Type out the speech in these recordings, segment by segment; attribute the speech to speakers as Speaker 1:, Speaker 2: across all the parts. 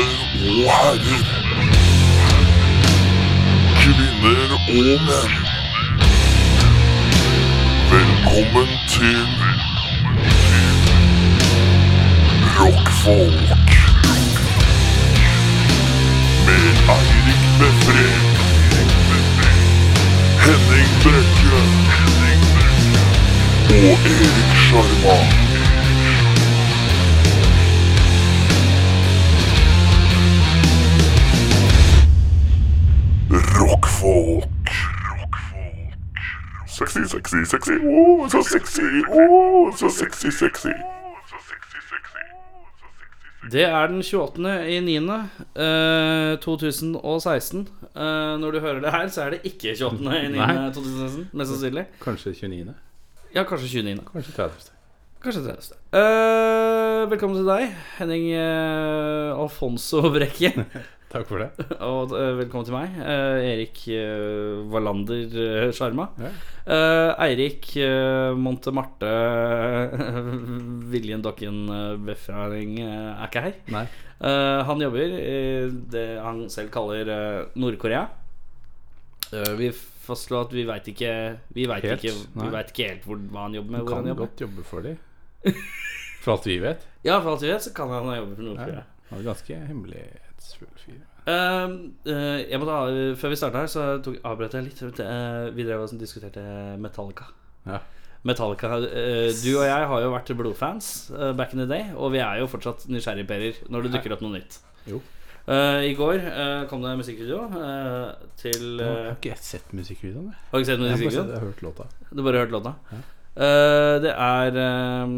Speaker 1: og herrer. Kvinner og menn. Velkommen til Rockfolk. Med Eirik Befre. Henning Brekke. Og Erik Sjarma. Rockfolk. Sexy, sexy, sexy. Oh, so sexy. Oh, so sexy, sexy.
Speaker 2: Det er den 28. i 9. eh, 2016. Eh, når du hører det her, så er det ikke 28. i 9.
Speaker 3: Nei.
Speaker 2: 2016, mest sannsynlig.
Speaker 3: Kanskje 29.
Speaker 2: Ja, kanskje 29.
Speaker 3: Kanskje 30.
Speaker 2: Kanskje 30. Eh, velkommen til deg, Henning eh, Alfonso Brekke.
Speaker 3: Takk for det.
Speaker 2: Og eh, velkommen til meg, eh, Erik eh, Wallander eh, Sjarma.
Speaker 3: Ja.
Speaker 2: Eh, Eirik eh, Montemarte Viljen Dokken eh, Befraring eh, er ikke her.
Speaker 3: Nei.
Speaker 2: Eh, han jobber i det han selv kaller eh, Nord-Korea. Eh, vi fastslår at vi veit ikke Vi vet
Speaker 3: Helt,
Speaker 2: ikke, vi
Speaker 3: nei.
Speaker 2: vet ikke helt hvor, hva han jobber med.
Speaker 3: Du
Speaker 2: Hvor han
Speaker 3: kan
Speaker 2: jobber.
Speaker 3: godt jobbe for dem. For alt vi vet.
Speaker 2: Ja, for alt vi vet, så kan han jobbe for Nord-Korea.
Speaker 3: Ja. Han er ganske hemmelighetsfull fyr.
Speaker 2: Ehm, eh, jeg måtte, ha- før vi starta her, så tok, avbrøt jeg litt. Eh, vi drev og sånn diskuterte Metallica.
Speaker 3: Ja.
Speaker 2: Metallica, eh, Du og jeg har jo vært blodfans eh, back in the day, og vi er jo fortsatt nysgjerrigperer når det dukker opp noe nytt.
Speaker 3: Jo.
Speaker 2: Eh, I går eh, kom det en musikkvideo eh, til
Speaker 3: Jeg har
Speaker 2: eh,
Speaker 3: ikke sett musikkvideoen. Jeg.
Speaker 2: Har du ikke sett
Speaker 3: Jeg, har bare sett,
Speaker 2: musikkvideoen?
Speaker 3: jeg har hørt låta.
Speaker 2: Du har bare hørt låta?
Speaker 3: Ja.
Speaker 2: Eh, det er eh,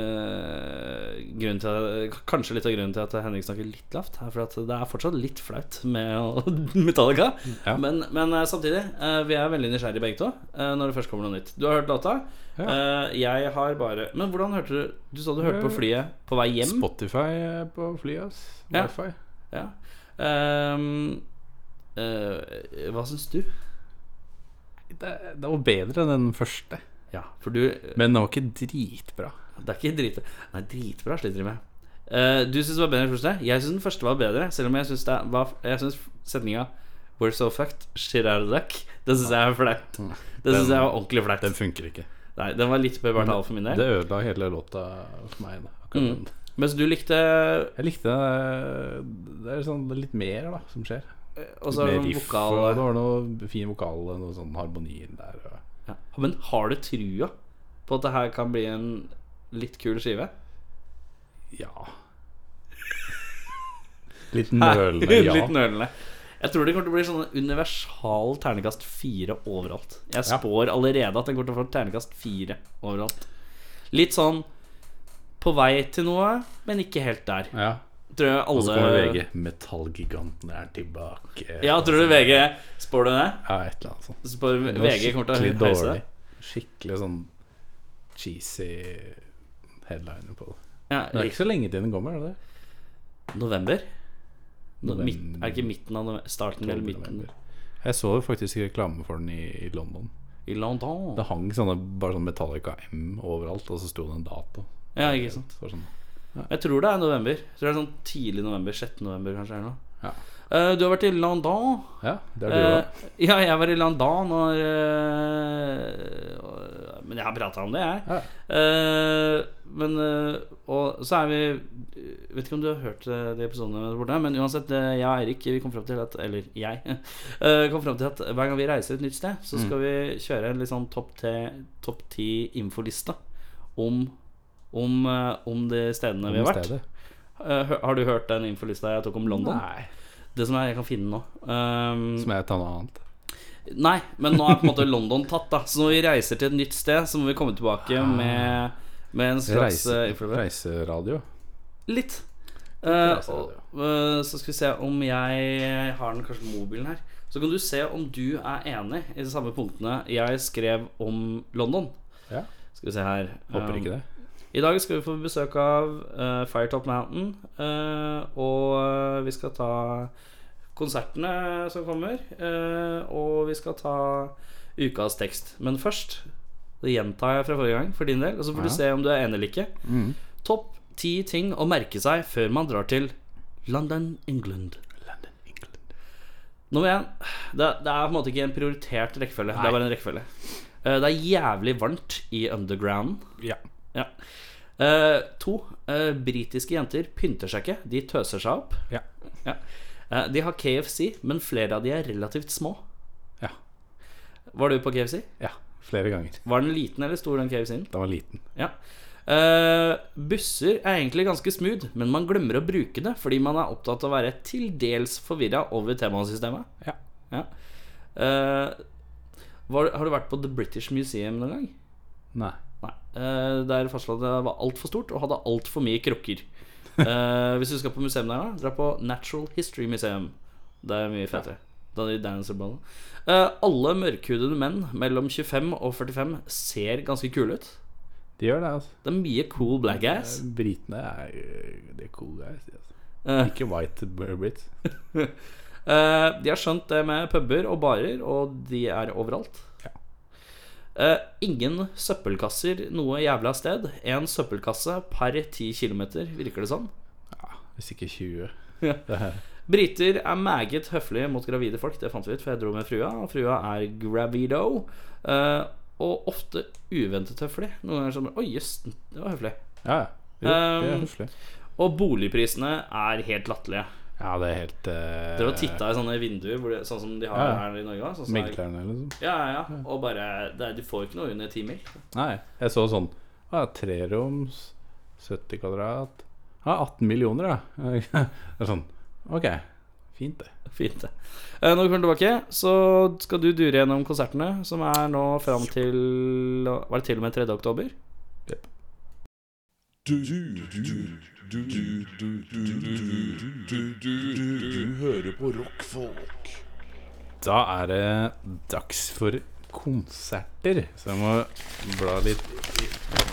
Speaker 2: eh, grunnen til at, Kanskje litt av grunnen til at Henrik snakker litt lavt. Er for at det er fortsatt litt flaut med å- Metallica.
Speaker 3: Ja.
Speaker 2: Men, men eh, samtidig, eh, vi er veldig nysgjerrige begge to eh, når det først kommer noe nytt. Du har hørt låta. Eh, jeg har bare Men hvordan hørte du Du sa du hørte på flyet på vei
Speaker 3: Mm.
Speaker 2: hjem?
Speaker 3: Spotify eh, på flyet, ass.
Speaker 2: Ja.
Speaker 3: Wifi.
Speaker 2: Ja. Ehm, eh, hva syns du?
Speaker 3: Det, det var bedre enn den første.
Speaker 2: Ja, for du
Speaker 3: Men den var ikke dritbra.
Speaker 2: Det er ikke drite Nei, dritbra sliter de med. Eh, du syns det var bedre enn den første. Jeg syns den første var bedre. Selv om jeg syns det var Jeg synes setninga 'We're so fucked, shit out of luck' Det syns jeg er flaut. Det syns
Speaker 3: Den-
Speaker 2: jeg var ordentlig flaut.
Speaker 3: Den funker ikke.
Speaker 2: Nei, den var litt Bebert Hall for min
Speaker 3: Det
Speaker 2: del.
Speaker 3: ødela hele låta for meg. Da. akkurat
Speaker 2: Mm.
Speaker 3: den.
Speaker 2: Mens du likte
Speaker 3: Jeg likte eh, Det er sånn litt mer da som skjer.
Speaker 2: Og så er
Speaker 3: Med
Speaker 2: det sånn
Speaker 3: riff, og det
Speaker 2: vokal
Speaker 3: var noe fin vokal og noe sånn harmoni der. Og.
Speaker 2: ja. Men har du trua på at det her kan bli en litt kul skive?
Speaker 3: Ja. Litt nølende ja.
Speaker 2: Litt nølende. Jeg tror det kommer til å bli sånn universal ternekast fire overalt. Jeg
Speaker 3: Ja.
Speaker 2: spår allerede at den kommer til å få ternekast fire overalt. Litt sånn på vei til noe, men ikke helt der.
Speaker 3: ja.
Speaker 2: Tror jeg
Speaker 3: Og så kommer
Speaker 2: alle
Speaker 3: VG. 'Metallgiganten er tilbake'.
Speaker 2: Eh. Ja, tror du VG Spår du det?
Speaker 3: Ja, et eller annet sånt.
Speaker 2: Spår
Speaker 3: Det var
Speaker 2: VG kommer til
Speaker 3: skikkelig
Speaker 2: å heise det?
Speaker 3: Skikkelig sånn cheesy headliner på det. Det
Speaker 2: Ja,
Speaker 3: er ikke så lenge til den kommer, er det det?
Speaker 2: november? No,
Speaker 3: November.
Speaker 2: midt, er ikke midten av november? Starten eller midten?
Speaker 3: November. Jeg så jo faktisk reklame for den i, i London.
Speaker 2: I London?
Speaker 3: Det hang sånne, bare sånn Metallica M overalt, og så sto det en dato.
Speaker 2: Ja, ikke sant.
Speaker 3: Så var det sånn,
Speaker 2: Jeg tror det er november. Jeg tror det er sånn Tidlig november. 6. november, kanskje. eller noe.
Speaker 3: ja.
Speaker 2: Eh, du har vært i London.
Speaker 3: ja, det er du òg.
Speaker 2: Eh, ja, jeg var i Landan når eh, og- Men jeg har prata om det, jeg.
Speaker 3: Ja.
Speaker 2: Eh, men eh, Og så er vi Vet ikke om du har hørt eh, de episodene der borte, men uansett, eh, jeg og Eirik vi kom frem til at Eller jeg eh, kom frem til at hver gang vi reiser et nytt sted, så
Speaker 3: Mm.
Speaker 2: skal vi kjøre en litt sånn topp te- topp ti infoliste om om, eh, om de stedene vi har vært.
Speaker 3: Stedet.
Speaker 2: Eh, hø- har du hørt den infolista jeg tok om London?
Speaker 3: Nei.
Speaker 2: Det som er, jeg kan finne den nå. Um,
Speaker 3: Så må jeg ta noe annet.
Speaker 2: Nei, men nå er på en måte London tatt, da. Så når vi reiser til et nytt sted, så må vi komme tilbake med, med en slags
Speaker 3: Ah. Reise,
Speaker 2: eh, influencer.
Speaker 3: reiseradio.
Speaker 2: Litt. Eh, og,
Speaker 3: reiseradio.
Speaker 2: eh, så skal vi se om jeg har den kanskje mobilen her. Så kan du se om du er enig i de samme punktene jeg skrev om London.
Speaker 3: Ja.
Speaker 2: Skal vi se her.
Speaker 3: Håper
Speaker 2: Um,
Speaker 3: ikke det.
Speaker 2: I dag skal vi få besøk av eh, Firetop Mountain. eh, og eh, vi skal ta konsertene som kommer. eh, og vi skal ta ukas tekst. Men først Det gjentar jeg fra forrige gang for din del. Og så får
Speaker 3: Ja. Mm.
Speaker 2: du se om du er enig eller ikke. Topp ti ting å merke seg før man drar til London, England. Nummer én det, det er på en måte ikke en prioritert rekkefølge. Det
Speaker 3: Nei.
Speaker 2: er bare en rekkefølge. Eh, det er jævlig varmt i undergrounden.
Speaker 3: Ja.
Speaker 2: Ja. Eh, to. eh, britiske jenter pynter seg ikke. De tøser seg opp.
Speaker 3: Ja.
Speaker 2: Ja. Eh, de har KFC, men flere av de er relativt små.
Speaker 3: Ja.
Speaker 2: Var du på KFC?
Speaker 3: ja. Flere ganger.
Speaker 2: Var den liten eller stor, den KFC-en?
Speaker 3: Da var jeg liten.
Speaker 2: Ja. Eh, busser er egentlig ganske smooth, men man glemmer å bruke det fordi man er opptatt av å være til dels forvirra over temasystemet.
Speaker 3: Ja.
Speaker 2: Ja. Eh, var, har du vært på The British Museum noen gang?
Speaker 3: Nei.
Speaker 2: Nei. Eh, der fastlandet var altfor stort og hadde altfor mye krukker. Eh, hvis du skal på museum der, da, dra på Natural History Museum. Det er mye fetere. Da er de dinosaurbollene. Eh, alle mørkhudede menn mellom 25 og 45 ser ganske kule ut.
Speaker 3: De gjør det, altså.
Speaker 2: Det er mye cool black ass.
Speaker 3: Britene er øh, Det er cool guys. de, Altså.
Speaker 2: Eh,
Speaker 3: Ikke white br- Brit.
Speaker 2: Eh, de har skjønt det med puber og barer, og de er overalt.
Speaker 3: Ja.
Speaker 2: Eh, ingen søppelkasser noe jævla sted. Én søppelkasse per 10 km, virker det sånn.
Speaker 3: Hvis ikke 20.
Speaker 2: Ja.
Speaker 3: Det er-
Speaker 2: Briter er meget høflige mot gravide folk, det fant vi ut, for jeg dro med frua. Og frua er gravido. eh, og ofte uventet høflig. Noen ganger sånn Oi, jøss, det var høflig.
Speaker 3: Ja, ja. Jo, det er
Speaker 2: Um,
Speaker 3: høflig.
Speaker 2: Og boligprisene er helt latterlige.
Speaker 3: Ja, det er helt øh,
Speaker 2: Dere har titta i sånne vinduer, hvor det, sånn som de har
Speaker 3: Ja, ja.
Speaker 2: her i Norge. da, Sånn som er-
Speaker 3: Meglerne, liksom.
Speaker 2: Ja, ja, ja. Og bare det er, Du får ikke noe under ti mil.
Speaker 3: Nei. Jeg så sånn ja, Treroms, 70 kvadrat Ja, 18 millioner, da. Det er sånn Ok, fint, det.
Speaker 2: Fint, det. Eh, Når vi kommer tilbake, så skal du dure gjennom konsertene, som er nå fram til Var det til og med 3. oktober?
Speaker 1: Du, du, du, du, du, du, du, du, du, du, du, du hører på rockfolk.
Speaker 3: Da er det dags for konserter, så jeg må bla litt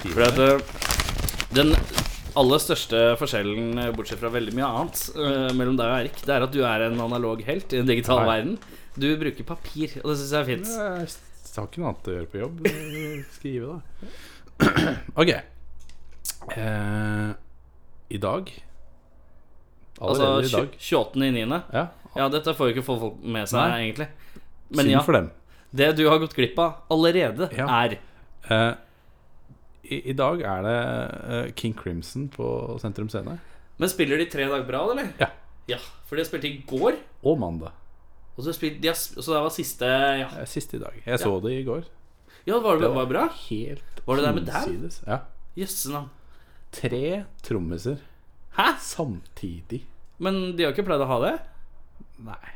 Speaker 3: i
Speaker 2: For at eh, den aller største forskjellen, eh, bortsett fra veldig mye annet, eh, mellom deg og Erik, det er at du er en analog helt i den digitale
Speaker 3: Nei.
Speaker 2: verden. Du bruker papir, og det syns jeg er fint.
Speaker 3: Jeg s- har ikke noe annet å gjøre på jobb. eh, Skrive, da. Ok. Eh, I dag
Speaker 2: Altså
Speaker 3: Allerede i dag.
Speaker 2: 28.9.
Speaker 3: Ja,
Speaker 2: Ja, dette får jo ikke få folk med seg,
Speaker 3: Nei.
Speaker 2: egentlig. Men
Speaker 3: Synd
Speaker 2: ja,
Speaker 3: for dem.
Speaker 2: det du har gått glipp av allerede,
Speaker 3: Ja.
Speaker 2: er
Speaker 3: Eh, i, I dag er det eh, King Crimson på Sentrum Scene.
Speaker 2: Men spiller de tre dager på rad, eller?
Speaker 3: Ja.
Speaker 2: Ja, For de har spilt i går,
Speaker 3: Og mandag.
Speaker 2: og så, spilt, de har, sp- så det var siste Ja,
Speaker 3: Eh, Siste i dag. Jeg så det i går.
Speaker 2: ja var det var det bra?
Speaker 3: Helt
Speaker 2: Var det der med dau?
Speaker 3: hinsides. Ja.
Speaker 2: Jøsse navn.
Speaker 3: Tre trommiser
Speaker 2: Hæ?
Speaker 3: samtidig.
Speaker 2: Men de har ikke pleid å ha det?
Speaker 3: Nei.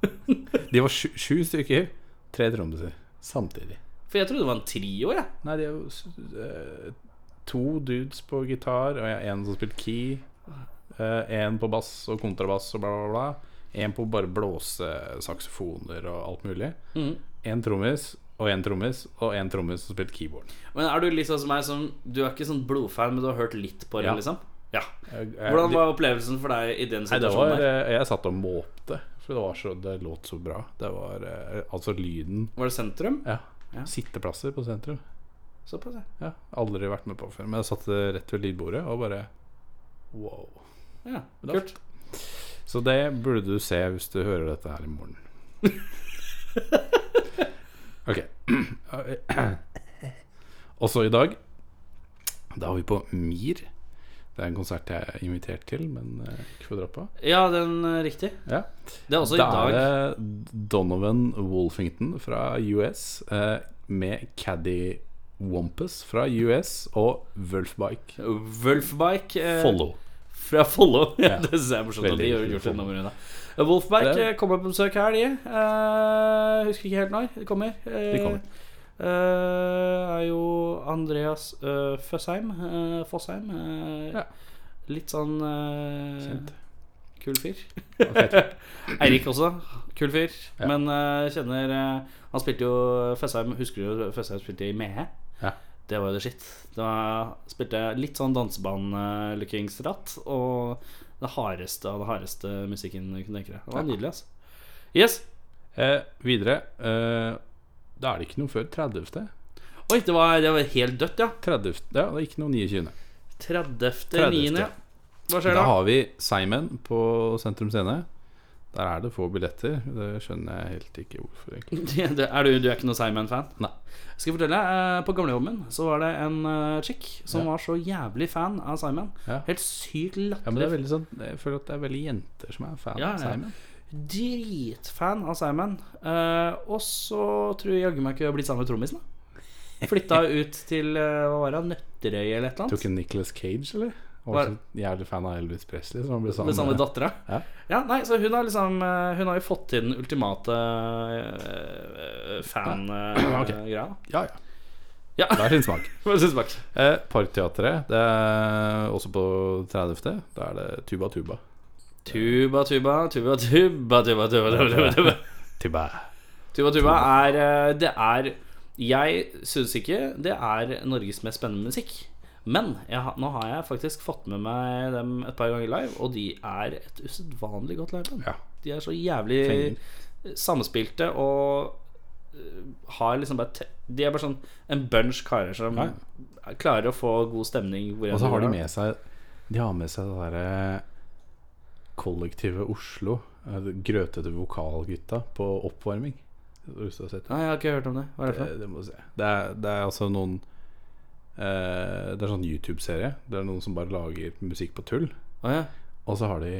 Speaker 3: De var sju, sju stykker. Tre trommiser samtidig.
Speaker 2: For jeg trodde det var en trio, jeg.
Speaker 3: Nei, det er jo s- eh, to dudes på gitar, og jeg- en som spilte key. eh, En på bass og kontrabass og bla, bla, bla. En på bare blåsesaksofoner og alt mulig. En trommis og en trommis og en trommis som spilte keyboard.
Speaker 2: Men er du litt sånn som meg som Du er ikke sånn blodfan, men du har hørt litt på det,
Speaker 3: Ja.
Speaker 2: liksom? Ja.
Speaker 3: Jeg- jeg-
Speaker 2: Hvordan var opplevelsen for deg i den
Speaker 3: Nei, det
Speaker 2: situasjonen?
Speaker 3: var,
Speaker 2: der?
Speaker 3: eh, jeg satt og måpte, for det, var så, det låt så bra. Det var eh, altså lyden
Speaker 2: Var det sentrum?
Speaker 3: ja.
Speaker 2: Ja.
Speaker 3: Sitteplasser på sentrum.
Speaker 2: Såpass, ja.
Speaker 3: Ja, aldri vært med på før. Men jeg satt eh, rett ved lydbordet og bare wow.
Speaker 2: ja.
Speaker 3: Det var-
Speaker 2: Kult.
Speaker 3: Så det burde du se hvis du hører dette her i morgen. Ok. Også i dag Da er vi på Mir. Det er en konsert jeg er invitert til, men eh, ikke får dra på.
Speaker 2: Ja, den eh, riktig.
Speaker 3: Ja.
Speaker 2: Det er også
Speaker 3: Da
Speaker 2: i dag.
Speaker 3: er det Donovan Wolfington fra US eh, med Caddy Wampus fra US og Wulfbike
Speaker 2: Wulfbike. eh,
Speaker 3: Follow.
Speaker 2: Fra Follo.
Speaker 3: Ja.
Speaker 2: det synes jeg er morsomt at de
Speaker 3: Veldig
Speaker 2: har gjort
Speaker 3: morsomt.
Speaker 2: et nummer unna. Wolfberg
Speaker 3: Det-
Speaker 2: eh, kommer på besøk her, de. Eh, husker ikke helt når. De kommer. Eh,
Speaker 3: De kommer.
Speaker 2: eh, er jo Andreas eh, Føsheim. eh, Fossheim. eh,
Speaker 3: Ja.
Speaker 2: Litt sånn eh,
Speaker 3: Kjent.
Speaker 2: Kul fyr.
Speaker 3: Og fett.
Speaker 2: Eirik også. Kul fyr.
Speaker 3: Ja.
Speaker 2: Men eh, kjenner eh, Han spilte jo Føsheim Husker du Føsheim spilte i Mehe?
Speaker 3: Ja.
Speaker 2: Det var jo det shit. Da spilte jeg litt sånn danseband-lookingsratt. Og det hardeste av det hardeste musikken du kunne tenke deg. Det var nydelig, altså. Yes.
Speaker 3: Eh, videre eh, Da er det ikke noe før 30.
Speaker 2: Oi, det var, det var helt dødt, ja.
Speaker 3: 30. Ja, det er ikke noe 29.
Speaker 2: 30.
Speaker 3: 30..
Speaker 2: 9. Hva skjer
Speaker 3: Da
Speaker 2: da?
Speaker 3: har vi Simon på Sentrum Scene. Der er det få billetter. Det skjønner jeg helt ikke hvorfor, egentlig.
Speaker 2: Det- Er du, du er ikke noe Simon-fan?
Speaker 3: Nei.
Speaker 2: Skal jeg fortelle, eh, På gamlejobben min så var det en eh, chick som
Speaker 3: Ja.
Speaker 2: var så jævlig fan av Simon.
Speaker 3: Ja.
Speaker 2: Helt sykt
Speaker 3: Ja, men det
Speaker 2: latterlig.
Speaker 3: er veldig sånn Jeg føler at det er veldig jenter som er fan
Speaker 2: Ja,
Speaker 3: av
Speaker 2: ja.
Speaker 3: Simon.
Speaker 2: Dritfan av Simon. Eh, og så tror jeg jaggu meg ikke jeg har blitt sammen med trommisen. da. Flytta ut til eh, hva var det, Nøtterøy eller et eller annet.
Speaker 3: Tok en Nicholas Cage, eller? Han
Speaker 2: Hva-
Speaker 3: var så jævlig fan av Elvis Presley, som han ble
Speaker 2: Med samme
Speaker 3: sammen med.
Speaker 2: dattera.
Speaker 3: Ja.
Speaker 2: Ja, nei, så hun har liksom eh, Hun har jo fått til den ultimate eh, fan-greia.
Speaker 3: Ja. Ok. Ja, ja.
Speaker 2: Ja.
Speaker 3: Det er sin smak.
Speaker 2: Hva syns du?
Speaker 3: Eh, Parkteatret, det er også på 30. Da er det Tuba Tuba.
Speaker 2: Tuba, tuba, tuba, tuba, tuba, tuba, tuba, tuba.
Speaker 3: Tuba.
Speaker 2: Tuba Tuba er eh, Det er Jeg syns ikke det er Norges mest spennende musikk. Men jeg, har- nå har jeg faktisk fått med meg dem et par ganger live, og de er et usedvanlig godt liveband.
Speaker 3: Ja.
Speaker 2: De er så jævlig samspilte og eh, har liksom bare te De er bare sånn en bunch karer som
Speaker 3: Ja.
Speaker 2: klarer å få god stemning. hvor enn
Speaker 3: Og så har de
Speaker 2: går.
Speaker 3: med seg De har med seg det derre kollektivet Oslo. eh, det Grøtete vokalgutta på oppvarming. Hvis du har sett det.
Speaker 2: Nei, jeg har ikke hørt om det. Hva er det for noe?
Speaker 3: Eh, Det, det må du se. Det er, det er altså noen eh, Det er sånn YouTube-serie. Det er noen som bare lager musikk på tull.
Speaker 2: Å ja.
Speaker 3: Og så har de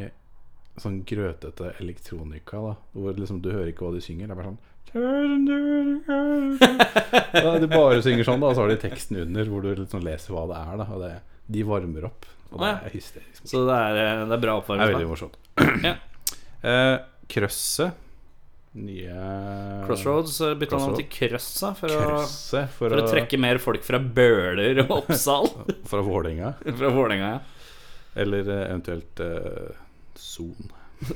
Speaker 3: sånn grøtete elektronika, da. Hvor liksom du hører ikke hva de synger. Det er bare sånn ja, De bare synger sånn, da. Og så har de teksten under hvor du liksom leser hva det er. da Og det, de varmer opp. Og det
Speaker 2: Å, ja.
Speaker 3: er hysterisk.
Speaker 2: Så det er, eh, det er bra
Speaker 3: Det er veldig
Speaker 2: oppvarming.
Speaker 3: morsomt.
Speaker 2: Ja.
Speaker 3: Eh, Krøsset. Nye
Speaker 2: Crossroads eh, bytta navn
Speaker 3: Crossroads.
Speaker 2: til Krøssa for å
Speaker 3: Krøsset for,
Speaker 2: For å
Speaker 3: å-
Speaker 2: trekke mer folk fra Bøler og Oppsal.
Speaker 3: Fra Vålerenga.
Speaker 2: fra Vålerenga, ja.
Speaker 3: Eller eh, eventuelt eh, Son.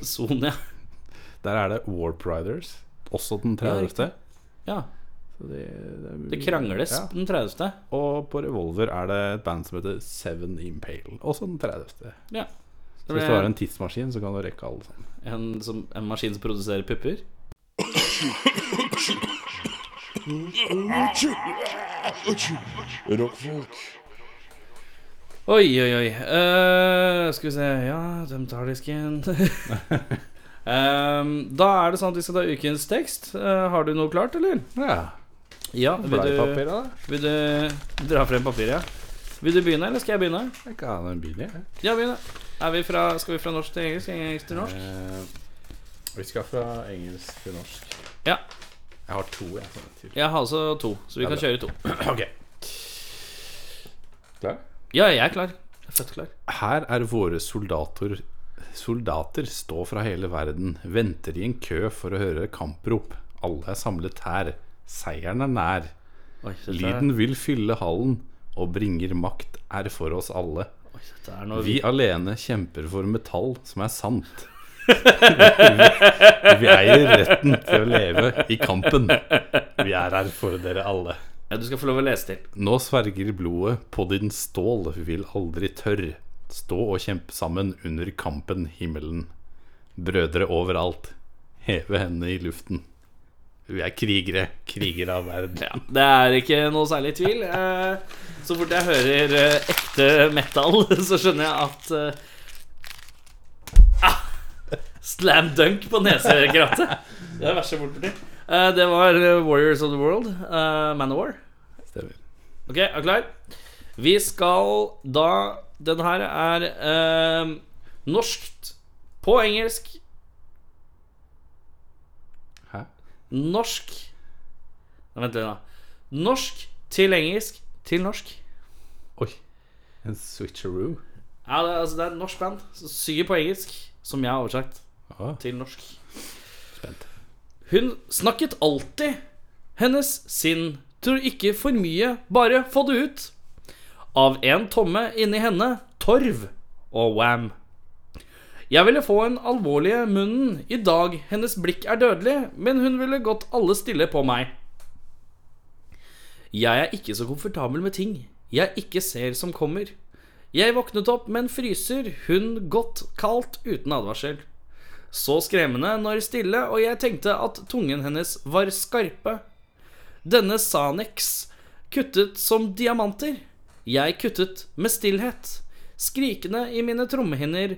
Speaker 2: Son, ja.
Speaker 3: Der er det Warp Riders. Også den 30.
Speaker 2: ja.
Speaker 3: Så det, det, er-
Speaker 2: Det krangles
Speaker 3: Ja.
Speaker 2: den 30.
Speaker 3: Og på Revolver er det et band som heter Seven Impale. Også den 30.
Speaker 2: Ja.
Speaker 3: Så
Speaker 2: Det
Speaker 3: hvis du har
Speaker 2: ble en,
Speaker 3: en tidsmaskin, så kan du rekke alle sammen.
Speaker 2: som, en maskin som produserer pupper.
Speaker 1: Rockfolk.
Speaker 2: Oi, oi, oi. Eh, skal vi se Ja, dem tar disken. Ehm, da er det sånn at vi skal ta ukens tekst. Eh, har du noe klart, eller?
Speaker 3: Ja.
Speaker 2: Ja, vil du,
Speaker 3: Bleipapiret, da?
Speaker 2: vil du dra frem papiret? Ja. Vil du begynne, eller skal jeg begynne?
Speaker 3: Jeg kan ha den bilen, jeg.
Speaker 2: Ja, begynne. Er vi fra, skal vi fra norsk til engelsk? Engelsk til norsk?
Speaker 3: Eh, vi skal fra engelsk til norsk.
Speaker 2: Ja.
Speaker 3: Jeg har to, jeg. Sånn, til.
Speaker 2: Jeg har altså to, så vi
Speaker 3: Ja,
Speaker 2: kan
Speaker 3: bra.
Speaker 2: kjøre to.
Speaker 3: Ok. Klar?
Speaker 2: Ja, jeg er klar. Jeg er født klar.
Speaker 3: Her er våre soldater Soldater stå fra hele verden Venter i en kø for å høre kamprop Alle er samlet her Seieren er nær
Speaker 2: Oi, dette er-
Speaker 3: Lyden vil fylle hallen Og bringer makt er for oss alle
Speaker 2: Oi, dette er noe
Speaker 3: Vi alene kjemper for metall som er sant vi, vi eier retten til å leve i kampen Vi er her for dere alle
Speaker 2: ja, Du skal få lov å lese til.
Speaker 3: nå sverger blodet på din stål vil aldri tørr. Stå og kjempe sammen under kampen himmelen. Brødre overalt, heve hendene i luften. Vi er krigere, krigere av verden.
Speaker 2: Det er ikke noe særlig tvil. Eh, Så fort jeg hører eh, ekte metal, så skjønner jeg at eh, ah, Slam dunk på nesegrattet. Det er det verste bortparti. Eh, Det var eh, Warriors of the World, eh, Man of War.
Speaker 3: Stemmer.
Speaker 2: Ok, er du klar? Vi skal da Den her er eh, norskt på engelsk.
Speaker 3: Hæ?
Speaker 2: Norsk Nei, Vent litt, da. Norsk til engelsk til norsk.
Speaker 3: Oi. En switcheroo.
Speaker 2: Ja, det, er- altså, det er et norsk band som synger på engelsk, som jeg har oversagt
Speaker 3: Ah,
Speaker 2: til norsk.
Speaker 3: spent.
Speaker 2: Hun snakket alltid hennes sinn. Tror ikke for mye, bare få det ut. Av en tomme inni henne torv og wam. Jeg ville få en alvorlig i munnen. I dag, hennes blikk er dødelig, men hun ville gått alle stille på meg. Jeg er ikke så komfortabel med ting jeg ikke ser som kommer. Jeg våknet opp med en fryser, hun godt kaldt uten advarsel. Så skremmende når stille, og jeg tenkte at tungen hennes var skarpe. Denne Sanex kuttet som diamanter. Jeg kuttet med stillhet. Skrikende i mine trommehinner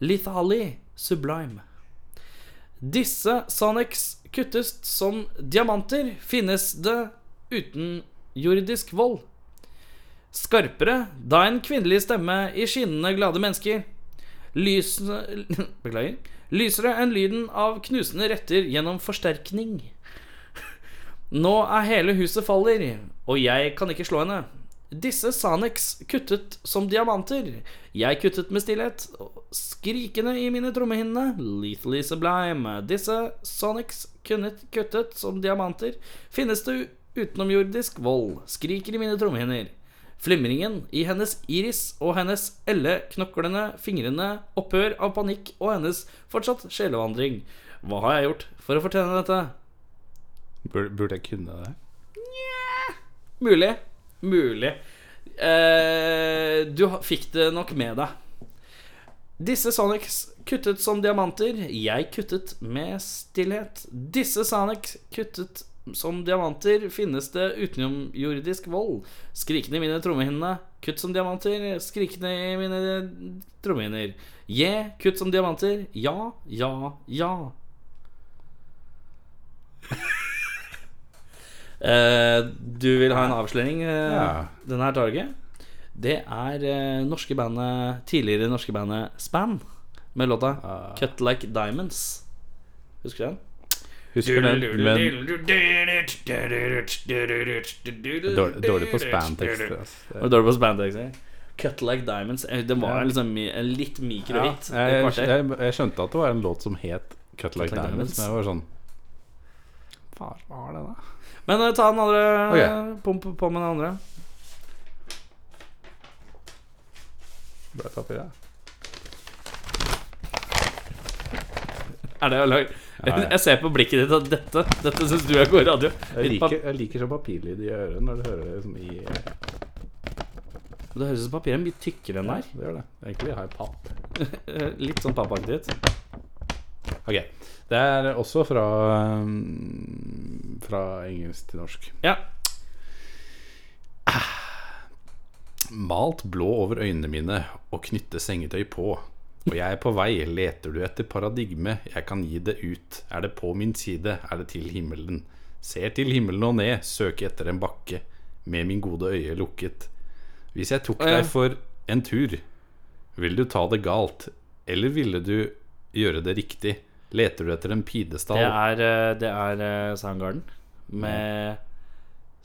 Speaker 2: Lithali Sublime. Disse Sanex kuttes som diamanter, finnes det uten jordisk vold. Skarpere da en kvinnelig stemme i skinnende glade mennesker. Lysende Beklager. Lysere enn lyden av knusende retter gjennom forsterkning. Nå er hele huset faller, og jeg kan ikke slå henne. Disse Sanex kuttet som diamanter. Jeg kuttet med stillhet, skrikende i mine trommehinnene. Lethally sublime. Disse Sanex kunnet kuttet som diamanter. Finnes det utenomjordisk vold, skriker i mine trommehinner. Flimringen i hennes iris og hennes elle knoklende fingrene, opphør av panikk og hennes fortsatt sjelevandring. Hva har jeg gjort for å fortjene dette?
Speaker 3: Burde, burde jeg kunne det?
Speaker 2: Mulig. Mulig. Eh, du ha- fikk det nok med deg. Disse Sonics kuttet som diamanter. Jeg kuttet med stillhet. Disse Sonics kuttet som diamanter. Finnes det utenomjordisk vold? Skrikende i mine trommehinnene. Kutt som diamanter. Skrikende i mine trommehinner. Je, kutt som diamanter. Ja, ja, ja. Eh, du vil ha en avsløring? eh,
Speaker 3: Ja.
Speaker 2: Denne her tar du ikke? Det er eh, norske bandet tidligere norske bandet Span med låta
Speaker 3: Ah.
Speaker 2: Cut Like Diamonds. Husker du den?
Speaker 3: Husker den, men dårlig, dårlig på spantekster. Altså.
Speaker 2: Var det dårlig på spantekster? Cut Like Diamonds. eh, Det var liksom mi- en litt mikrohit.
Speaker 3: Ja,
Speaker 2: et
Speaker 3: jeg,
Speaker 2: kvarter.
Speaker 3: jeg, jeg skjønte at det var en låt som het Cut Like Diamonds, men jeg var sånn Faen, hva er det da?
Speaker 2: Men eh, ta den andre. eh, Pump på med den andre.
Speaker 3: Ble det papir, ja?
Speaker 2: Er det å lage?
Speaker 3: Ja, ja.
Speaker 2: Jeg ser på blikket ditt at dette, dette syns du er god radio.
Speaker 3: Jeg
Speaker 2: Litt pap-
Speaker 3: liker, jeg liker så papirlyd i øret når du hører det liksom i Det
Speaker 2: Det høres ut som papiret er mye tykkere enn det her.
Speaker 3: gjør det. Egentlig har jeg papp.
Speaker 2: Eh, Litt sånn pappaktig.
Speaker 3: Ok. Det er også fra um, Fra engelsk til norsk.
Speaker 2: Ja.
Speaker 3: Malt blå over øynene mine og knytte sengetøy på. Og jeg er på vei, leter du etter paradigme, jeg kan gi det ut. Er det på min side, er det til himmelen. Ser til himmelen og ned, søker etter en bakke, med min gode øye lukket. Hvis jeg tok
Speaker 2: Å, ja.
Speaker 3: deg for en tur, vil du ta det galt, eller ville du gjøre det riktig? Leter du etter en
Speaker 2: Det
Speaker 3: pidestall?
Speaker 2: er, eh, det er eh, Soundgarden med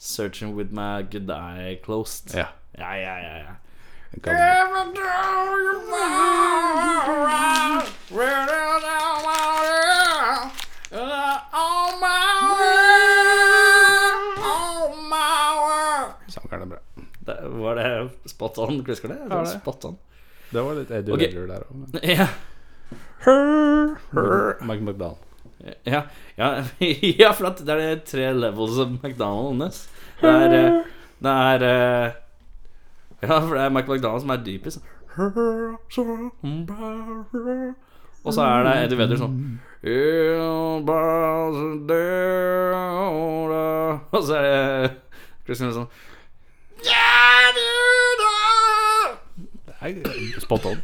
Speaker 2: 'Searching with my good eye closed'.
Speaker 3: Ja.
Speaker 2: ja, ja, ja, ja.
Speaker 3: Kan, sanger er det bra.
Speaker 2: Det, var det spot on? Husker du det?
Speaker 3: Ja,
Speaker 2: var
Speaker 3: det.
Speaker 2: Spot on.
Speaker 3: Det var litt Eddie
Speaker 2: Ok.
Speaker 3: Vedder der òg.
Speaker 2: Ja,
Speaker 3: Mike McDowell.
Speaker 2: ja, ja, ja, for at det er de tre levels of McDonald's. Det er, eh, det er eh, Ja, for det er Michael McDonald som er dypest. Og så er det Eddie Vedder sånn Og så er det Christian sånn
Speaker 3: Spot on.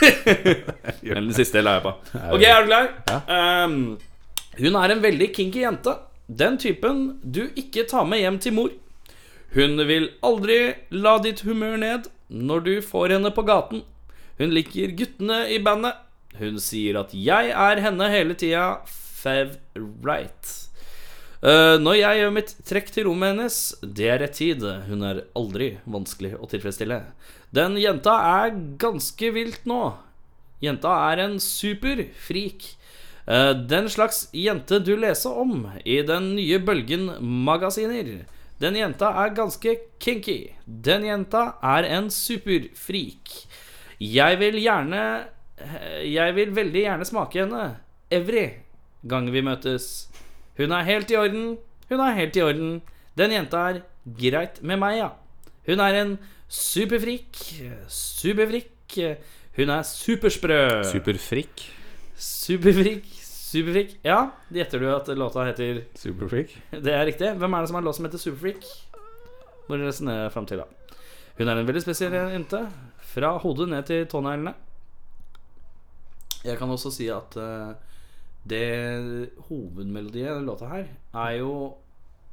Speaker 2: Eller den siste la jeg på. Ok, er du klar? Ehm, hun er en veldig kinky jente. Den typen du ikke tar med hjem til mor. Hun vil aldri la ditt humør ned når du får henne på gaten. Hun liker guttene i bandet. Hun sier at 'jeg er henne hele tida'. Favorite. Eh, når jeg gjør mitt trekk til rommet hennes, det er rett tid. Hun er aldri vanskelig å tilfredsstille. Den jenta er ganske vilt nå. Jenta er en superfrik. Eh, den slags jente du leser om i den nye bølgen magasiner. Den jenta er ganske kinky. Den jenta er en superfrik. Jeg vil gjerne eh, Jeg vil veldig gjerne smake henne. Every gang vi møtes. Hun er helt i orden. Hun er helt i orden. Den jenta er greit med meg, ja. Hun er en superfrik. Superfrik. Hun er supersprø.
Speaker 3: Superfrikk.
Speaker 2: Superfrik. Superfrik. Ja, gjetter du at låta heter
Speaker 3: Superfrikk.
Speaker 2: Det er riktig. Hvem er det som har en låt som heter Superfrik? når de resonnerer fram eh, til. da Hun er en veldig spesiell jente. Fra hodet ned til tåneglene. Jeg kan også si at eh, det hovedmelodiet i den låta her er jo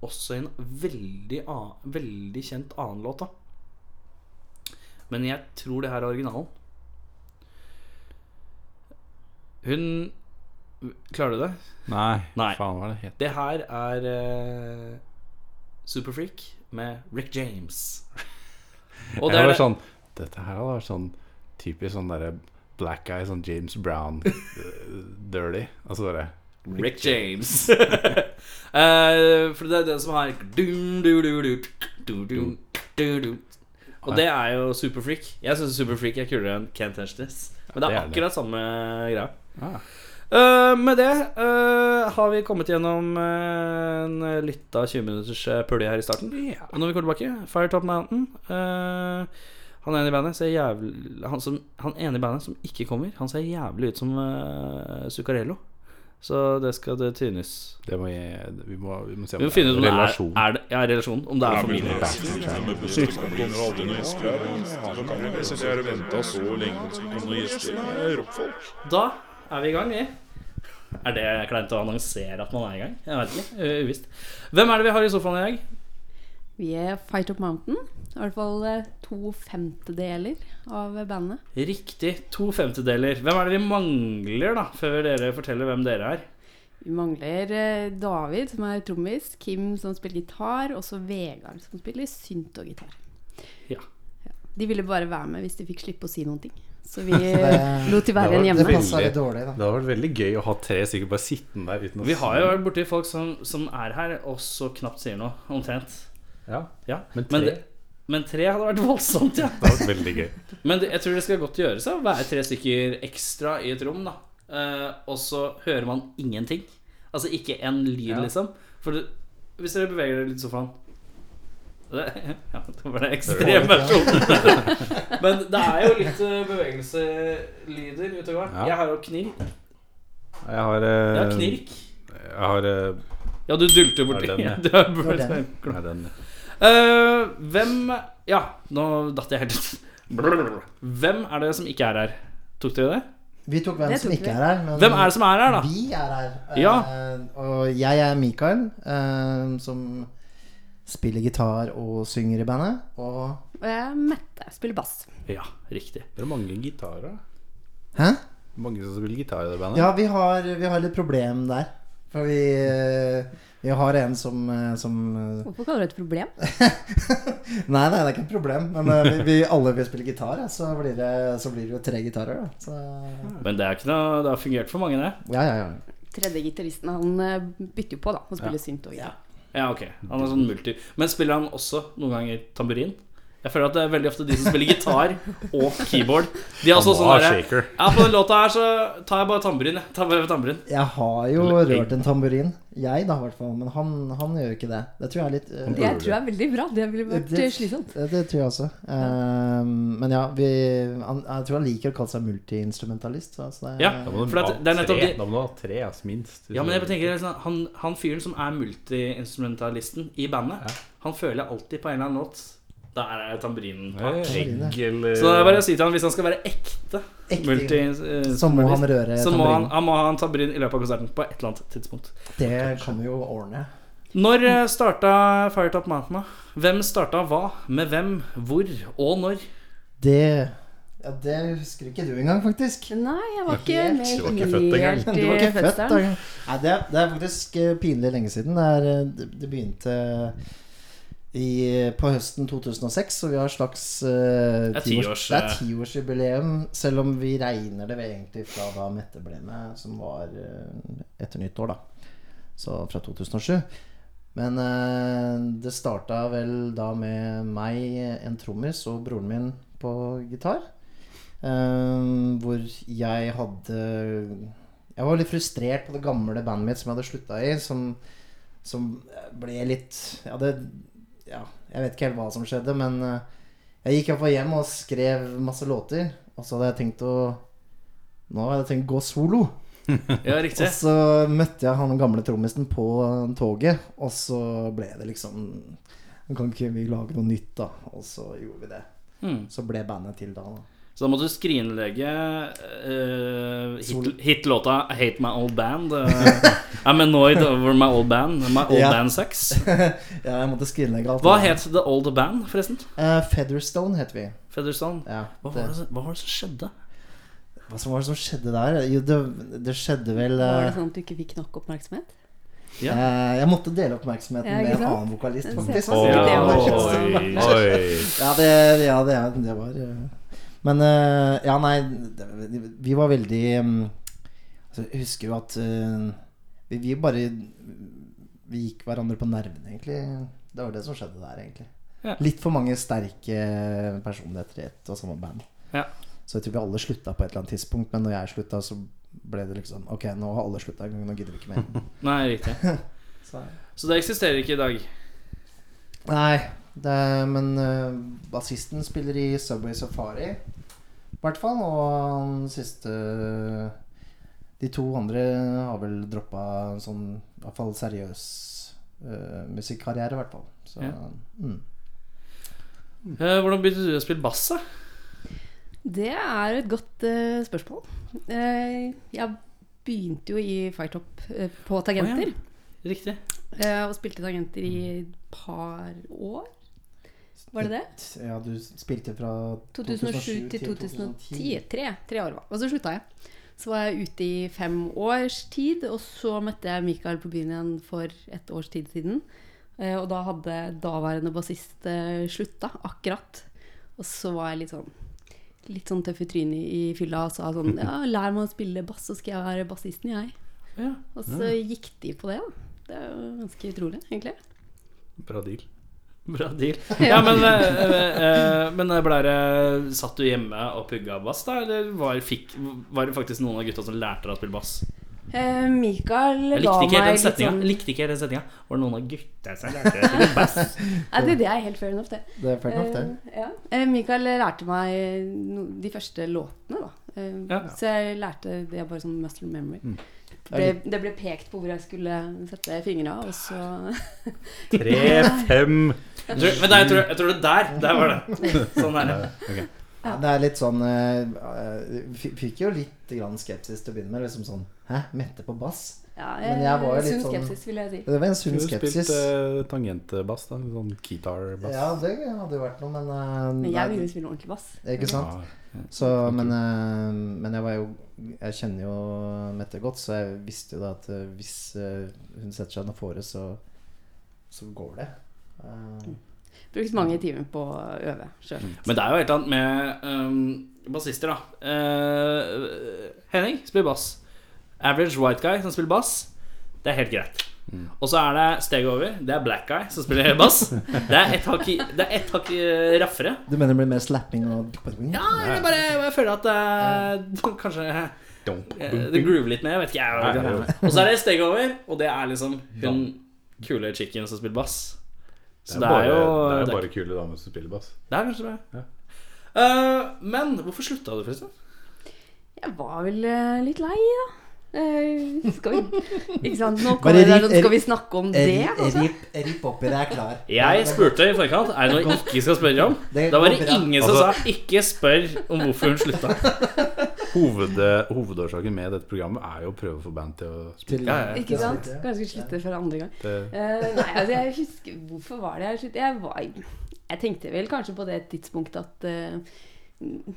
Speaker 2: også en veldig, an- veldig kjent annen låt, da. Men jeg tror det her er originalen. Hun Klarer du det?
Speaker 3: Nei,
Speaker 2: Nei.
Speaker 3: faen hva er det het?
Speaker 2: Det her er eh, Superfreak med Rick James. Og det
Speaker 3: Jeg
Speaker 2: er
Speaker 3: var
Speaker 2: det.
Speaker 3: sånn Dette her hadde vært sånn typisk sånn derre black guy, sånn James Brown eh, dirty. Altså bare
Speaker 2: Rick James. Eh, for det er den som har dum, du, du, du, du, du, du, du. Og det er jo Superfreak. Jeg syns Superfreak er kulere enn Can't Touch This. Men det
Speaker 3: det
Speaker 2: er
Speaker 3: er det.
Speaker 2: akkurat samme greia.
Speaker 3: ah,
Speaker 2: Eh, med det eh, har vi kommet gjennom eh, en lita 20 minutters eh, pulje her i starten.
Speaker 3: ja.
Speaker 2: Og når vi kommer tilbake, Firetop Mountain eh, Han ene i bandet ser jævlig han, som, han ene i bandet som ikke kommer, han ser jævlig ut som eh, Zuccarello. Så det skal det tynes.
Speaker 3: Det må jeg Vi må, vi må se om
Speaker 2: Vi må finne ut om det er,
Speaker 3: relasjon.
Speaker 2: er det, ja, relasjon. Om det er familie.
Speaker 1: Jeg har venta så lenge på noen gjester. Det er rockfolk.
Speaker 2: Da er vi i gang, vi. Er det kleint å annonsere at man er i gang? Jeg vet ikke. u- Uvisst. Hvem er det vi har i sofaen i dag?
Speaker 4: Vi er Fight Up Mountain. I hvert fall eh, to femtedeler av bandet.
Speaker 2: Riktig. To femtedeler. Hvem er det vi mangler, da? Før dere forteller hvem dere er.
Speaker 4: Vi mangler eh, David, som er trommis, Kim, som spiller gitar, og så Vegard, som spiller synt og gitar.
Speaker 2: Ja.
Speaker 4: De ville bare være med hvis de fikk slippe å si noen ting. Så vi lot de være igjen
Speaker 5: Det
Speaker 4: hjemme.
Speaker 5: passa litt dårlig, da.
Speaker 3: Det hadde vært veldig gøy å ha tre stykker bare sittende der uten å
Speaker 2: Vi har jo vært borti folk som, som er her, og så knapt sier noe. Omtrent.
Speaker 3: ja.
Speaker 2: Ja.
Speaker 3: Men tre
Speaker 2: det- men tre hadde vært voldsomt, ja.
Speaker 3: Det hadde vært veldig gøy.
Speaker 2: Men det, jeg tror det skal godt gjøres å være tre stykker ekstra i et rom, da. Eh, og så hører man ingenting. Altså ikke en lyd,
Speaker 3: Ja.
Speaker 2: liksom. For det, hvis dere beveger dere litt i sofaen det, Ja, det var det ekstreme versjonen. Men det er jo litt eh, bevegelselyder ute og går.
Speaker 3: Ja.
Speaker 2: Jeg har jo knirk.
Speaker 3: Jeg har
Speaker 2: Jeg har
Speaker 3: eh,
Speaker 2: knirk.
Speaker 3: Jeg har eh,
Speaker 2: Ja, du dulter borti.
Speaker 3: Ja, den, ja.
Speaker 2: Du er
Speaker 5: var den.
Speaker 3: nei, den
Speaker 2: Eh, hvem Ja, nå datt jeg helt ut. Brrr. Hvem er det som ikke er her? Tok dere det?
Speaker 5: Vi tok hvem
Speaker 4: Det
Speaker 5: som
Speaker 4: tok
Speaker 5: ikke
Speaker 4: vi.
Speaker 5: er her. Men
Speaker 2: Hvem er det som er her, da?
Speaker 5: Vi er her. eh,
Speaker 2: Ja.
Speaker 5: Og jeg er Mikael, eh, som spiller gitar og synger i bandet. Og
Speaker 4: Og jeg er Mette, jeg spiller bass.
Speaker 2: Ja, riktig.
Speaker 3: Det er mange gitarer.
Speaker 5: Hæ?
Speaker 3: Mange som spiller gitar i det bandet.
Speaker 5: Ja, vi har, vi har litt problem der. For vi, eh, vi har en som, eh, som eh,
Speaker 4: Hvorfor kaller du det et problem?
Speaker 5: Nei, nei, det er ikke et problem. Men eh, vi, vi alle vil spille gitar, ja, så blir det, så blir det jo tre gitarer, da. Så
Speaker 2: Men det er ikke noe Det har fungert for mange, det.
Speaker 5: ja, ja, ja.
Speaker 4: Tredje gitaristen, han eh, bytter jo på, da. Han spiller synt og gitar.
Speaker 2: Ja, ok. Han er sånn multi. Men spiller han også noen ganger tamburin? Jeg føler at det er veldig ofte de som spiller gitar og keyboard. De har
Speaker 3: Han
Speaker 2: også
Speaker 3: må ha
Speaker 2: sånn derre
Speaker 3: shaker.
Speaker 2: Ja, på den låta her så tar jeg bare tamburin, jeg. Tar bare tamburin.
Speaker 5: Jeg har jo
Speaker 3: Eller egg.
Speaker 5: rørt en tamburin. Jeg, da, i hvert fall. Men han, han gjør ikke det. Det tror jeg er litt eh,
Speaker 4: Det tror jeg er veldig bra. Det ville vært eh, slitsomt.
Speaker 5: Det, det tror jeg også. Eh, men ja, vi, han, jeg tror han liker å kalle seg multiinstrumentalist. så- så det er-
Speaker 2: Ja.
Speaker 3: Da må du
Speaker 2: For at
Speaker 3: ha
Speaker 2: det er nettopp
Speaker 3: tre.
Speaker 2: det-
Speaker 3: Da må du ha tre, altså, minst.
Speaker 2: Ja, men jeg bare tenker liksom, han, han fyren som er multiinstrumentalisten i bandet, han føler jeg alltid på en eller annen låt. Da er det tamburinen.
Speaker 3: Nei, Egg eller
Speaker 2: Så det er bare å si til han hvis han skal være ekte
Speaker 5: Ekte.
Speaker 2: multi- eh,
Speaker 5: Så må han røre
Speaker 2: så må han,
Speaker 5: tamburinen.
Speaker 2: han må ha en tamburin i løpet av konserten på et eller annet tidspunkt.
Speaker 5: Det kan vi jo ordne.
Speaker 2: Når eh, starta Firetop Mountain? da? Hvem starta hva? Med hvem? Hvor? Og når?
Speaker 5: Det ja, Det husker ikke du engang, faktisk.
Speaker 4: Nei, jeg var ikke
Speaker 5: Helt.
Speaker 4: med
Speaker 3: Du var ikke født engang.
Speaker 4: helt
Speaker 5: Du var
Speaker 4: i
Speaker 5: ikke født da.
Speaker 4: fødselen.
Speaker 5: Nei, det, er- det er faktisk eh, pinlig lenge siden. Det, er, eh, det- det begynte i, på høsten 2006, så vi har slags eh,
Speaker 2: Det er
Speaker 5: tiårs-
Speaker 2: tiårs,
Speaker 5: det er
Speaker 2: eh.
Speaker 5: tiårsjubileum. Selv om vi regner det vel egentlig fra da Mette ble med, som var eh, etter nyttår, da. Så fra 2007. Men eh, det starta vel da med meg, en trommis, og broren min på gitar. Eh, hvor jeg hadde jeg var litt frustrert på det gamle bandet mitt som jeg hadde slutta i, som, som ble litt ja, det, ja, jeg vet ikke helt hva som skjedde, men eh, jeg gikk iallfall hjem og skrev masse låter. Og så hadde jeg tenkt å Nå hadde jeg tenkt å gå solo.
Speaker 2: Ja, riktig.
Speaker 5: Og så møtte jeg han gamle trommisen på toget, og så ble det liksom Men Kan ikke vi lage noe nytt, da? Og så gjorde vi det.
Speaker 2: Hmm.
Speaker 5: Så ble bandet til da. da.
Speaker 2: Så da måtte du skrinlegge eh, hit- hitlåta 'Hate My Old Band'. eh, I'm annoyed over my old band. My old
Speaker 5: Ja.
Speaker 2: band sucks.
Speaker 5: Ja, jeg måtte skrinlegge alt.
Speaker 2: Hva
Speaker 5: det.
Speaker 2: het The Old Band, forresten?
Speaker 5: Eh, Featherstone heter vi.
Speaker 2: Featherstone.
Speaker 5: Ja,
Speaker 2: Hva var
Speaker 5: det,
Speaker 2: det, som- hva var det som skjedde?
Speaker 5: hva som var det som skjedde der? Jo, det, det skjedde vel
Speaker 4: Var
Speaker 5: eh,
Speaker 4: det sånn at du ikke fikk nok oppmerksomhet?
Speaker 2: Ja.
Speaker 5: eh, Jeg måtte dele oppmerksomheten
Speaker 4: Ja, ikke
Speaker 5: med en
Speaker 4: sant?
Speaker 5: annen vokalist,
Speaker 4: Den
Speaker 5: faktisk.
Speaker 4: ser man.
Speaker 5: Ja, det var
Speaker 4: Oi.
Speaker 5: kjempestor. Ja, det, ja, det, er- det var eh, Men eh, Ja, nei, det, vi var veldig mm, altså, Jeg husker jo at eh, vi, vi bare Vi gikk hverandre på nervene, egentlig. Det var det som skjedde der, egentlig.
Speaker 2: Ja.
Speaker 5: Litt for mange sterke personligheter i ett og samme band.
Speaker 2: Ja.
Speaker 5: Så jeg tror vi alle slutta på et eller annet tidspunkt, men når jeg slutta, så ble det liksom Ok, nå har alle slutta, nå gidder vi ikke mer.
Speaker 2: Nei, riktig.
Speaker 5: Så,
Speaker 2: Så det eksisterer ikke i dag.
Speaker 5: Nei, det, men eh, bassisten spiller i Subway Safari. I hvert fall. Og han siste De to andre har vel droppa en sånn i hvert fall seriøs eh, musikkarriere, i hvert fall. Så
Speaker 2: Ja.
Speaker 5: mm.
Speaker 2: Eh, hvordan begynte du å spille bass? da?
Speaker 4: Det er et godt eh, spørsmål. Eh, jeg begynte jo i Firetop eh, på tagenter.
Speaker 2: Riktig.
Speaker 4: eh, og spilte tagenter i et par år. Var det det?
Speaker 5: Ja, du spilte fra
Speaker 4: 2007 til 2010. Tre, tre år var Og så slutta jeg. Så var jeg ute i fem års tid, og så møtte jeg Mikael på byen igjen for et års tid siden. Eh, Og da hadde daværende bassist eh, slutta, akkurat. Og så var jeg litt sånn Litt sånn tøff i trynet i fylla og sa sånn Ja, lær meg å spille bass, så skal jeg være bassisten, jeg.
Speaker 2: Ja.
Speaker 4: Og så gikk de på det, da. Det er jo ganske utrolig, egentlig.
Speaker 3: Bra deal.
Speaker 2: Bra deal. Ja, men, eh, eh, eh, men ble det, satt du hjemme og pugga bass, da? Eller var, fikk, var det faktisk noen av gutta som lærte deg å spille bass?
Speaker 4: Eh, Mikael
Speaker 2: Jeg
Speaker 4: ga
Speaker 2: likte ikke helt
Speaker 4: meg
Speaker 2: den
Speaker 4: litt
Speaker 2: setninga.
Speaker 4: sånn
Speaker 2: Likte ikke helt den setninga. Var det noen av gutta som lærte deg å spille bass?
Speaker 4: Nei, det, det er helt fair enough, det.
Speaker 5: Det er fair nok, det.
Speaker 4: Eh, ja. Eh, Mikael lærte meg no- de første låtene, da. Eh,
Speaker 2: Ja.
Speaker 4: Så jeg lærte det bare sånn muscle memory.
Speaker 5: Mm.
Speaker 4: Det, ble, det ble pekt på hvor jeg skulle sette fingra, og så
Speaker 3: Tre, fem
Speaker 2: Jeg tror, men der, jeg, tror, jeg tror det der. Der var det. Sånn er det.
Speaker 3: Ok.
Speaker 5: Ja, det er litt sånn eh, eh, f- Fikk jo litt grann skepsis til å begynne med. Liksom sånn Hæ, Mette på bass?
Speaker 4: ja,
Speaker 5: Men jeg var jo litt
Speaker 4: Sunn
Speaker 5: sånn-
Speaker 4: skepsis, vil jeg si.
Speaker 5: Det var en
Speaker 3: Du
Speaker 5: sunn skepsis.
Speaker 3: spilte eh, tangentbass, da. Sånn keytar-bass.
Speaker 5: Ja, det hadde jo vært noe, men, eh,
Speaker 4: Men jeg
Speaker 5: nei,
Speaker 4: ville jo spille ordentlig bass.
Speaker 5: Ikke sant?
Speaker 3: Ja.
Speaker 5: Så, men, eh, men jeg var jo Jeg kjenner jo Mette godt, så jeg visste jo da at eh, hvis eh, hun setter seg noe fore, så, så går det. Eh,
Speaker 4: Brukte mange timer på å øve sjøl.
Speaker 5: Mm.
Speaker 2: Men det er jo et eller annet med ehm, bassister, da. Eh, Henning spiller bass. Average white guy som spiller bass, det er helt greit.
Speaker 3: Mm.
Speaker 2: Og så er det steg over. Det er black guy som spiller bass. Det er ett hakk, i- det er ett hakk eh, raffere.
Speaker 5: Du mener det blir mer slapping og
Speaker 2: Ja, jeg bare jeg føler at det er- kanskje eh,
Speaker 3: Dump,
Speaker 2: det groover litt mer. Jeg vet ikke. Jeg,
Speaker 3: Nei, nei,
Speaker 2: Og så er det et steg over, og det er liksom hun kule chicken som spiller bass. Så
Speaker 3: Det er, bare,
Speaker 2: jo
Speaker 3: det er
Speaker 2: det er-
Speaker 3: bare kule damer som spiller bass.
Speaker 2: Det er kanskje det.
Speaker 3: Ja.
Speaker 2: Eh, men hvorfor slutta du, forresten?
Speaker 4: Jeg var vel eh, litt lei, da. Eh, skal vi Ikke sant, nå
Speaker 5: Bare
Speaker 4: kommer det der,
Speaker 5: ri-
Speaker 4: sånn, skal vi snakke om det? Altså?
Speaker 5: Eh, Rip, rip oppi, det er klar.
Speaker 2: Jeg spurte i forkant er det noe jeg ikke skal spørre om.
Speaker 5: Det
Speaker 2: Da var
Speaker 5: går
Speaker 2: det
Speaker 5: bra.
Speaker 2: ingen som
Speaker 3: Altså-
Speaker 2: sa 'ikke spør om hvorfor hun slutta'.
Speaker 3: Hoved, eh, hovedårsaken med dette programmet er jo å prøve å få band til å spille.
Speaker 5: Til-
Speaker 2: Ja, ja.
Speaker 4: Ikke sant? Kanskje vi slutter for andre gang.
Speaker 3: Det-
Speaker 4: Eh, nei, altså jeg husker Hvorfor var det jeg sluttet? Jeg, var, jeg tenkte vel kanskje på det tidspunktet at eh,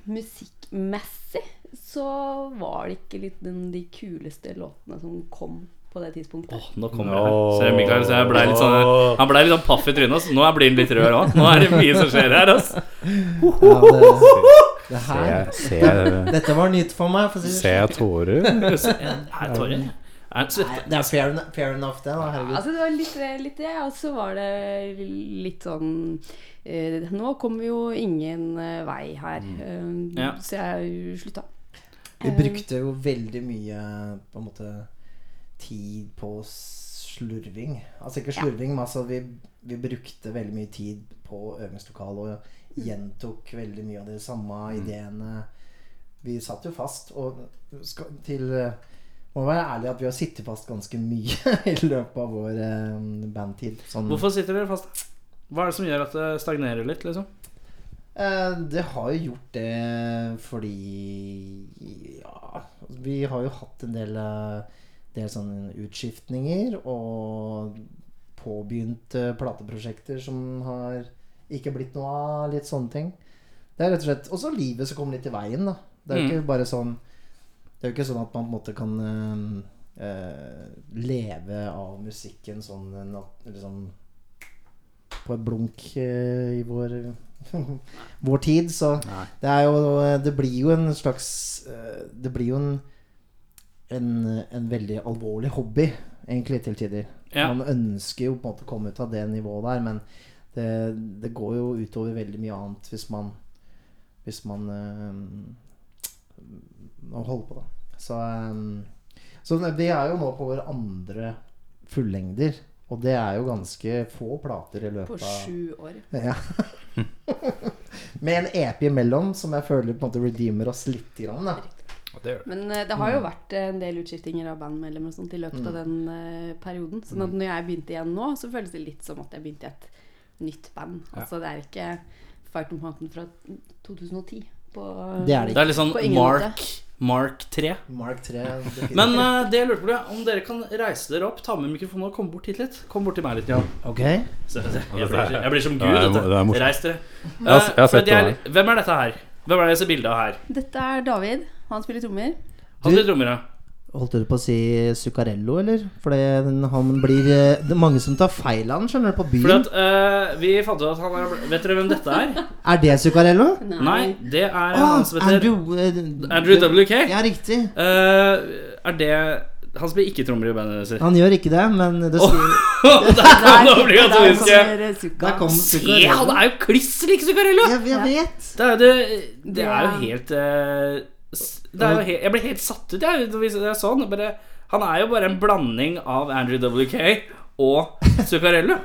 Speaker 4: musikkmessig så var det ikke litt den, de kuleste låtene som kom på det tidspunktet.
Speaker 2: Åh, nå kommer det. Ser du, Mikael, så jeg ble litt sånn, han ble litt sånn paff i trynet. ass. Nå blir han litt rød òg. Nå er det mye som skjer her. Ass.
Speaker 5: Ja, det, det
Speaker 3: Ser
Speaker 5: her,
Speaker 3: jeg- Ser jeg-
Speaker 5: dette var nytt for meg. For å si sånn.
Speaker 3: ser jeg tårer?
Speaker 2: Er tårer? Er det svette?
Speaker 5: Nei, det er fair, fair enough, det. Da, herregud.
Speaker 4: Altså det var litt, litt det, og så var det litt sånn eh, Nå kommer jo ingen eh, vei her, eh,
Speaker 2: Mm. Ja.
Speaker 4: så jeg slutta.
Speaker 5: Vi brukte jo veldig mye på en måte tid på slurving. Altså ikke slurving, men altså vi, vi brukte veldig mye tid på øvingslokalet og gjentok veldig mye av de samme ideene. Vi satt jo fast, og skal, til eh, må være ærlig at vi har sittet fast ganske mye i løpet av vår eh, bandtid. Sånn,
Speaker 2: Hvorfor sitter dere fast? Hva er det som gjør at det stagnerer litt, liksom?
Speaker 5: Eh, Det har jo gjort det fordi Ja, altså, vi har jo hatt en del, eh, del sånne utskiftninger og påbegynte plateprosjekter som har ikke blitt noe av. Litt sånne ting. Det er rett og slett også livet som kommer litt i veien, da. Det er jo ikke bare sånn Det er jo ikke sånn at man på en måte kan eh, eh, leve av musikken sånn eh, nat- liksom, på et blunk eh, i vår vår tid, så
Speaker 3: Nei.
Speaker 5: det er jo Det blir jo en slags eh, Det blir jo en en, en veldig alvorlig hobby, egentlig, til tider.
Speaker 2: Ja.
Speaker 5: Man ønsker jo på en måte å komme ut av det nivået der, men det, det går jo utover veldig mye annet hvis man Hvis man eh, holder på, da. Så, eh, så vi er jo nå på våre andre fullengder, og det er jo ganske få plater i
Speaker 4: På
Speaker 5: løpet av
Speaker 4: sju år.
Speaker 5: ja. Med en EP imellom, som jeg føler på en måte redeemer oss litt. Grann, da.
Speaker 3: Og det gjør det.
Speaker 4: Men eh, det har jo
Speaker 5: Mm.
Speaker 4: vært eh, en del utskiftinger av bandmedlemmer og sånt i løpet av den eh, perioden.
Speaker 5: Mm.
Speaker 4: Sånn at når jeg begynte igjen nå, så føles det litt som at jeg begynte i et nytt band. Altså det er ikke Fight on Mountain fra 2010 på
Speaker 5: Det er
Speaker 2: Det
Speaker 5: det ikke.
Speaker 2: er litt sånn
Speaker 4: På ingen
Speaker 2: Mark, Mark 3.
Speaker 5: Mark 3. definitivt.
Speaker 2: Men eh, det jeg lurte på, ble om dere kan reise dere opp, ta med mikrofonen og komme bort hit litt. Kom bort til meg litt. Jan.
Speaker 5: Ok.
Speaker 2: Så- Jeg blir, jeg blir som Gud,
Speaker 3: Det
Speaker 2: vet
Speaker 3: er- det er
Speaker 2: du.
Speaker 3: morsomt.
Speaker 2: Reis dere.
Speaker 3: har s- jeg har
Speaker 2: Eh, for
Speaker 3: sett
Speaker 2: det er-
Speaker 3: det
Speaker 2: Hvem er dette her? Hvem er det jeg ser bilde av her?
Speaker 4: Dette er David. Han spiller trommer.
Speaker 2: Han spiller trommer, ja.
Speaker 5: Holdt du på å si Zuccarello, eller? For det- den- han blir eh, Det er mange som tar feil av han, skjønner du, på
Speaker 2: Fordi
Speaker 5: byen.
Speaker 2: at eh, vi fant ut at han er Vet dere hvem dette er?
Speaker 5: Er det Zuccarello?
Speaker 2: Nei, det er
Speaker 5: Ah,
Speaker 2: han som heter
Speaker 5: Andrew, eh,
Speaker 2: Andrew WK.
Speaker 5: Ja, riktig.
Speaker 2: Eh, er det Han spiller ikke trommer i bandet sitt.
Speaker 5: Han gjør ikke det, men det
Speaker 2: Åh.
Speaker 5: skulle
Speaker 2: Nå blir jeg
Speaker 4: der
Speaker 2: troisk.
Speaker 4: kommer Zucca.
Speaker 5: Der kom
Speaker 2: Se, han
Speaker 5: Zuccarello.
Speaker 2: er jo kliss lik Zuccarello!
Speaker 5: Jeg, jeg vet.
Speaker 2: Det er jo, det, det
Speaker 4: Det
Speaker 2: er jo
Speaker 4: er-
Speaker 2: helt eh, s- det er jo helt, Jeg ble helt satt ut, jeg, hvis jeg så han. sånn, Bare, han er jo bare en blanding av Andrew WK og Zuccarello.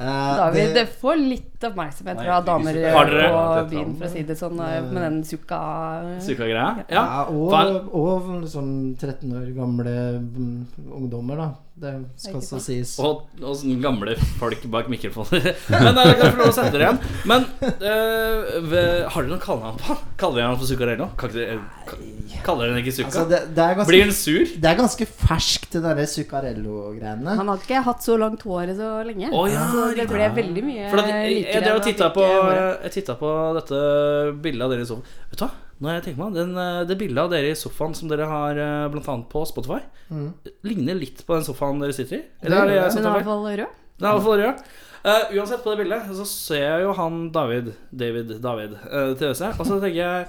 Speaker 5: Eh,
Speaker 4: David
Speaker 5: det-
Speaker 4: det får litt oppmerksomhet fra damer
Speaker 3: Zucca.
Speaker 2: Har dere-
Speaker 4: på
Speaker 3: Ja, det er
Speaker 4: byen, for å si det sånn, eh, med den Zucca
Speaker 2: Zucca-greia.
Speaker 5: Ja,
Speaker 2: Ja.
Speaker 5: og,
Speaker 2: Hva-
Speaker 5: og sånn 13 år gamle mm, ungdommer, da. Det skal
Speaker 4: ikke
Speaker 5: også
Speaker 4: sant.
Speaker 5: sies.
Speaker 2: Og, og sånne gamle folk bak mikrofoner. Men da kan jeg få lov å sette dere igjen. Men eh, ve- har dere noe kallenavn på han? Kaller dere han for Zuccarello? Kan ikke dere- ka- Kaller dere han ikke
Speaker 5: Altså,
Speaker 2: Zucca?
Speaker 5: det, det, er
Speaker 2: Blir
Speaker 5: ganske,
Speaker 2: han sur?
Speaker 5: det er ganske ferskt, det derre Zuccarello-greiene.
Speaker 4: Han hadde ikke hatt så langt hår så lenge.
Speaker 2: Å ja,
Speaker 4: så det
Speaker 2: riktig.
Speaker 4: ble veldig mye
Speaker 2: For at, jeg, jeg,
Speaker 4: likere
Speaker 2: drev og
Speaker 4: enn at
Speaker 2: tittet
Speaker 4: ikke
Speaker 2: på,
Speaker 4: bare-
Speaker 2: jeg tittet på dette bildet av dere i sofaen. Vet du hva? Når jeg tenker meg om, den, eh, Det bildet av dere i sofaen som dere har eh, blant annet på Spotify,
Speaker 5: Mm.
Speaker 2: ligner litt på den sofaen dere sitter i. Eller er det jeg
Speaker 4: Men
Speaker 2: som
Speaker 4: i
Speaker 2: tar feil?
Speaker 4: hvert fall rød.
Speaker 2: Det er i hvert fall rød. Eh, uansett, på det bildet så ser jeg jo han David, David, David eh, til Øse. Og så tenker jeg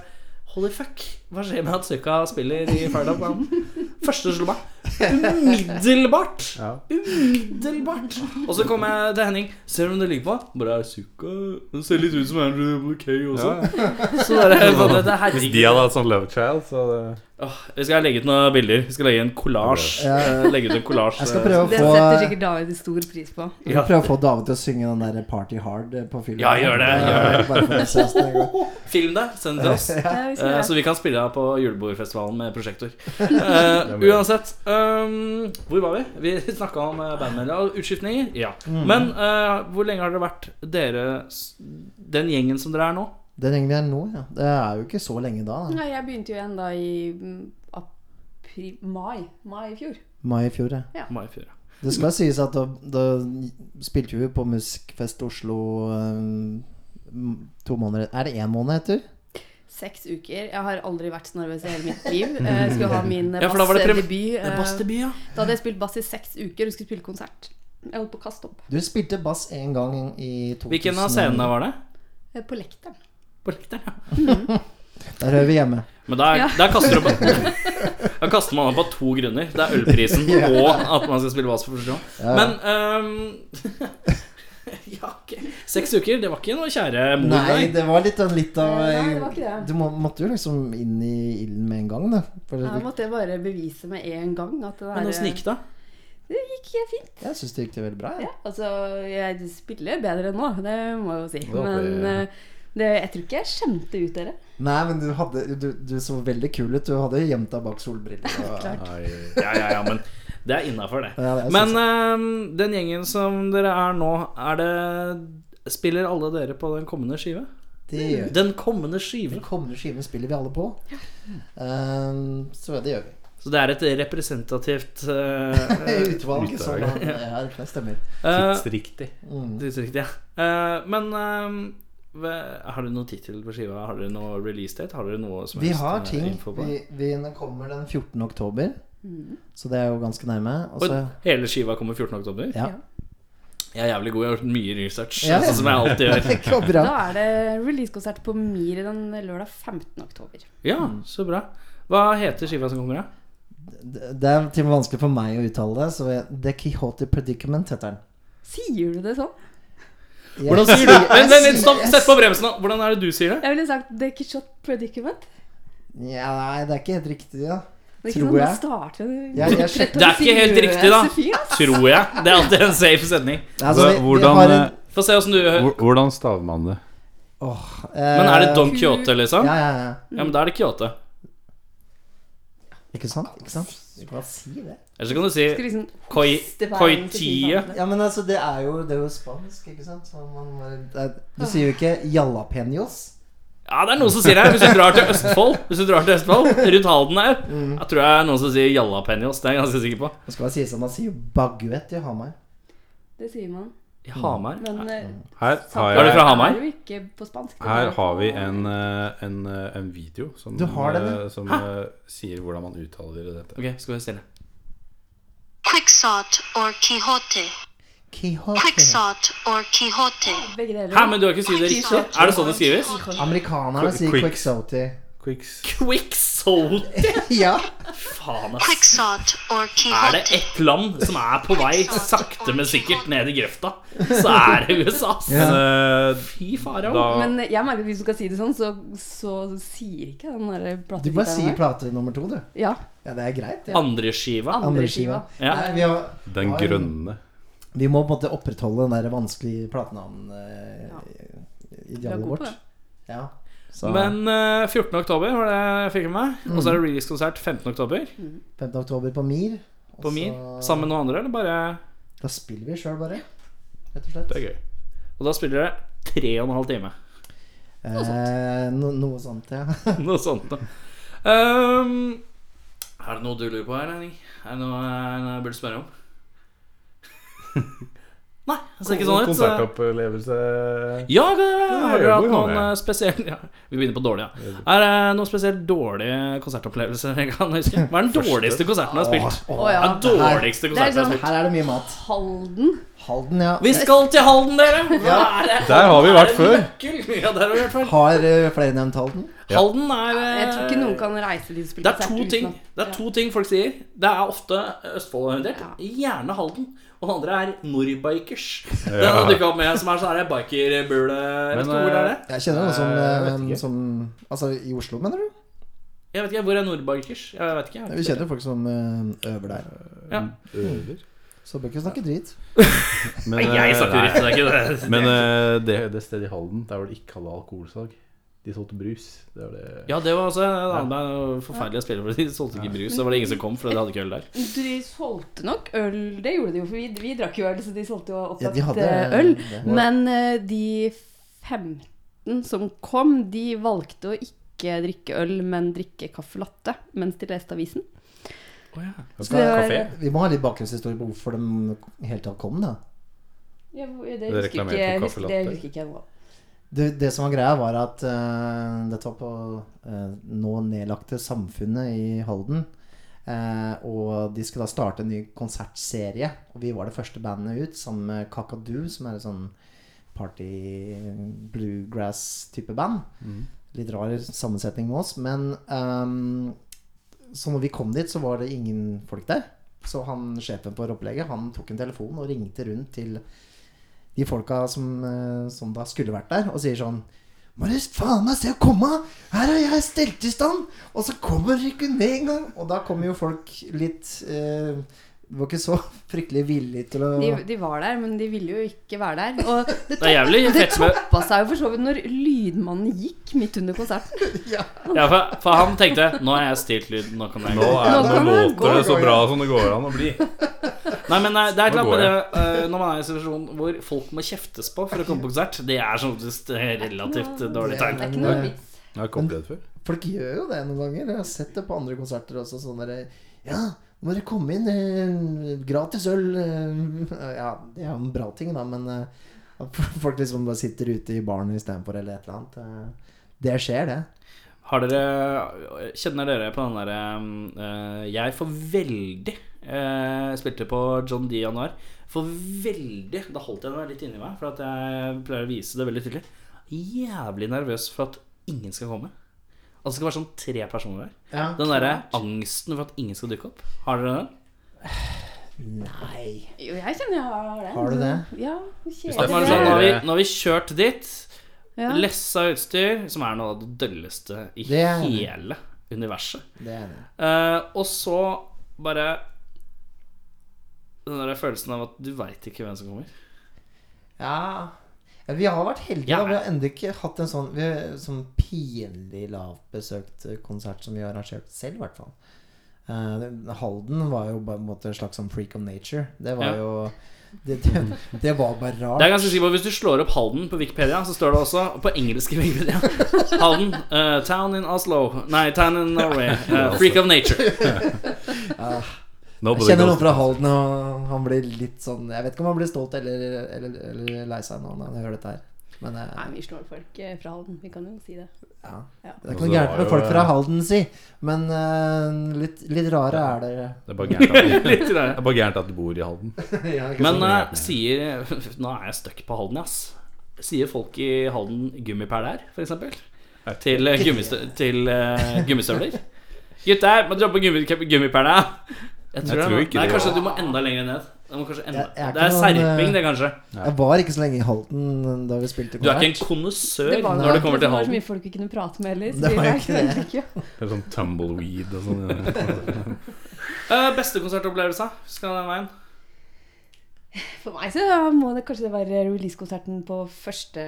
Speaker 2: Holy fuck, hva skjer med at Zucca spiller i Firedop-banden? Første som slo meg. Umiddelbart!
Speaker 3: Ja.
Speaker 2: Umiddelbart! Og så kom jeg til Henning. Ser du om det ligger på? Bare er Zucca Det ser litt ut som Andrew WK også.
Speaker 3: Ja.
Speaker 2: Så bare, bare, dette,
Speaker 3: Hvis
Speaker 2: herregud.
Speaker 3: de hadde hatt sånn love child, så hadde
Speaker 2: Åh, vi skal legge ut noen bilder. Vi skal legge en kollasj.
Speaker 5: Ja.
Speaker 2: Legge ut en kollasj.
Speaker 5: Jeg skal prøve å
Speaker 4: Det
Speaker 5: få,
Speaker 4: setter sikkert David stor pris på.
Speaker 5: jeg skal prøve å få David til å synge den der Party Hard eh, på filmen.
Speaker 2: Ja, gjør det, gjør
Speaker 5: Bare for å se oss det går.
Speaker 2: Film det. Send det til oss.
Speaker 4: Ja, vi skal
Speaker 2: Eh,
Speaker 4: gjøre
Speaker 2: Så vi kan spille deg på julebordfestivalen med prosjektor. Eh, uansett. ehm, hvor var vi? Vi snakka om eh, bandmedlemmer og utskiftninger. Ja. Men eh, hvor lenge har dere vært dere s- Den gjengen som dere er nå?
Speaker 5: Den gjengen vi er nå, ja. Det er jo ikke så lenge da. da.
Speaker 4: Nei, jeg begynte jo igjen da i mm, apri, mai, mai i fjor.
Speaker 5: Mai i fjor, ja.
Speaker 2: Mai fjor.
Speaker 5: Det skal sies at da, da spilte vi på Musikkfest Oslo eh, to måneder Er det én måned etter?
Speaker 4: Seks uker. Jeg har aldri vært så nervøs i hele mitt liv. Eh, skulle ha min
Speaker 2: Ja, for da var det prem-
Speaker 4: bassdebut.
Speaker 2: Det er
Speaker 4: eh,
Speaker 2: Basteby, ja.
Speaker 4: Da hadde jeg spilt bass i seks uker og skulle spille konsert. Jeg holdt på å kaste opp.
Speaker 5: Du spilte bass én gang i 2000.
Speaker 2: Hvilken av scenene var det?
Speaker 4: Eh, På lekteren.
Speaker 2: På Lekteren, ja.
Speaker 5: Der hører vi hjemme.
Speaker 2: Men der,
Speaker 4: Ja.
Speaker 2: der kaster du Da kaster man opp av to grunner. Det er ølprisen og at man skal spille bass for første gang.
Speaker 5: Ja.
Speaker 2: Men ehm, Ja, ok. Seks uker, det var ikke noe kjære mor.
Speaker 5: Nei, det var litt, av- litt av
Speaker 4: Nei, det var ikke det.
Speaker 5: Du må, måtte jo liksom inn i ilden med en gang, da. For
Speaker 4: Da
Speaker 5: det,
Speaker 4: måtte jeg bare bevise med en gang at det
Speaker 2: Men
Speaker 4: der- eh,
Speaker 2: åssen gikk det?
Speaker 4: Det gikk helt fint.
Speaker 5: jeg syns det gikk veldig bra.
Speaker 4: Ja,
Speaker 5: jeg.
Speaker 4: altså, jeg spiller bedre nå, det må jeg jo si.
Speaker 3: håper jeg.
Speaker 4: Men eh, det, jeg tror ikke jeg skjemte ut dere.
Speaker 5: Nei, men du, hadde, du, du så veldig kul ut. Du hadde jo gjemt deg bak solbriller. Og,
Speaker 3: Nei.
Speaker 2: Ja, ja, ja, men det er innafor, det.
Speaker 5: Ja, det er
Speaker 2: men ehm, den gjengen som dere er nå, er det Spiller alle dere på den kommende skive?
Speaker 5: Det gjør vi.
Speaker 2: Den kommende
Speaker 5: Den
Speaker 2: skive!
Speaker 5: kommende skiven spiller vi alle på. Ehm, så det gjør vi.
Speaker 2: Så det er et representativt eh,
Speaker 5: Utvalget som
Speaker 3: utvalg.
Speaker 5: han er her, det stemmer.
Speaker 2: eh,
Speaker 3: Tidsriktig.
Speaker 2: Tidsriktig, ja. Eh, men eh, hva- har dere noen tittel på skiva? Har dere noe release date? Har dere noe som
Speaker 5: Vi
Speaker 2: helst,
Speaker 5: har
Speaker 2: eh,
Speaker 5: ting.
Speaker 2: info på det?
Speaker 5: Vi, vi, den kommer den 14. oktober, så det er jo ganske nærme. Og
Speaker 2: Og
Speaker 5: så
Speaker 2: hele skiva kommer 14. oktober?
Speaker 5: altså- Ja.
Speaker 2: Jeg er jævlig god, jeg har gjort mye research,
Speaker 5: Ja, ja.
Speaker 2: sånn som jeg alltid gjør.
Speaker 5: Det går bra.
Speaker 4: Da er det releasekonsert på Mir den lørdag 15. oktober.
Speaker 2: Ja, så bra. Hva heter skiva som kommer, da?
Speaker 5: Det det er til og med vanskelig for meg å uttale det, så jeg- The Quixote Predicament heter den.
Speaker 4: Sier du det sånn?
Speaker 5: Jeg
Speaker 2: Hvordan sier du
Speaker 5: jeg
Speaker 2: Vent, vent, vent, stopp!
Speaker 5: sier-
Speaker 2: Sett på bremsen nå! Hvordan er det du sier det?
Speaker 4: Jeg ville sagt The Kitshot Predicament.
Speaker 5: Ja, nei, det er ikke helt riktig, da.
Speaker 4: Det er ikke
Speaker 5: Tror
Speaker 4: sånn,
Speaker 5: jeg.
Speaker 4: nå starter det-
Speaker 5: Jeg- jeg skjønner-
Speaker 2: Det er ikke helt riktig, da.
Speaker 4: Seriøse fyr, ass.
Speaker 2: Tror jeg. Det er alltid en safe setning.
Speaker 5: Altså, vi, vi
Speaker 3: Hvordan,
Speaker 5: har en,
Speaker 2: Få se åssen du
Speaker 3: Hvor- Hvordan staver man det?
Speaker 5: åh,
Speaker 2: Men er det
Speaker 5: eh,
Speaker 2: Don Quijote, liksom?
Speaker 5: Ja, ja, ja.
Speaker 2: Ja, men da er det Quijote.
Speaker 5: Ikke sant? Ikke sant? Du kan si det.
Speaker 2: Eller så kan du
Speaker 4: Skal
Speaker 2: si
Speaker 4: liksom
Speaker 2: Koi...
Speaker 4: hoste veien til
Speaker 2: Koitie.
Speaker 4: fingrene.
Speaker 5: Ja, men altså, det er jo, det er jo spansk, ikke sant? Så man, det er, du sier jo ikke jalapeños.
Speaker 2: Ja, det er noen som sier det. Hvis du drar til Østfold, Hvis du drar til Østfold rundt Halden her, jeg tror jeg er noen som sier jalapeños. Det er jeg ganske sikker på.
Speaker 5: Det skal bare sies at man sier baguett i Hamar.
Speaker 4: Det sier man.
Speaker 2: I Hamar?
Speaker 4: Men eh,
Speaker 3: Her har
Speaker 2: Er du
Speaker 3: jeg
Speaker 2: fra Hamar?
Speaker 4: er jo ikke på spansk. det
Speaker 3: Her
Speaker 4: er
Speaker 3: har
Speaker 4: på-
Speaker 3: vi en, eh, en, eh, en video som,
Speaker 5: Du har den, ja.
Speaker 3: eh, som eh, sier hvordan man uttaler dette.
Speaker 2: Ok, skal vi være stille.
Speaker 6: Quixote or Quixote.
Speaker 5: Quijote.
Speaker 6: Quixote or Quixote.
Speaker 4: Begge deler.
Speaker 2: Hæ, men du har ikke skrevet det riktig? Er det sånn det skrives?
Speaker 5: Amerikanerne sier
Speaker 3: Quick-
Speaker 5: quixote.
Speaker 3: Quicks.
Speaker 2: Quicksote!
Speaker 5: Ja.
Speaker 2: Faen, ass.
Speaker 6: Quixote or
Speaker 2: Er det
Speaker 6: Quixote.
Speaker 2: ett land som er på vei sakte, men sikkert ned i grøfta, så er det USA, ass.
Speaker 5: Ja.
Speaker 3: Eh,
Speaker 2: Fy farao.
Speaker 3: da
Speaker 4: Men jeg merker at hvis du skal si det sånn, så, så sier ikke den der
Speaker 5: Du bare
Speaker 4: platetittelen
Speaker 5: sier
Speaker 4: der.
Speaker 5: plate nummer to, du.
Speaker 4: Ja.
Speaker 5: Ja, det er greit. Ja.
Speaker 2: Andre skiva.
Speaker 4: Andre skiva.
Speaker 2: Ja.
Speaker 5: Nei, vi, har,
Speaker 3: Den grønne.
Speaker 5: vi må på en måte opprettholde den der vanskelige eh, platenavn-idealet
Speaker 4: Vi er gode på
Speaker 5: vårt.
Speaker 4: det.
Speaker 5: Ja. Så
Speaker 2: Men eh, 14. oktober var det jeg fikk med meg. Og så er det release-konsert 15. oktober
Speaker 5: 15. oktober på Mir. og
Speaker 2: på Mir.
Speaker 5: så-
Speaker 2: Sammen med noen andre, eller bare
Speaker 5: Da spiller vi sjøl, bare. Rett og slett.
Speaker 3: Det er gøy.
Speaker 2: Og da spiller dere tre og en halv time.
Speaker 5: Eh, no, noe sånt, ja.
Speaker 2: Noe sånt da. Ehm, er det noe du lurer på her, Henning? Er det noe eh, noe jeg burde spørre om? Nei, det ser ikke sånn ut. så-
Speaker 3: Konsertopplevelse
Speaker 2: Ja, det, har
Speaker 3: det
Speaker 2: dere hatt
Speaker 3: må jo
Speaker 2: noen
Speaker 3: være.
Speaker 2: eh, spesielle ja, Vi begynner på dårlig, ja. Er det noen spesielt dårlige konsertopplevelser dere kan huske? Hva er den dårligste konserten dere har spilt?
Speaker 5: Åh,
Speaker 4: Å
Speaker 2: Den
Speaker 4: ja.
Speaker 2: dårligste
Speaker 4: Det
Speaker 2: konserten
Speaker 4: er
Speaker 2: jeg har
Speaker 4: sånn
Speaker 2: spilt
Speaker 5: Her er det mye mat.
Speaker 4: Halden.
Speaker 5: Halden, ja.
Speaker 2: Vi skal til Halden, dere! Hva er det?
Speaker 3: Der har vi vært før.
Speaker 2: Nøkkel! Ja, der har vi vært før.
Speaker 5: Har eh, flere nevnt Halden?
Speaker 2: Halden er eh,
Speaker 4: Jeg tror ikke noen kan reise dit og spille
Speaker 2: Det er
Speaker 4: konsert
Speaker 2: to
Speaker 4: uten
Speaker 2: ting
Speaker 4: at-
Speaker 2: Det er to ting folk sier. Det er ofte eh, Østfold-orientert.
Speaker 4: Ja.
Speaker 2: Gjerne Halden. Og den andre er Norrbikers. Den har dukka opp med som er sånn her bikerbule Jeg vet ikke
Speaker 3: Men,
Speaker 2: hvor det er. det.
Speaker 5: Jeg kjenner noen som,
Speaker 3: Eh, jeg vet
Speaker 5: eh,
Speaker 3: ikke.
Speaker 5: som Altså i Oslo, mener du?
Speaker 2: Jeg vet ikke, Hvor er Norrbikers? Jeg vet ikke. Jeg
Speaker 5: Vi
Speaker 2: vet ikke.
Speaker 5: kjenner folk som eh, øver der.
Speaker 3: Øver.
Speaker 5: Så bør ikke snakke drit.
Speaker 3: Men,
Speaker 2: Nei, jeg snakker jo
Speaker 3: eh,
Speaker 2: riktig, det er ikke det.
Speaker 3: nei. Men eh, det, det stedet i Halden der hvor det ikke hadde alkoholsalg De solgte brus. Det var det.
Speaker 2: Ja, det var også en annen band. Forferdelig å spille for. De solgte ikke brus. Så var det ingen som kom fordi de hadde ikke øl der.
Speaker 4: De solgte nok øl, det gjorde de jo, for vi, vi drakk jo øl, så de solgte jo
Speaker 5: Ja,
Speaker 4: opptatt
Speaker 5: de hadde
Speaker 4: eh, øl.
Speaker 5: det.
Speaker 4: Men eh, de 15 som kom, de valgte å ikke drikke øl, men drikke caffè latte mens de leste avisen.
Speaker 5: Skal jeg
Speaker 4: var-
Speaker 3: Kafé?
Speaker 5: Vi må ha litt bakgrunnshistorie på hvorfor de i hele tatt kom, da.
Speaker 4: Ja,
Speaker 3: Dere
Speaker 4: det husker ikke,
Speaker 3: reklamerte for caffè
Speaker 4: husker, det
Speaker 3: latte.
Speaker 4: husker ikke jeg nå.
Speaker 5: Det, det som var greia, var at eh, dette var på eh, nå nedlagte Samfunnet i Halden. Eh, og de skulle da starte en ny konsertserie. Og vi var det første bandet ut, sammen med Kakadu, som er et sånn party bluegrass-type band.
Speaker 3: Mm.
Speaker 5: Litt rar sammensetning med oss. Men ehm, så når vi kom dit, så var det ingen folk der. Så han, sjefen for opplegget han tok en telefon og ringte rundt til de folka som, eh, som da skulle vært der, og sier sånn må du faen meg se å komme! Her har jeg stelt i stand! Og så kommer dere ikke ned engang! Og da kommer jo folk litt eh, Var ikke så fryktelig villige til å
Speaker 4: De, de var der, men de ville jo ikke være der. Og det
Speaker 2: Det er jævlig fett med
Speaker 4: toppa seg jo for så vidt når lydmannen gikk midt under konserten.
Speaker 2: ja, for, for han tenkte Nå har jeg stilt lyd, nå kan jeg
Speaker 3: Nå,
Speaker 2: gå.
Speaker 3: er,
Speaker 4: Nå
Speaker 3: nå
Speaker 4: kan man gå,
Speaker 3: låter det så
Speaker 5: gå,
Speaker 3: bra som det går an å bli.
Speaker 2: Nei, Nei, men nei, det er
Speaker 3: Nå
Speaker 2: klart
Speaker 3: går
Speaker 2: med det eh, Når man er i en situasjon hvor folk må kjeftes på for å komme på konsert, det er som oftest eh, relativt eh, dårlig
Speaker 5: Det er
Speaker 2: tegn.
Speaker 5: ikke
Speaker 4: Noe vits.
Speaker 3: Jeg har ikke opplevd det før.
Speaker 5: Folk gjør jo det noen ganger. Jeg har sett det på andre konserter også. Sånn derre Ja, nå må dere komme inn. eh, Gratis øl. eh, Ja, det er jo en bra ting, da, men eh, at folk liksom bare sitter ute i baren istedenfor eller et eller annet. eh, Det skjer, det.
Speaker 2: Har dere Kjenner dere på den derre eh, Jeg får veldig eh, Spilte på John D. i januar. For veldig Da holdt jeg meg litt inni meg, for at jeg pleier å vise det veldig tydelig. Jævlig nervøs for at ingen skal komme. Altså det skal være sånn tre personer der.
Speaker 5: Ja.
Speaker 2: Den derre angsten for at ingen skal dukke opp. Har dere den?
Speaker 5: Nei.
Speaker 4: Jo, jeg kjenner jeg har det.
Speaker 5: Har du det?
Speaker 4: Ja.
Speaker 2: Nå
Speaker 3: det
Speaker 2: har
Speaker 3: er
Speaker 4: Kjedelig.
Speaker 3: sånn-
Speaker 2: vi, nå har vi kjørt dit.
Speaker 4: Ja.
Speaker 2: Lessa utstyr, som er noe av det dølleste i
Speaker 5: Det er det.
Speaker 2: hele universet.
Speaker 5: Det er det.
Speaker 2: Eh, og så bare den der følelsen av at du veit ikke hvem som kommer.
Speaker 5: Ja. Ja, Vi har vært heldige.
Speaker 2: Ja.
Speaker 5: da Vi har ennå ikke hatt en sånn, vi har, sånn pinlig lavbesøkt eh, konsert som vi har arrangert selv, i hvert fall. Eh, det- Halden var jo bare på en måte en slags sånn freak of nature. Det var
Speaker 2: Ja.
Speaker 5: jo det, det, det var bare rart.
Speaker 2: Det er ganske sikkert, Hvis du slår opp Halden på Wikipedia, så står det også på engelsk i Wikipedia Halden, eh, town in Oslo Nei, town in Norway. eh,
Speaker 5: altså.
Speaker 2: freak of nature.
Speaker 5: Jeg kjenner noen fra Halden, og han blir litt sånn Jeg vet ikke om han blir stolt eller, eller, eller lei seg nå når han hører dette her. Men eh,
Speaker 4: Nei, vi slår folk eh, fra Halden. Vi kan jo si det.
Speaker 5: ja.
Speaker 4: Ja.
Speaker 5: Det er
Speaker 3: Altså,
Speaker 5: ikke
Speaker 3: det
Speaker 5: noe gærent
Speaker 3: var
Speaker 5: med
Speaker 3: jo-
Speaker 5: folk fra Halden, si. Men eh, litt, litt rare er dere.
Speaker 3: Det er bare gærent at-
Speaker 2: Litt i det.
Speaker 3: det er bare gærent at du bor i Halden.
Speaker 5: Ja, ikke
Speaker 2: Men
Speaker 5: sant?
Speaker 2: eh, sier Nå er jeg stuck på Halden, ass. Sier folk i Halden gummipæler, f.eks.? Til, eh, gummistø til eh, gummistøvler? Gutter, må droppe gummi gummipæla! Jeg tror,
Speaker 3: Jeg tror
Speaker 2: det,
Speaker 3: ikke
Speaker 2: Nei,
Speaker 3: det.
Speaker 2: kanskje du må enda lenger ned. Du må kanskje enda.
Speaker 5: Jeg- jeg er
Speaker 2: det er
Speaker 5: ikke noen,
Speaker 2: serping,
Speaker 5: eh,
Speaker 2: det, kanskje.
Speaker 5: Jeg var ikke så lenge i Halden da vi spilte
Speaker 2: Du er ikke
Speaker 5: konsert.
Speaker 2: en konnoissør
Speaker 4: Det var jo
Speaker 2: når det
Speaker 4: ikke
Speaker 2: kommer
Speaker 4: det
Speaker 2: til
Speaker 4: var så
Speaker 2: Halden.
Speaker 4: mye folk vi kunne prate med heller. Så
Speaker 5: Det
Speaker 4: vi
Speaker 5: var jo
Speaker 4: var
Speaker 5: ikke
Speaker 4: ikke egentlig ikke.
Speaker 3: Det er sånn tumbleweed og sånn.
Speaker 2: Eh, beste konsertopplevelse? Skal den veien?
Speaker 4: For meg så må det kanskje være releasekonserten på første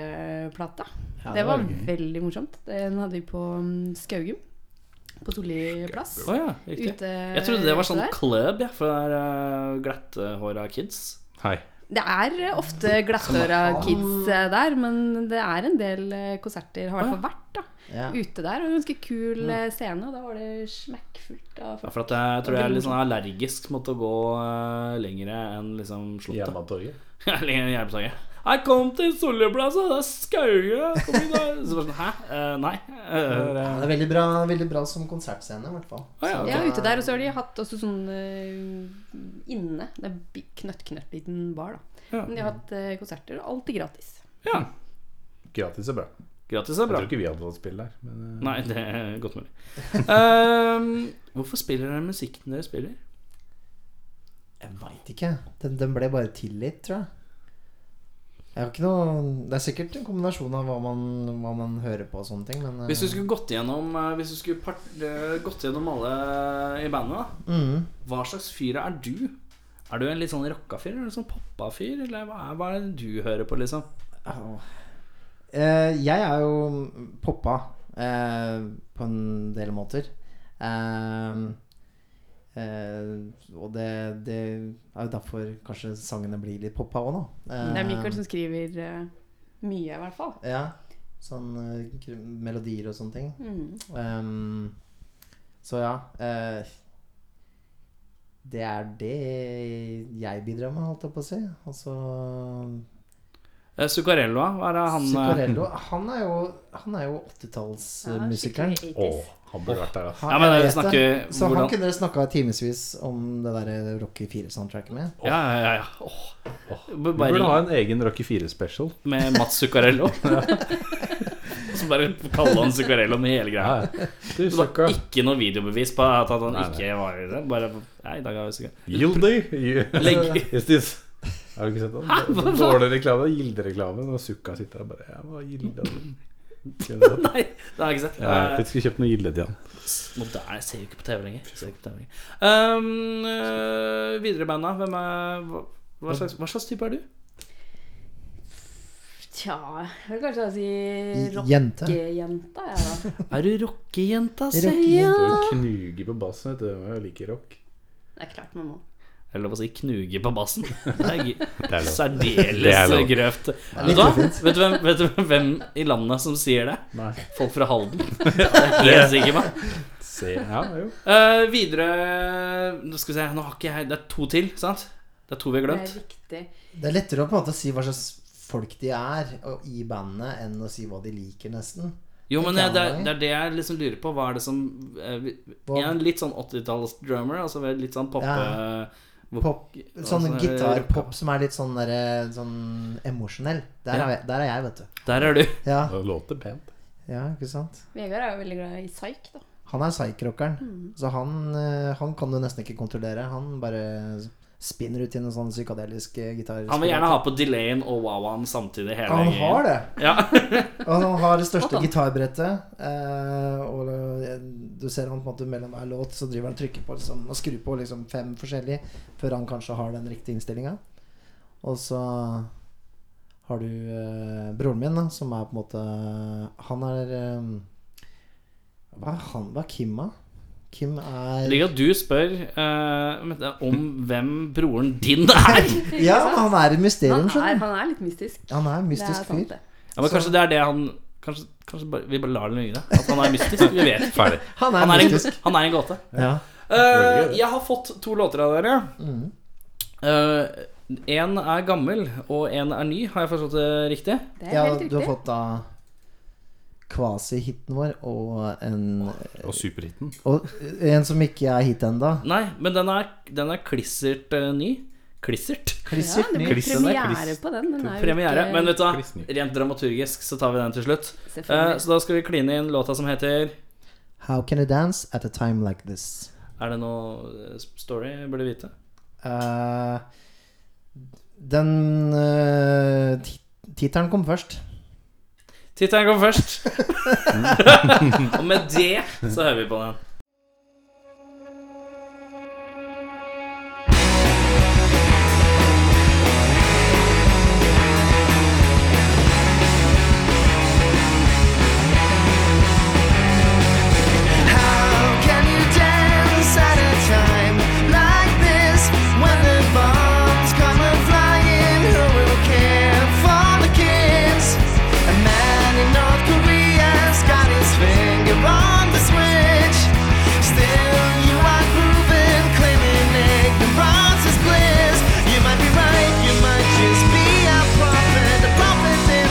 Speaker 4: plata. det, var veldig morsomt. Den hadde vi på mm, Skaugum. På Solli plass.
Speaker 2: Å ja, riktig.
Speaker 4: Ute
Speaker 2: Jeg trodde det var sånn
Speaker 4: der.
Speaker 2: club ja, for det er uh, glattehåra kids.
Speaker 3: Hei.
Speaker 4: Det er eh, ofte glattøra kids eh, der, men det er en del eh, konserter, har i hvert fall vært, da.
Speaker 5: Ja.
Speaker 4: Ute der. Og en ganske kul eh, scene, og da var det smekkfullt av
Speaker 2: Ja,
Speaker 4: folk.
Speaker 2: for at jeg tror jeg er litt sånn allergisk mot å gå uh, lengre enn liksom slottet.
Speaker 3: Hjemmetorget.
Speaker 2: Lenger enn Jernbanetorget. Jeg kom til Solliplass, og det er Skauge! Kom inn der! Så bare sånn, hæ? Eh, nei. Eh,
Speaker 5: Ja, det er veldig bra, veldig bra som konsertscene, i hvert fall.
Speaker 2: Å ja, ok.
Speaker 4: Ja, ute der. Og så har de hatt også sånn eh, inne. Det er bi- knøtt-knøtt liten bar, da.
Speaker 2: Ja.
Speaker 4: Men de har hatt eh, konserter, og alltid gratis.
Speaker 2: ja.
Speaker 3: Gratis er bra.
Speaker 2: Gratis er
Speaker 3: Jeg
Speaker 2: bra.
Speaker 3: tror ikke vi hadde fått spill der. Men eh,
Speaker 2: Nei, det er godt mulig. Ehm, hvorfor spiller dere musikken dere spiller?
Speaker 5: Jeg veit ikke. Den, den ble bare tilgitt, tror jeg. Jeg har ikke noe Det er sikkert en kombinasjon av hva man, hva man hører på og sånne ting, men eh,
Speaker 2: Hvis du skulle gått gjennom, eh, hvis du skulle part, eh, gått gjennom alle i bandet, da,
Speaker 5: Mhm.
Speaker 2: hva slags fyr er du? Er du en litt sånn rocka fyr, eller en sånn poppa fyr, eller hva er, hva er det du hører på, liksom?
Speaker 5: Au. Eh, jeg er jo poppa eh, på en del måter. Eh, eh, og det, det er jo derfor kanskje sangene blir litt poppa òg, da. Eh,
Speaker 4: Det er Michael som skriver eh, mye, i hvert fall.
Speaker 5: Ja. Sånn eh, kr- melodier og sånne ting.
Speaker 4: Mm.
Speaker 5: Ehm, så ja eh, Det er det jeg bidrar med, holdt jeg på å si. Altså
Speaker 2: Eh, Zuccarello, hva er det han eh,
Speaker 5: Zuccarello Han er jo, han er jo 80-tallsmusikeren.
Speaker 4: skikkelig 80s.
Speaker 3: å, han burde vært der, altså.
Speaker 5: Han-
Speaker 2: Ja, men
Speaker 5: jeg
Speaker 2: vi
Speaker 5: vet
Speaker 2: snakker
Speaker 5: det. Så
Speaker 2: hvordan-
Speaker 5: han kunne dere snakka timevis om det der eh, Rocky 4-soundtracket med.
Speaker 2: Ja, ja, ja. ja. Åh.
Speaker 3: Vi
Speaker 2: Bare
Speaker 3: burde ha en egen Rocky 4-special.
Speaker 2: med Mats Zuccarello. Som bare kaller han Zuccarello med hele greia.
Speaker 3: Du
Speaker 2: Det var
Speaker 3: søkka.
Speaker 2: ikke noe videobevis på at at han
Speaker 3: Nei, nei.
Speaker 2: ikke var i det. Bare Nei, i dag er vi sikre.
Speaker 3: Gildy.
Speaker 2: Legg-
Speaker 3: Is this Har du ikke sett den? Det var Dårlig reklame. Gildereklame. Og Sukka sitter der bare Jeg var gilda. Jeg
Speaker 2: Nei, det har jeg ikke sett.
Speaker 3: jeg skulle kjøpt noe gilde til han.
Speaker 2: Eh, Moderne ser jo ikke på TV lenger. Ser jo ikke på TV lenger. Um, øh, videre i bandet, hvem er hva, hva, slags, hva slags type er du?
Speaker 4: Tja Jeg vil kanskje si
Speaker 5: Jente.
Speaker 4: rockejenta, jeg, da.
Speaker 2: Er du rockejenta,
Speaker 5: Rockejenta.
Speaker 2: sier jeg?
Speaker 3: Du knuger på bassen, vet du. Jeg liker rock.
Speaker 4: Det er klart man må.
Speaker 2: Eller hva skal jeg si, knuge på bassen. Det er gøy.
Speaker 3: Det er lov. Det er
Speaker 2: Særdeles
Speaker 3: lov.
Speaker 2: grøvt. Vet
Speaker 5: litt
Speaker 2: du, hva?
Speaker 5: ufint.
Speaker 2: vet, du hvem, vet du hvem i landet som sier det?
Speaker 3: Nei.
Speaker 2: Folk fra Halden. Det er jeg helt sikker på.
Speaker 3: Se, ja, jo.
Speaker 2: Eh, videre Nå skal vi se, nå har ikke jeg Det er to til, sant? Det er to vi har
Speaker 4: Det er
Speaker 2: glemt.
Speaker 4: riktig.
Speaker 5: Det er lettere å på en måte si hva slags folk de er og i bandet, enn å si hva de liker, nesten.
Speaker 2: Jo, men
Speaker 5: Ikke
Speaker 2: jeg, det, er,
Speaker 5: annet.
Speaker 2: det er det jeg liksom lurer på. Hva er det som eh, vi-
Speaker 5: Hva-
Speaker 2: Jeg er en litt sånn 80-talls-drummer. Altså vel litt sånn poppe...
Speaker 5: Ja.
Speaker 2: hvor-
Speaker 5: Pop, sånn
Speaker 2: Altså,
Speaker 5: gitarpop som er litt sånn, derre- sånn emosjonell. Der,
Speaker 2: Ja.
Speaker 5: er jeg- der er jeg, vet du.
Speaker 2: Der er du.
Speaker 5: Ja,
Speaker 3: Det låter pent.
Speaker 5: ja ikke sant?
Speaker 4: Vegard er jo veldig glad i psyk, da.
Speaker 5: Han er psych-rockeren, så han, eh, han kan du nesten ikke kontrollere. Han bare spinner ut i en sånn psykadelisk eh, gitar.
Speaker 2: Han vil gjerne ha på delayen og wow-en samtidig. Hele
Speaker 5: Han har det!
Speaker 2: Ja.
Speaker 5: Og han har det
Speaker 4: Flott,
Speaker 5: største
Speaker 4: da.
Speaker 5: gitarbrettet. eh, Og eh, du ser han på en måte mellom hver låt så driver han og trykker på liksom, og skrur på liksom fem forskjellige før han kanskje har den riktige innstillinga. Og så har du eh, broren min, da, som er på en måte Han er eh, Hva er han? Hva er Kim, da? Kim
Speaker 2: Jeg
Speaker 5: er
Speaker 2: liker at du spør eh, men det er om hvem broren din er.
Speaker 5: Ja, men han er et
Speaker 4: Han
Speaker 5: mysterium,
Speaker 4: er,
Speaker 5: skjønner du.
Speaker 4: han er litt mystisk.
Speaker 5: Han er en
Speaker 4: Det er
Speaker 5: mystisk
Speaker 4: sant,
Speaker 5: fyr.
Speaker 4: det.
Speaker 2: Ja, men kanskje det er det han Kanskje, kanskje bare, vi bare lar det ligge? At han er mystisk? Vi vet ikke.
Speaker 3: Ferdig.
Speaker 5: Han er
Speaker 2: Han er en,
Speaker 5: mystisk.
Speaker 2: han er en gåte.
Speaker 5: Ja.
Speaker 2: Eh, jeg har fått to låter av dere. Én er gammel, og én er ny. Har jeg forstått det riktig?
Speaker 4: Det er
Speaker 5: ja,
Speaker 4: helt
Speaker 5: du har
Speaker 4: riktig.
Speaker 5: fått da Kvasi-hiten vår og en,
Speaker 3: Og superhiten.
Speaker 5: og en som ikke er hit ennå.
Speaker 2: Nei, men den er, den er klissert eh, ny. Klissert?
Speaker 4: Ja,
Speaker 5: Klissert
Speaker 4: det
Speaker 5: ny.
Speaker 4: blir
Speaker 3: Klissen er
Speaker 4: premiere
Speaker 3: kliss.
Speaker 4: på den. den er jo
Speaker 2: Premiere.
Speaker 4: ikke-
Speaker 2: Men vet du hva,
Speaker 3: Kliss ny.
Speaker 2: rent dramaturgisk så tar vi den til slutt. Eh,
Speaker 4: Selvfølgelig.
Speaker 2: så da skal vi kline inn låta som heter
Speaker 5: How can you dance at a time like this?
Speaker 2: Er det noe eh, story jeg burde vite?
Speaker 5: Eh, den uh, tittelen kom først.
Speaker 2: Tittelen kom først. og med det så hører vi på den.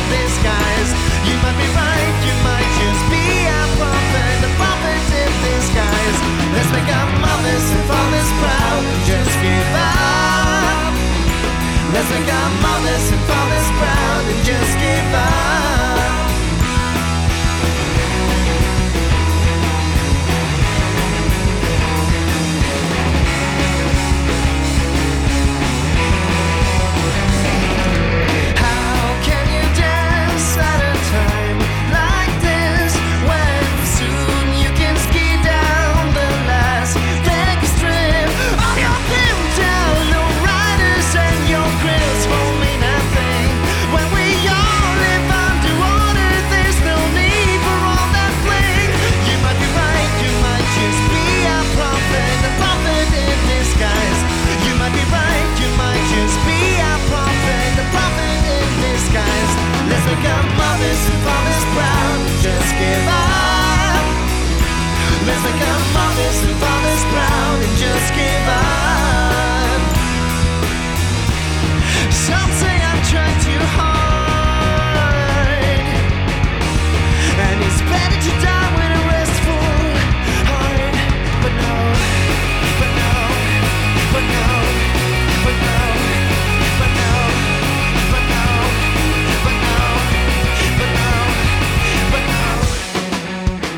Speaker 7: You might be right, you might just be a prophet, a prophet in disguise. Let's make our mothers and fathers proud, just give up. Let's make our mothers and fathers proud and just give up. How can you dance at a time like this when soon you can ski down the last leg strip? All your pintail, your riders, and your grills won't mean a thing when we all live underwater. There's no need for all that bling. You might be right, you might just be a prophet, a prophet in disguise. You might be right, you might just be a prophet, a prophet in disguise. Let's make our mothers and fathers proud. Just give up. Let's make our mothers and fathers proud and just give up. Some say I tried too hard. And it's better to die with a restful heart. But no, but no, but no, but no, but no, but no, but no, but no, but no.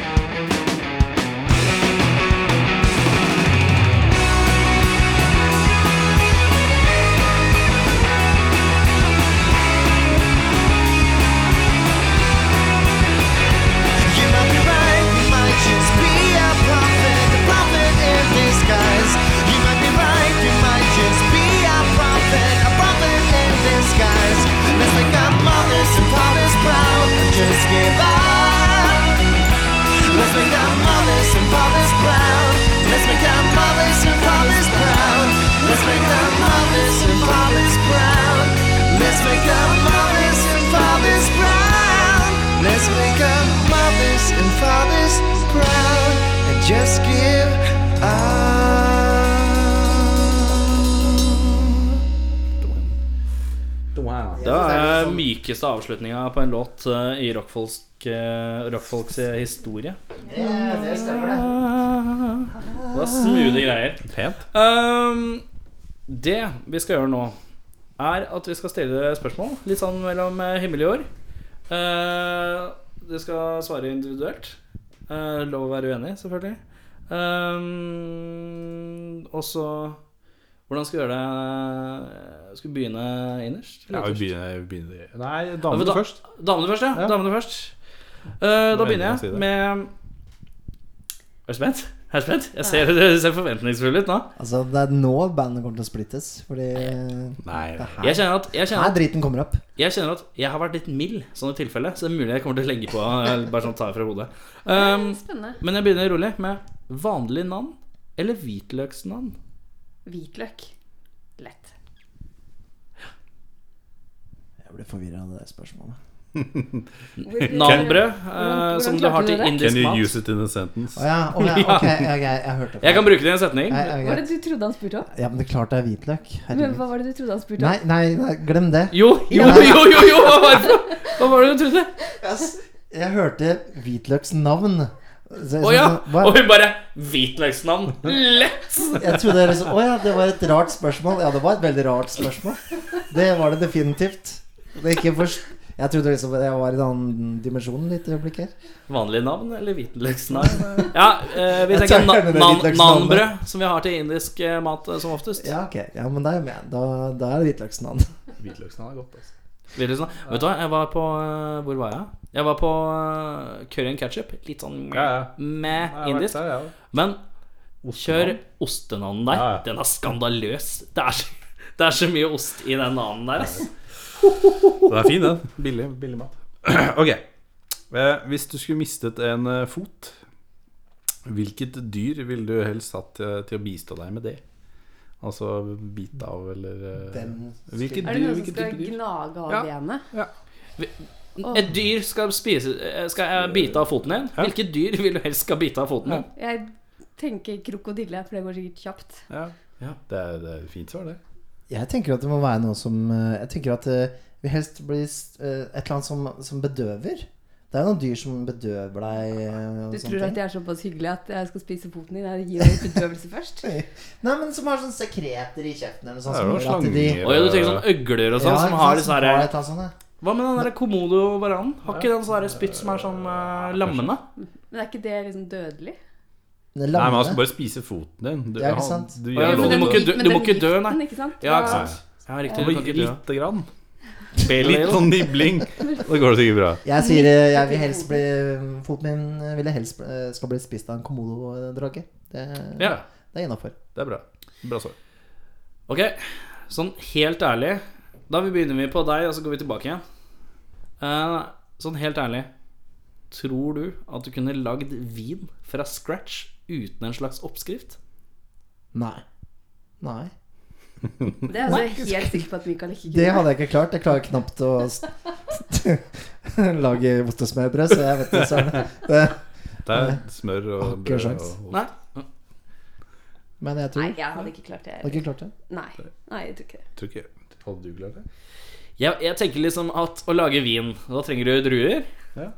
Speaker 7: You might be right, you might just be a prophet, a prophet in disguise. You might be right, you might just be a prophet, a prophet in disguise. Let's make our mothers and fathers proud and just give up. Let's make our mothers and fathers proud. Let's make our mothers and fathers proud. Let's make our Just give up.
Speaker 2: Det er
Speaker 5: sånn-
Speaker 2: mykeste avslutninga på en låt eh, i rockfolk, eh, rockfolks eh, historie.
Speaker 5: Det, det stemmer, det.
Speaker 2: Det var smoothe greier.
Speaker 3: Pent.
Speaker 2: Ehm, det vi skal gjøre nå, er at vi skal stille spørsmål litt sånn mellom eh, himmel og jord. Uh, dere skal svare individuelt. Eh, lov å være uenig, selvfølgelig. Ehm, og så Hvordan skal vi gjøre det? Skal vi begynne innerst?
Speaker 3: Ja,
Speaker 2: eller
Speaker 3: vi
Speaker 2: ytterst?
Speaker 3: begynner, vi begynner. Nei,
Speaker 2: Ja, men
Speaker 3: damene
Speaker 2: da-
Speaker 3: først.
Speaker 2: Damene først, ja.
Speaker 3: Ja.
Speaker 2: Damene først. Eh, da
Speaker 3: Nå
Speaker 2: begynner jeg
Speaker 3: endte jeg å si det.
Speaker 2: med Er du spent? Er du spent? Jeg ser, dere ser forventningsfulle ut nå.
Speaker 5: Altså, det er nå bandet kommer til å splittes. Fordi det
Speaker 3: Nei.
Speaker 5: her,
Speaker 2: Jeg kjenner at, jeg kjenner at
Speaker 5: her driten kommer opp.
Speaker 2: Jeg kjenner at jeg har vært litt mild sånn i tilfelle, så det er mulig jeg kommer til å legge på. eller Bare sånn ta fra hodet um,
Speaker 4: Spennende.
Speaker 2: Men jeg begynner rolig med vanlig navn eller hvitløksnavn.
Speaker 4: Hvitløk. Lett.
Speaker 5: Jeg ble forvirra av det der spørsmålet.
Speaker 2: Nanbrød, eh,
Speaker 4: Hvordan- hvordan
Speaker 2: som du har
Speaker 4: klarte
Speaker 2: til
Speaker 4: du det?
Speaker 3: Can
Speaker 2: indisk
Speaker 3: you
Speaker 2: mat.
Speaker 3: use it in a sentence?
Speaker 5: Å ja, å ja, ok, ok, jeg hørte
Speaker 2: Jeg kan bruke det i en setning.
Speaker 5: Nei, ok.
Speaker 4: Hva var det du trodde han spurte om?
Speaker 5: Ja, men det er klart det er hvitløk.
Speaker 4: Men
Speaker 5: Herregud.
Speaker 4: Hva var det du trodde han spurte
Speaker 5: Nei,
Speaker 4: om?
Speaker 5: nei, nei, glem det.
Speaker 2: Jo, jo, jo, jo, jo, hva var det for- hva var det du trodde?
Speaker 5: Jeg hørte hvitløksnavn. Så jeg-
Speaker 2: Å ja!
Speaker 5: så- hva-
Speaker 2: Og hun bare Hvitløksnavn! Lett!
Speaker 5: Jeg trodde det liksom, Å ja, det var et rart spørsmål. Ja, det var et veldig rart spørsmål. Det var det definitivt. Det er ikke forst... Jeg trodde liksom jeg var i en annen dimensjon litt øyeblikk her.
Speaker 2: Vanlig navn eller hvitløksnavn? Ja, eh, vi
Speaker 5: Jeg
Speaker 2: tenker
Speaker 5: tar
Speaker 2: na
Speaker 5: gjerne det
Speaker 2: nan
Speaker 5: hvitløksnavnet.
Speaker 2: nanbrød, som vi har til indisk eh, mat eh, som oftest.
Speaker 5: Ja, ok. Ja, men da er jeg med. Da, da er det hvitløksnavn.
Speaker 3: Hvitløksnavn er godt, altså.
Speaker 2: Vil du sånn? Vet du hva, jeg var på eh, Hvor var jeg? Jeg var på eh, curry and ketchup. Litt sånn
Speaker 3: Ja, ja.
Speaker 2: med
Speaker 3: Jeg har vært
Speaker 2: indisk.
Speaker 3: der, ja.
Speaker 2: Men kjør
Speaker 3: Ostenavn.
Speaker 2: ostenanden der.
Speaker 3: Ja, ja.
Speaker 2: Den er skandaløs. Det er, så, det er så mye ost i den anden der, ass.
Speaker 3: Den er fin, den. Billig, billig mat. ok. Eh, Hvis du skulle mistet en eh, fot, hvilket dyr ville du helst hatt eh, til å bistå deg med det? Altså bit av, eller eh, Hvilket
Speaker 4: Er
Speaker 3: dyr?
Speaker 4: det noen som
Speaker 3: Hvilket
Speaker 4: skal
Speaker 3: type dyr?
Speaker 4: gnage av
Speaker 3: Ja.
Speaker 4: benet?
Speaker 2: Et dyr skal spise eh, Skal jeg bite av foten din?
Speaker 3: Ja.
Speaker 2: Hvilket dyr vil du helst skal bite av foten din?
Speaker 4: Jeg tenker krokodille, for det går sikkert kjapt.
Speaker 3: Ja.
Speaker 2: Ja.
Speaker 3: Det, er, det er et fint svar, det.
Speaker 5: Jeg tenker at det må være noe som eh, Jeg tenker at eh, vi helst blir s- eh, et eller annet som, som bedøver. Det er jo noen dyr som bedøver deg. eh, og
Speaker 4: Du
Speaker 5: sånne
Speaker 4: tror at
Speaker 5: ting.
Speaker 4: jeg er såpass hyggelig at jeg skal spise foten din? Jeg gir deg litt bedøvelse først?
Speaker 5: Nei, men som har sånne sekreter i kjeften eller noe sånt.
Speaker 3: Det er
Speaker 5: som
Speaker 3: jo
Speaker 5: gjør at de-
Speaker 3: slanger
Speaker 2: Oi, du tenker sånn øgler og sånn,
Speaker 5: Ja,
Speaker 2: som
Speaker 5: ikke
Speaker 2: har
Speaker 5: sant,
Speaker 2: disse herre
Speaker 5: et eller annet sånt, ja.
Speaker 2: Hva med den derre komodo-varanen? Har ikke den sånn herre spytt som er sånn eh, lammende?
Speaker 4: Men er ikke det liksom dødelig?
Speaker 5: Det
Speaker 3: Nei, men altså, han skal
Speaker 5: lammende.
Speaker 3: bare spise foten din. Du,
Speaker 5: Ja, ikke
Speaker 3: han-
Speaker 5: sant?
Speaker 3: Du,
Speaker 2: Ja,
Speaker 3: gjør
Speaker 2: men
Speaker 3: lov
Speaker 2: du må
Speaker 3: til
Speaker 2: ikke dø-
Speaker 4: men
Speaker 2: du
Speaker 4: den
Speaker 2: må ikke dø, nei.
Speaker 4: giften, Ikke sant?
Speaker 2: Ja, ikke
Speaker 4: Da-
Speaker 2: sant. Ja,
Speaker 3: Du
Speaker 2: riktig.
Speaker 3: må
Speaker 2: Du kan
Speaker 3: gi
Speaker 2: ikke dø.
Speaker 3: lite grann. Litt
Speaker 2: Litt
Speaker 3: sånn nibling. Da går det sikkert bra.
Speaker 5: Jeg sier eh, jeg vil helst bli Foten min eh, vil jeg helst bli- eh, skal bli spist av en komododrage. Det,
Speaker 2: Ja,
Speaker 5: det er innafor.
Speaker 3: Det er bra. Bra svar.
Speaker 2: ok Sånn helt ærlig Da vi begynner vi på deg, og så går vi tilbake igjen Eh, Sånn helt ærlig Tror du at du kunne lagd vin fra scratch Uten en slags oppskrift?
Speaker 5: Nei. Nei.
Speaker 4: Det er altså helt sikker på at Mikael ikke
Speaker 5: Det
Speaker 4: kunne.
Speaker 5: hadde jeg ikke klart. Jeg klarer knapt å s- lage ostesmørbrød, så jeg vet ikke søren. Det-
Speaker 3: Det er smør og
Speaker 5: Har ikke
Speaker 3: brød
Speaker 5: sjans.
Speaker 3: og
Speaker 2: Nei
Speaker 5: Men jeg tror
Speaker 4: Nei,
Speaker 5: jeg
Speaker 4: jeg hadde ikke klart
Speaker 5: hadde
Speaker 4: det.
Speaker 5: ikke klart det.
Speaker 4: Nei, Nei jeg tror ikke det.
Speaker 3: Tror ikke Hadde du klart det?
Speaker 2: jeg, jeg tenker liksom at å lage vin Da trenger du druer
Speaker 3: Ja.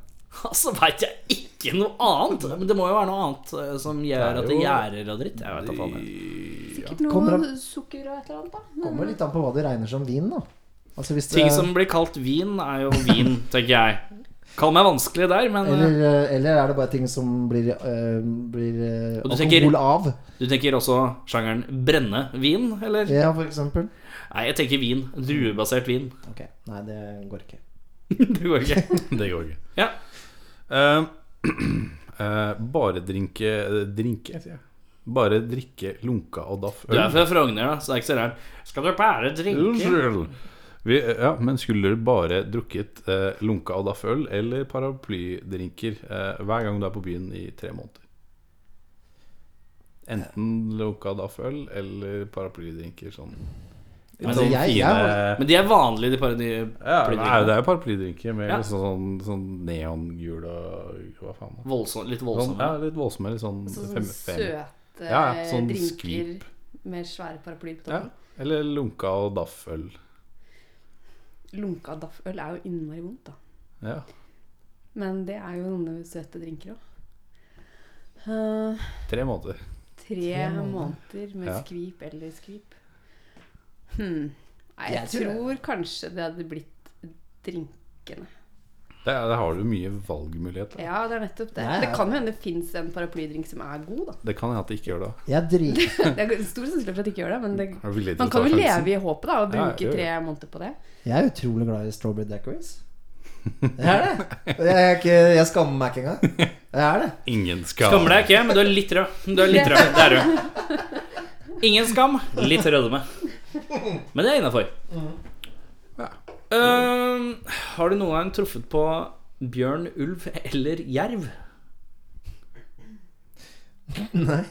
Speaker 2: Altså vet jeg ikke noe annet Men det må jo være noe annet eh, som gjør
Speaker 3: Det er
Speaker 2: at det
Speaker 3: jo-
Speaker 2: gjærer og dritt Jeg vet da faen jeg.
Speaker 4: Sikkert noe
Speaker 5: Kommer det-
Speaker 4: sukker og et eller annet, da.
Speaker 5: Kommer litt an på hva du regner som vin, da. Altså hvis det,
Speaker 2: Ting som blir kalt vin er jo vin, tenker jeg Kall meg vanskelig der, men eh,
Speaker 5: eller, eh, eller er det bare ting som blir, eh, blir eh,
Speaker 2: Og
Speaker 5: alkohol
Speaker 2: du tenker-
Speaker 5: av?
Speaker 2: Du tenker også sjangeren brennevin, eller?
Speaker 5: Ja, for eksempel.
Speaker 2: Nei, jeg tenker vin. Druebasert vin.
Speaker 5: Ok, Nei, det går ikke.
Speaker 2: Det går ikke.
Speaker 3: Det går ikke.
Speaker 2: Ja.
Speaker 3: Eh, eh, bare drinke eh, Drinke, sier jeg. Bare drikke lunka og daff.
Speaker 2: Du er fra Frogner, da, så det er ikke så rart. Skal du bare drinke?
Speaker 3: Unnskyld. Vi, ja, men skulle du bare drukket eh, lunka og daff-øl eller paraplydrinker eh, hver gang du er på byen i tre måneder? Enten lunka og daff-øl eller paraplydrinker sånn Litt
Speaker 2: Men
Speaker 3: sånn
Speaker 5: Altså, jeg- jeg
Speaker 3: fine
Speaker 5: var-
Speaker 2: Men de er vanlige, de parodiene.
Speaker 3: ja, det er jo- det er jo paraplydrinker med
Speaker 2: Ja.
Speaker 3: sånn, sånn neongul og hva faen. da.
Speaker 2: Voldsom, litt
Speaker 3: Sånn,
Speaker 2: voldsomme.
Speaker 3: ja, litt voldsomme. Litt sånn
Speaker 4: Sånn,
Speaker 3: fem-
Speaker 4: sånn
Speaker 3: fem-
Speaker 4: søte
Speaker 3: Ja, ja, sånn
Speaker 4: drinker
Speaker 3: skvip.
Speaker 4: med svære paraplyer på
Speaker 3: Ja,
Speaker 4: toppen.
Speaker 3: eller lunka og dafføl.
Speaker 4: Lunka dafføl er jo innmari vondt, da.
Speaker 3: Ja.
Speaker 4: Men det er jo noen søte drinker Eh, òg.
Speaker 3: Tre måneder.
Speaker 4: tre måneder med
Speaker 3: Ja.
Speaker 4: skvip eller skvip. Hmm. Nei, jeg,
Speaker 5: Jeg tror
Speaker 4: tror kanskje det hadde blitt drinkene.
Speaker 3: Det, er- der har du mye valgmuligheter.
Speaker 4: Ja, det er nettopp det.
Speaker 5: Nei,
Speaker 4: Det
Speaker 5: ja.
Speaker 4: kan jo hende det fins en paraplydrink som er god, da.
Speaker 3: Det kan hende at det ikke gjør det.
Speaker 5: Jeg driter
Speaker 4: Det er stor sannsynlighet for at de ikke gjør det, men det,
Speaker 3: Er du villig til
Speaker 4: man
Speaker 3: å
Speaker 4: kan
Speaker 3: ta
Speaker 4: jo
Speaker 3: sjansen?
Speaker 4: leve i håpet da, og
Speaker 3: Ja,
Speaker 4: bruke
Speaker 3: jo, jo.
Speaker 4: tre måneder på det.
Speaker 5: Jeg er utrolig glad i strawberry daiquiris. Jeg er det. Jeg, er ikke, jeg skammer meg ikke engang. Jeg er det.
Speaker 3: Ingen skal
Speaker 2: Skammer deg ikke, men du er litt rød. Du er litt rød, det er du. Ingen skam, litt rødme. Men det er innafor.
Speaker 3: Ja.
Speaker 2: har du noen gang truffet på bjørn, ulv eller jerv?
Speaker 5: Nei.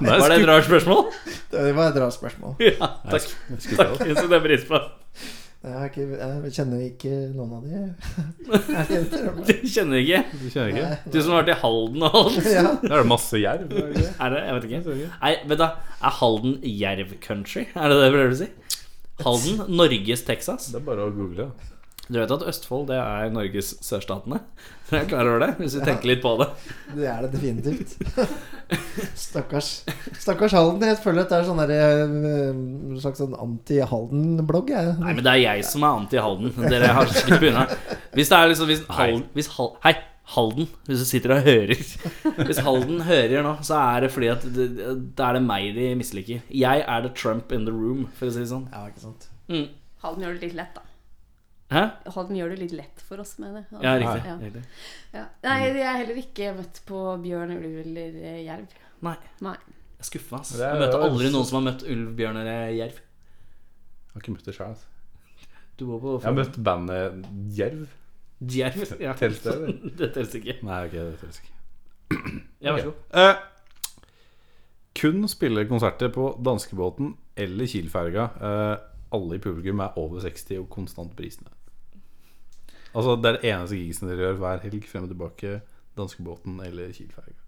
Speaker 3: Nei,
Speaker 2: Var det et rart spørsmål?
Speaker 5: Det var et rart spørsmål.
Speaker 2: Ja, takk.
Speaker 3: skulle
Speaker 2: takk. Jeg setter pris på
Speaker 5: Jeg, er ikke, jeg kjenner ikke noen av de. Er det et rart-
Speaker 2: det. Kjenner ikke.
Speaker 3: Du kjenner ikke?
Speaker 2: Du som har vært i Halden og alt.
Speaker 5: Ja.
Speaker 3: Da er det masse jerv. er det ikke?
Speaker 2: Er det? Jeg vet ikke.
Speaker 3: Sorry.
Speaker 2: Nei, vet du, er Halden jerv country? Er det det jeg prøver å si? Halden, Norges Texas.
Speaker 3: Det er bare å google. da.
Speaker 2: Du vet at Østfold det er Norges sørstatene? Dere er klar over det? Hvis vi tenker litt på det.
Speaker 5: Det er det definitivt. Stakkars Stakkars Halden. Jeg føler at det er sånn der, eh, en slags sånn anti-Halden-blogg. jeg.
Speaker 2: Nei, men det er jeg som er anti-Halden. Dere har sluppet unna. Hvis det er liksom hvis Halden, hvis Hal, Hei, Halden. Hvis du sitter og hører Hvis Halden hører nå, så er det fordi at det, Da er det meg de misliker. Jeg er the Trump in the room, for å si det sånn.
Speaker 5: Ja, ikke sant.
Speaker 4: Halden gjør det litt lett, da.
Speaker 2: Hæ?
Speaker 4: Halden gjør det litt lett for oss, mener jeg.
Speaker 2: Ja, riktig.
Speaker 4: Ja.
Speaker 2: riktig.
Speaker 4: Ja. Nei, jeg er heller ikke møtt på bjørn, ulv eller eh, jerv.
Speaker 2: Nei,
Speaker 4: Nei.
Speaker 2: jeg er skuffa. ass.
Speaker 3: Det er-
Speaker 2: Jeg møter aldri noen som har møtt ulv, bjørn eller jerv.
Speaker 3: Jeg har ikke møtt det sjøl. Altså.
Speaker 2: Du går på
Speaker 3: Jeg har møtt bandet Jerv.
Speaker 2: jerv. Ja.
Speaker 3: Telles det, eller?
Speaker 2: Det telles ikke.
Speaker 3: Nei, ok, det telles ikke.
Speaker 2: Ja, vær så god.
Speaker 3: Eh, kun spille konserter på danskebåten eller Kielferga. Eh, alle i publikum er over 60 og konstant prisende. Altså, det er det eneste gigsen dere gjør hver helg frem og tilbake. Danskebåten eller Kielferga.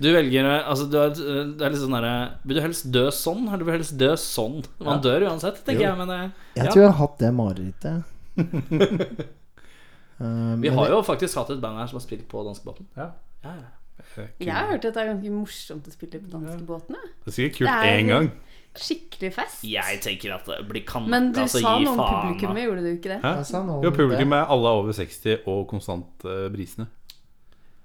Speaker 2: Du velger altså, du er, Det er litt sånn derre Vil du helst dø sånn, eller vil du helst dø sånn? Man dør uansett, tenker
Speaker 3: Jo.
Speaker 2: jeg, men eh,
Speaker 5: Jeg
Speaker 2: Ja.
Speaker 5: tror jeg har hatt det marerittet. Eh,
Speaker 2: vi
Speaker 5: men
Speaker 2: har jo faktisk hatt et band her som har spilt på danskebåten.
Speaker 3: Ja.
Speaker 2: Ja, ja.
Speaker 4: Jeg har hørt at det er ganske morsomt å spille på danskebåtene.
Speaker 3: Eh, Det er sikkert kult
Speaker 4: Det er-
Speaker 3: én gang.
Speaker 4: Skikkelig fest.
Speaker 2: Jeg tenker at det blir kan
Speaker 4: Men du
Speaker 2: altså,
Speaker 4: sa
Speaker 2: gi
Speaker 4: noe om
Speaker 2: faen, da.
Speaker 4: publikummet, gjorde du ikke det?
Speaker 3: Hæ?
Speaker 5: Jeg sa noe om
Speaker 3: Jo, publikum er alle over 60 og konstant eh, brisende.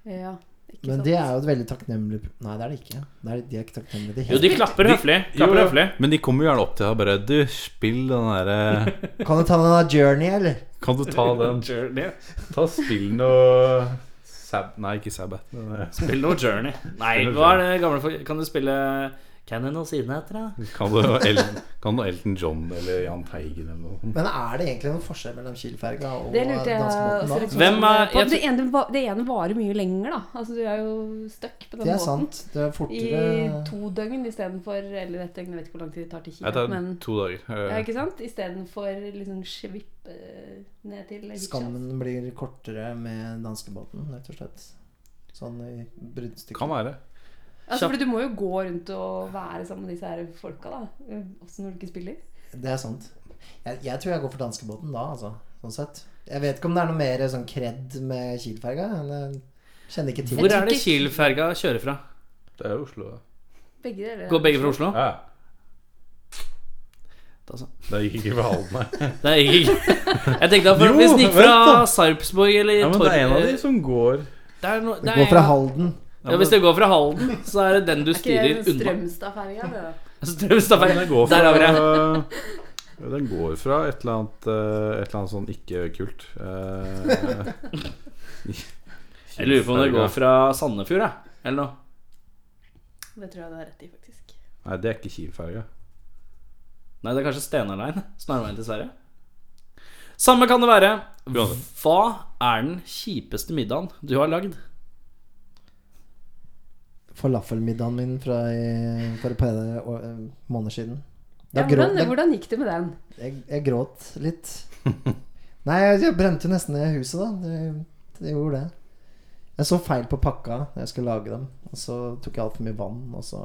Speaker 4: Ja, ikke
Speaker 5: Men
Speaker 4: sant?
Speaker 5: det er jo et veldig takknemlig Nei, det er det ikke. Det er, de er ikke takknemlige. i det
Speaker 2: Jo,
Speaker 5: hele
Speaker 2: de klapper høflig. Klapper
Speaker 3: Jo, jo.
Speaker 2: høflig.
Speaker 3: Men de kommer jo gjerne opp til deg og bare Du, spill den eh, derre
Speaker 5: tatt. Kan du ta den av Journey, eller?
Speaker 3: Kan du ta den
Speaker 2: Journey.
Speaker 3: Ta spill noe Sab... Nei, ikke Sabbath. men, eh,
Speaker 2: Spill noe Journey. Nei,
Speaker 3: Spill noe
Speaker 2: hva er det gamle for Kan du spille Cannon og siden etter, da?
Speaker 3: Kan du Elton, kan du Elton John eller Jahn Teigen eller noe sånt?
Speaker 5: Men er det egentlig noen forskjell mellom Kielferga og
Speaker 4: Det lurte jeg også
Speaker 5: danskebåten?
Speaker 4: litt
Speaker 5: da?
Speaker 2: Hvem er-
Speaker 4: på.
Speaker 2: jeg
Speaker 4: Det ene, va- det ene varer mye lenger, da. Altså, du er jo stuck på den
Speaker 5: Det er
Speaker 4: båten
Speaker 5: sant. Det er
Speaker 4: i
Speaker 5: fortere
Speaker 4: to døgn istedenfor Eller ett døgn, jeg vet ikke hvor lang tid det tar til
Speaker 3: Jeg
Speaker 4: Kina.
Speaker 3: tar
Speaker 4: Men,
Speaker 3: to dager. eh,
Speaker 4: ja, ikke sant? Istedenfor liksom svipp eh, ned til Hitchhals.
Speaker 5: Skammen blir kortere med danskebåten, rett og slett. Sånn i
Speaker 3: Eh, Kan
Speaker 5: bruddstykket.
Speaker 3: være.
Speaker 4: Altså, fordi du må jo gå rundt og være sammen med disse her folka, da. eh, Også når du ikke spiller.
Speaker 5: Det er sant. Jeg, jeg tror jeg går for danskebåten da, altså. Sånn sett. Jeg vet ikke om det er noe mer sånn kred med Kielferga. men Jeg kjenner ikke til
Speaker 2: Hvor
Speaker 5: det.
Speaker 2: er det Kiel-ferga kjører fra?
Speaker 3: Det er jo Oslo, da.
Speaker 4: Begge deler.
Speaker 2: Går begge fra Oslo?
Speaker 3: Ja.
Speaker 2: Da så.
Speaker 3: Det gikk ikke for Halden, nei.
Speaker 2: Det er ikke Jeg tenkte at
Speaker 3: Jo,
Speaker 2: hvis den gikk
Speaker 3: vent
Speaker 2: fra
Speaker 3: da.
Speaker 2: Sarpsborg eller
Speaker 3: Ja, men det er en av de
Speaker 2: Torv
Speaker 3: som går
Speaker 2: Det er noe- det
Speaker 5: Gå
Speaker 2: er
Speaker 5: fra
Speaker 2: en-
Speaker 5: Halden.
Speaker 2: Ja, Hvis det går fra Halden, så er det den du
Speaker 4: Ikke
Speaker 2: styrer
Speaker 4: den
Speaker 2: unna.
Speaker 4: Strømstad-ferga, det da.
Speaker 2: Strømstad
Speaker 3: Den
Speaker 2: ferge.
Speaker 3: går
Speaker 2: Der
Speaker 3: fra
Speaker 2: har vi det.
Speaker 3: Ja, Den går fra et eller annet eh, Et eller annet sånn ikke-kult. eh,
Speaker 2: Jeg lurer på om det går fra Sandefjord, jeg. Eller noe.
Speaker 4: Det tror jeg du har rett i, faktisk.
Speaker 3: Nei, det er ikke Kielferga.
Speaker 2: Nei, det er kanskje Stenarein. Snarveien til Sverige. Samme kan det være. Hva er den kjipeste middagen du har lagd?
Speaker 5: falafelmiddagen min fra i, for et par eh, år- måneder siden. Da
Speaker 4: Ja,
Speaker 5: grå-
Speaker 4: hvordan,
Speaker 5: da-
Speaker 4: hvordan gikk det med den?
Speaker 5: jeg, jeg gråt litt. Nei, jeg, jeg brente jo nesten ned huset, da. Det, det gjorde det. Jeg så feil på pakka da jeg skulle lage dem. Og så tok jeg altfor mye vann, og så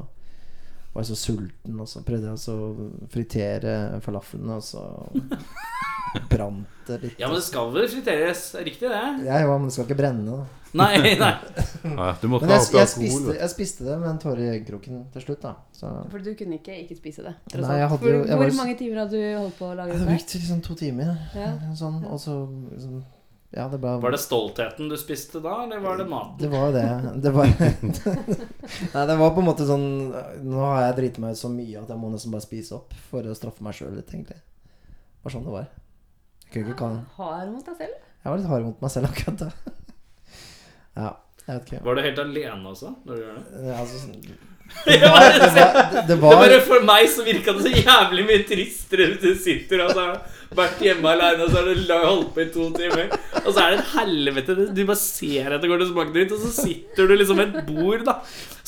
Speaker 5: var jeg så sulten, og så prøvde jeg også å fritere falaflene, og så brant det litt.
Speaker 2: Ja, men det skal vel friteres? Er Riktig, det?
Speaker 5: Ja, jo, men det skal ikke brenne, da.
Speaker 2: Nei, nei.
Speaker 3: Ah, Ja, du måtte
Speaker 5: Mm. Men
Speaker 3: ha
Speaker 5: jeg,
Speaker 3: oppi
Speaker 5: jeg,
Speaker 3: alkohol.
Speaker 5: spiste,
Speaker 3: vet du.
Speaker 5: jeg spiste det med en tåre i øyekroken til slutt, da. Så
Speaker 4: For du kunne ikke ikke spise det. tross
Speaker 5: Nei, jeg
Speaker 4: alt.
Speaker 5: hadde jo-
Speaker 4: Hvor-
Speaker 5: jeg var
Speaker 4: Hvor
Speaker 5: jo s-
Speaker 4: mange timer hadde du holdt på å lage
Speaker 5: det
Speaker 4: dette?
Speaker 5: brukte liksom to timer,
Speaker 4: Ja.
Speaker 5: sånn, og så liksom, Ja, det ble
Speaker 2: Var det stoltheten du spiste da, eller var det maten?
Speaker 5: Det var jo det. det var, nei, det var på en måte sånn Nå har jeg driti meg ut så mye at jeg må nesten bare spise opp for å straffe meg sjøl litt, egentlig. Det var sånn det var. Jeg, kunne ikke kalle,
Speaker 4: Hard mot deg selv?
Speaker 5: jeg var litt hard mot meg selv akkurat da. Ja, jeg vet ikke.
Speaker 2: Var du helt alene også når du gjør det?
Speaker 5: Ja, Altså, sånn-
Speaker 2: Det var,
Speaker 5: det var, det
Speaker 2: det
Speaker 5: var
Speaker 2: bare For meg så virka det så jævlig mye tristere hvis du sitter og så har du vært hjemme aleine, og så har du la- holdt på i to timer, og så er det et helvete. det- Du bare ser etter går det smaker dritt, og så sitter du liksom ved et bord da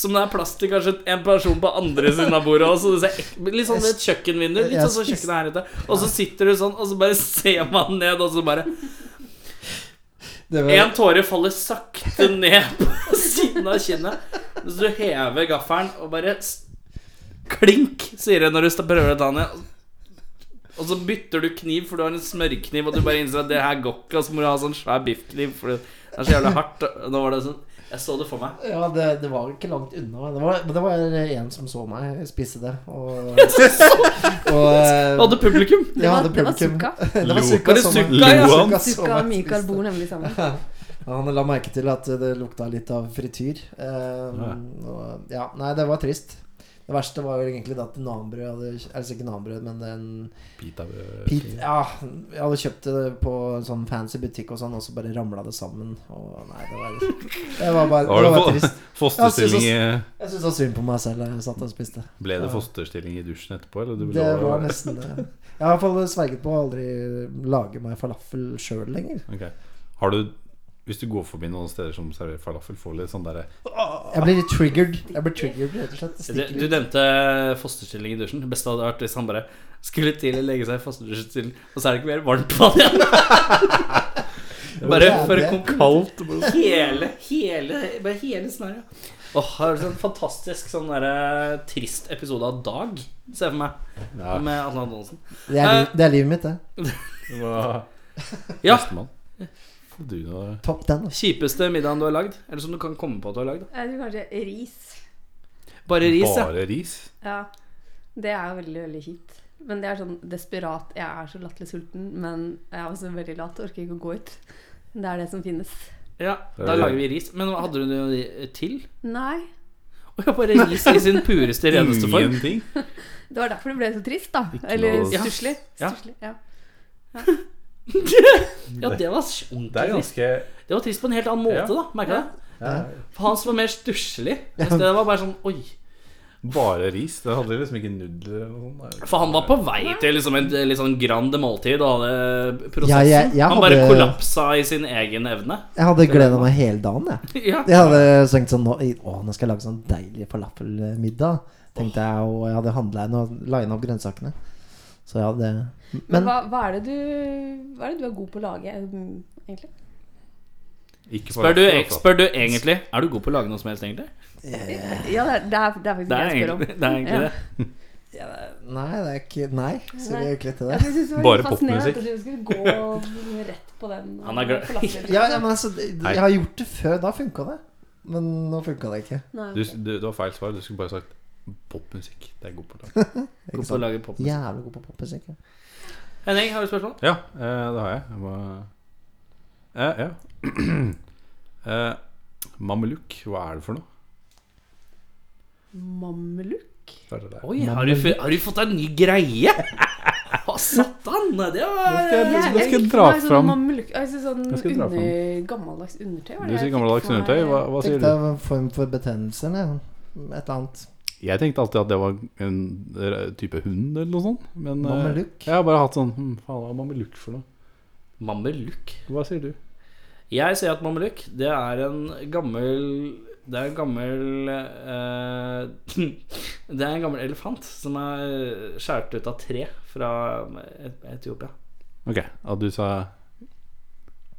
Speaker 2: som det er plass til kanskje en person på andre siden av bordet. Og så det ser ek- litt sånn ved et kjøkkenvindu, litt sånn som kjøkkenet her ute. Og så sitter du sånn, og så bare ser man ned, og så bare
Speaker 5: det var,
Speaker 2: En tåre faller sakte ned på siden av kinnet. Så du hever gaffelen og bare s- klink, sier det når du sta- prøver å ta den ned. Og så bytter du kniv, for du har en smørkniv, og du bare innser at det her går ikke. Og så må du ha sånn svær biffkniv, for det er så jævlig hardt. Og Nå var det sånn Jeg så det for meg.
Speaker 5: ja det, det var ikke langt unna. Det var, men det var en som så meg spise det, og, og eh,
Speaker 2: Hadde publikum.
Speaker 5: jeg hadde
Speaker 4: det var
Speaker 5: publikum.
Speaker 4: Sukka.
Speaker 5: Det var
Speaker 3: Lo-
Speaker 5: Sukka
Speaker 2: Var det
Speaker 5: som meg-
Speaker 2: Sukka, ja?
Speaker 5: Sukka som
Speaker 4: Sukka og
Speaker 5: meg
Speaker 4: Mikael
Speaker 5: spiste.
Speaker 4: bor nemlig sammen.
Speaker 5: Han la merke til at det lukta litt av frityr. Eh, og, ja, nei, det var trist. Det verste var jo egentlig da at nanbrød hadde Altså ikke nanbrød, men den
Speaker 3: Bit av, eh,
Speaker 5: pit, Ja, jeg hadde kjøpt det på en sånn fancy butikk og sånn, og så bare ramla det sammen. Og nei, det var, det var bare
Speaker 3: Har du
Speaker 5: det var
Speaker 3: fått-
Speaker 5: trist.
Speaker 3: Fosterstilling i
Speaker 5: Jeg syntes det var synd på meg selv da jeg satt og spiste.
Speaker 3: Ble det fosterstilling i dusjen etterpå, eller? Du
Speaker 5: Det var nesten det. Jeg har i hvert fall sverget på å aldri lage meg falafel sjøl lenger.
Speaker 3: Ok. Har du Hvis du går forbi noen steder som serverer falafel, får du litt sånn derre
Speaker 5: Jeg blir litt triggered. Jeg blir triggered, rett og slett. Det stikker
Speaker 2: Du, du
Speaker 5: litt.
Speaker 2: nevnte fosterstilling i dusjen. Det beste hadde vært hvis han bare skulle til å legge seg i fosterstilling, og så er det ikke mer varmt vann igjen. Bare for å komme kaldt. Hele, hele, bare hele scenarioet. Åh, det er en fantastisk sånn derre trist episode av Dag, ser jeg for meg.
Speaker 3: Ja.
Speaker 2: Med Atle Antonsen.
Speaker 5: Det er, liv- det er livet mitt, det.
Speaker 3: det var
Speaker 2: Ja.
Speaker 3: Bestemann. Får Du nå
Speaker 5: Topp den. altså.
Speaker 2: Kjipeste middagen du har lagd? Eller som du kan komme på at du har lagd?
Speaker 4: Jeg tror kanskje ris.
Speaker 2: Bare ris, ja.
Speaker 3: bare ris?
Speaker 4: Ja. Det er jo veldig, veldig kjipt. Men det er sånn desperat Jeg er så latterlig sulten, men jeg er også veldig lat. Orker ikke å gå ut. Det er det som finnes.
Speaker 2: ja. Da lager vi ris. Men hva hadde du noe til?
Speaker 4: Nei.
Speaker 2: Å ja, bare ris i sin pureste, reneste form.
Speaker 3: Ingenting?
Speaker 4: Det var derfor det ble så trist, da.
Speaker 3: Ikke
Speaker 4: Eller
Speaker 3: noe-
Speaker 4: stusslig.
Speaker 2: Ja.
Speaker 4: Stusslig, Ja.
Speaker 2: Ja, det var ordentlig
Speaker 3: Det er
Speaker 2: trist.
Speaker 3: ganske
Speaker 2: Det var trist på en helt annen måte,
Speaker 3: Ja.
Speaker 2: da. Merka det? For han som var mer stusslig.
Speaker 5: Ja.
Speaker 2: Det var bare sånn Oi.
Speaker 3: Bare ris? Det hadde liksom ikke nudler eller noe sånt?
Speaker 2: For han var på vei til liksom en litt sånn grande måltid og hadde prosessen.
Speaker 5: Ja, jeg- jeg
Speaker 2: han bare
Speaker 5: hadde-
Speaker 2: kollapsa i sin egen evne.
Speaker 5: Jeg hadde gleda meg hele dagen, jeg.
Speaker 2: Ja.
Speaker 5: Jeg hadde tenkt sånn Å, nå skal jeg lage sånn deilig falafelmiddag. Tenkte jeg, og jeg hadde handla inn og lina opp grønnsakene. Så jeg hadde
Speaker 4: Men,
Speaker 5: Men
Speaker 4: hva, hva, er det du, hva er det du er god på å lage, mm, egentlig?
Speaker 3: Ikke
Speaker 2: Spør du,
Speaker 3: falafel, altså.
Speaker 2: spør du egentlig Er du god på å lage noe som helst, egentlig?
Speaker 4: Eh, Ja, det er, det er, det er
Speaker 2: Det
Speaker 4: faktisk det
Speaker 2: er
Speaker 4: jeg spør om.
Speaker 2: egentlig det. Er egentlig
Speaker 4: Ja.
Speaker 2: det.
Speaker 5: nei, det er ikke Nei, sier vi egentlig
Speaker 4: Ja,
Speaker 5: til det.
Speaker 4: men jeg synes det var
Speaker 3: Bare
Speaker 4: litt
Speaker 3: popmusikk.
Speaker 4: fascinerende at Du skulle gå rett på den. eh,
Speaker 2: Han er glad-
Speaker 4: forlatte-
Speaker 5: Ja, ja, men altså, det- jeg har gjort det før. Da funka det. Men nå funka det ikke.
Speaker 4: Nei,
Speaker 3: Du,
Speaker 4: ok.
Speaker 3: du, du har feil svar. Du skulle bare sagt popmusikk. Det er god på lag.
Speaker 2: God på å lage popmusikk.
Speaker 5: Jævlig god på popmusikk. jeg.
Speaker 2: Henning, har du spørsmål?
Speaker 3: Ja, eh, det har jeg. jeg må... eh, ja. eh, Mameluk, hva er det for noe?
Speaker 4: Mameluk?
Speaker 3: Det er det der.
Speaker 2: Oi, har du, fu- har du fått deg en ny greie? Å, satan! Det var
Speaker 3: skal jeg- nå skal jeg
Speaker 4: gikk
Speaker 3: dra
Speaker 4: for meg sånn
Speaker 3: fram-
Speaker 4: Mameluk, altså sånn
Speaker 3: Nå skal jeg dra
Speaker 4: under, gammeldags undertøy? var det
Speaker 3: Du
Speaker 4: jeg
Speaker 3: sier
Speaker 4: fikk
Speaker 3: gammeldags
Speaker 4: for meg.
Speaker 3: undertøy. Hva, hva sier
Speaker 5: Tenkte
Speaker 3: du?
Speaker 5: jeg en form for betennelse eller et eller annet.
Speaker 3: Jeg tenkte alltid at det var en r- type hund eller noe sånt. Men eh,
Speaker 5: Mameluk?
Speaker 3: jeg har bare hatt sånn hm, Faen, hva er mameluk for noe?
Speaker 2: Mameluk.
Speaker 3: Hva sier du?
Speaker 2: Jeg sier at mameluk, det er en gammel Det er en gammel eh, Det er en gammel elefant som er skåret ut av tre fra Et- Etiopia.
Speaker 3: Ok, og du sa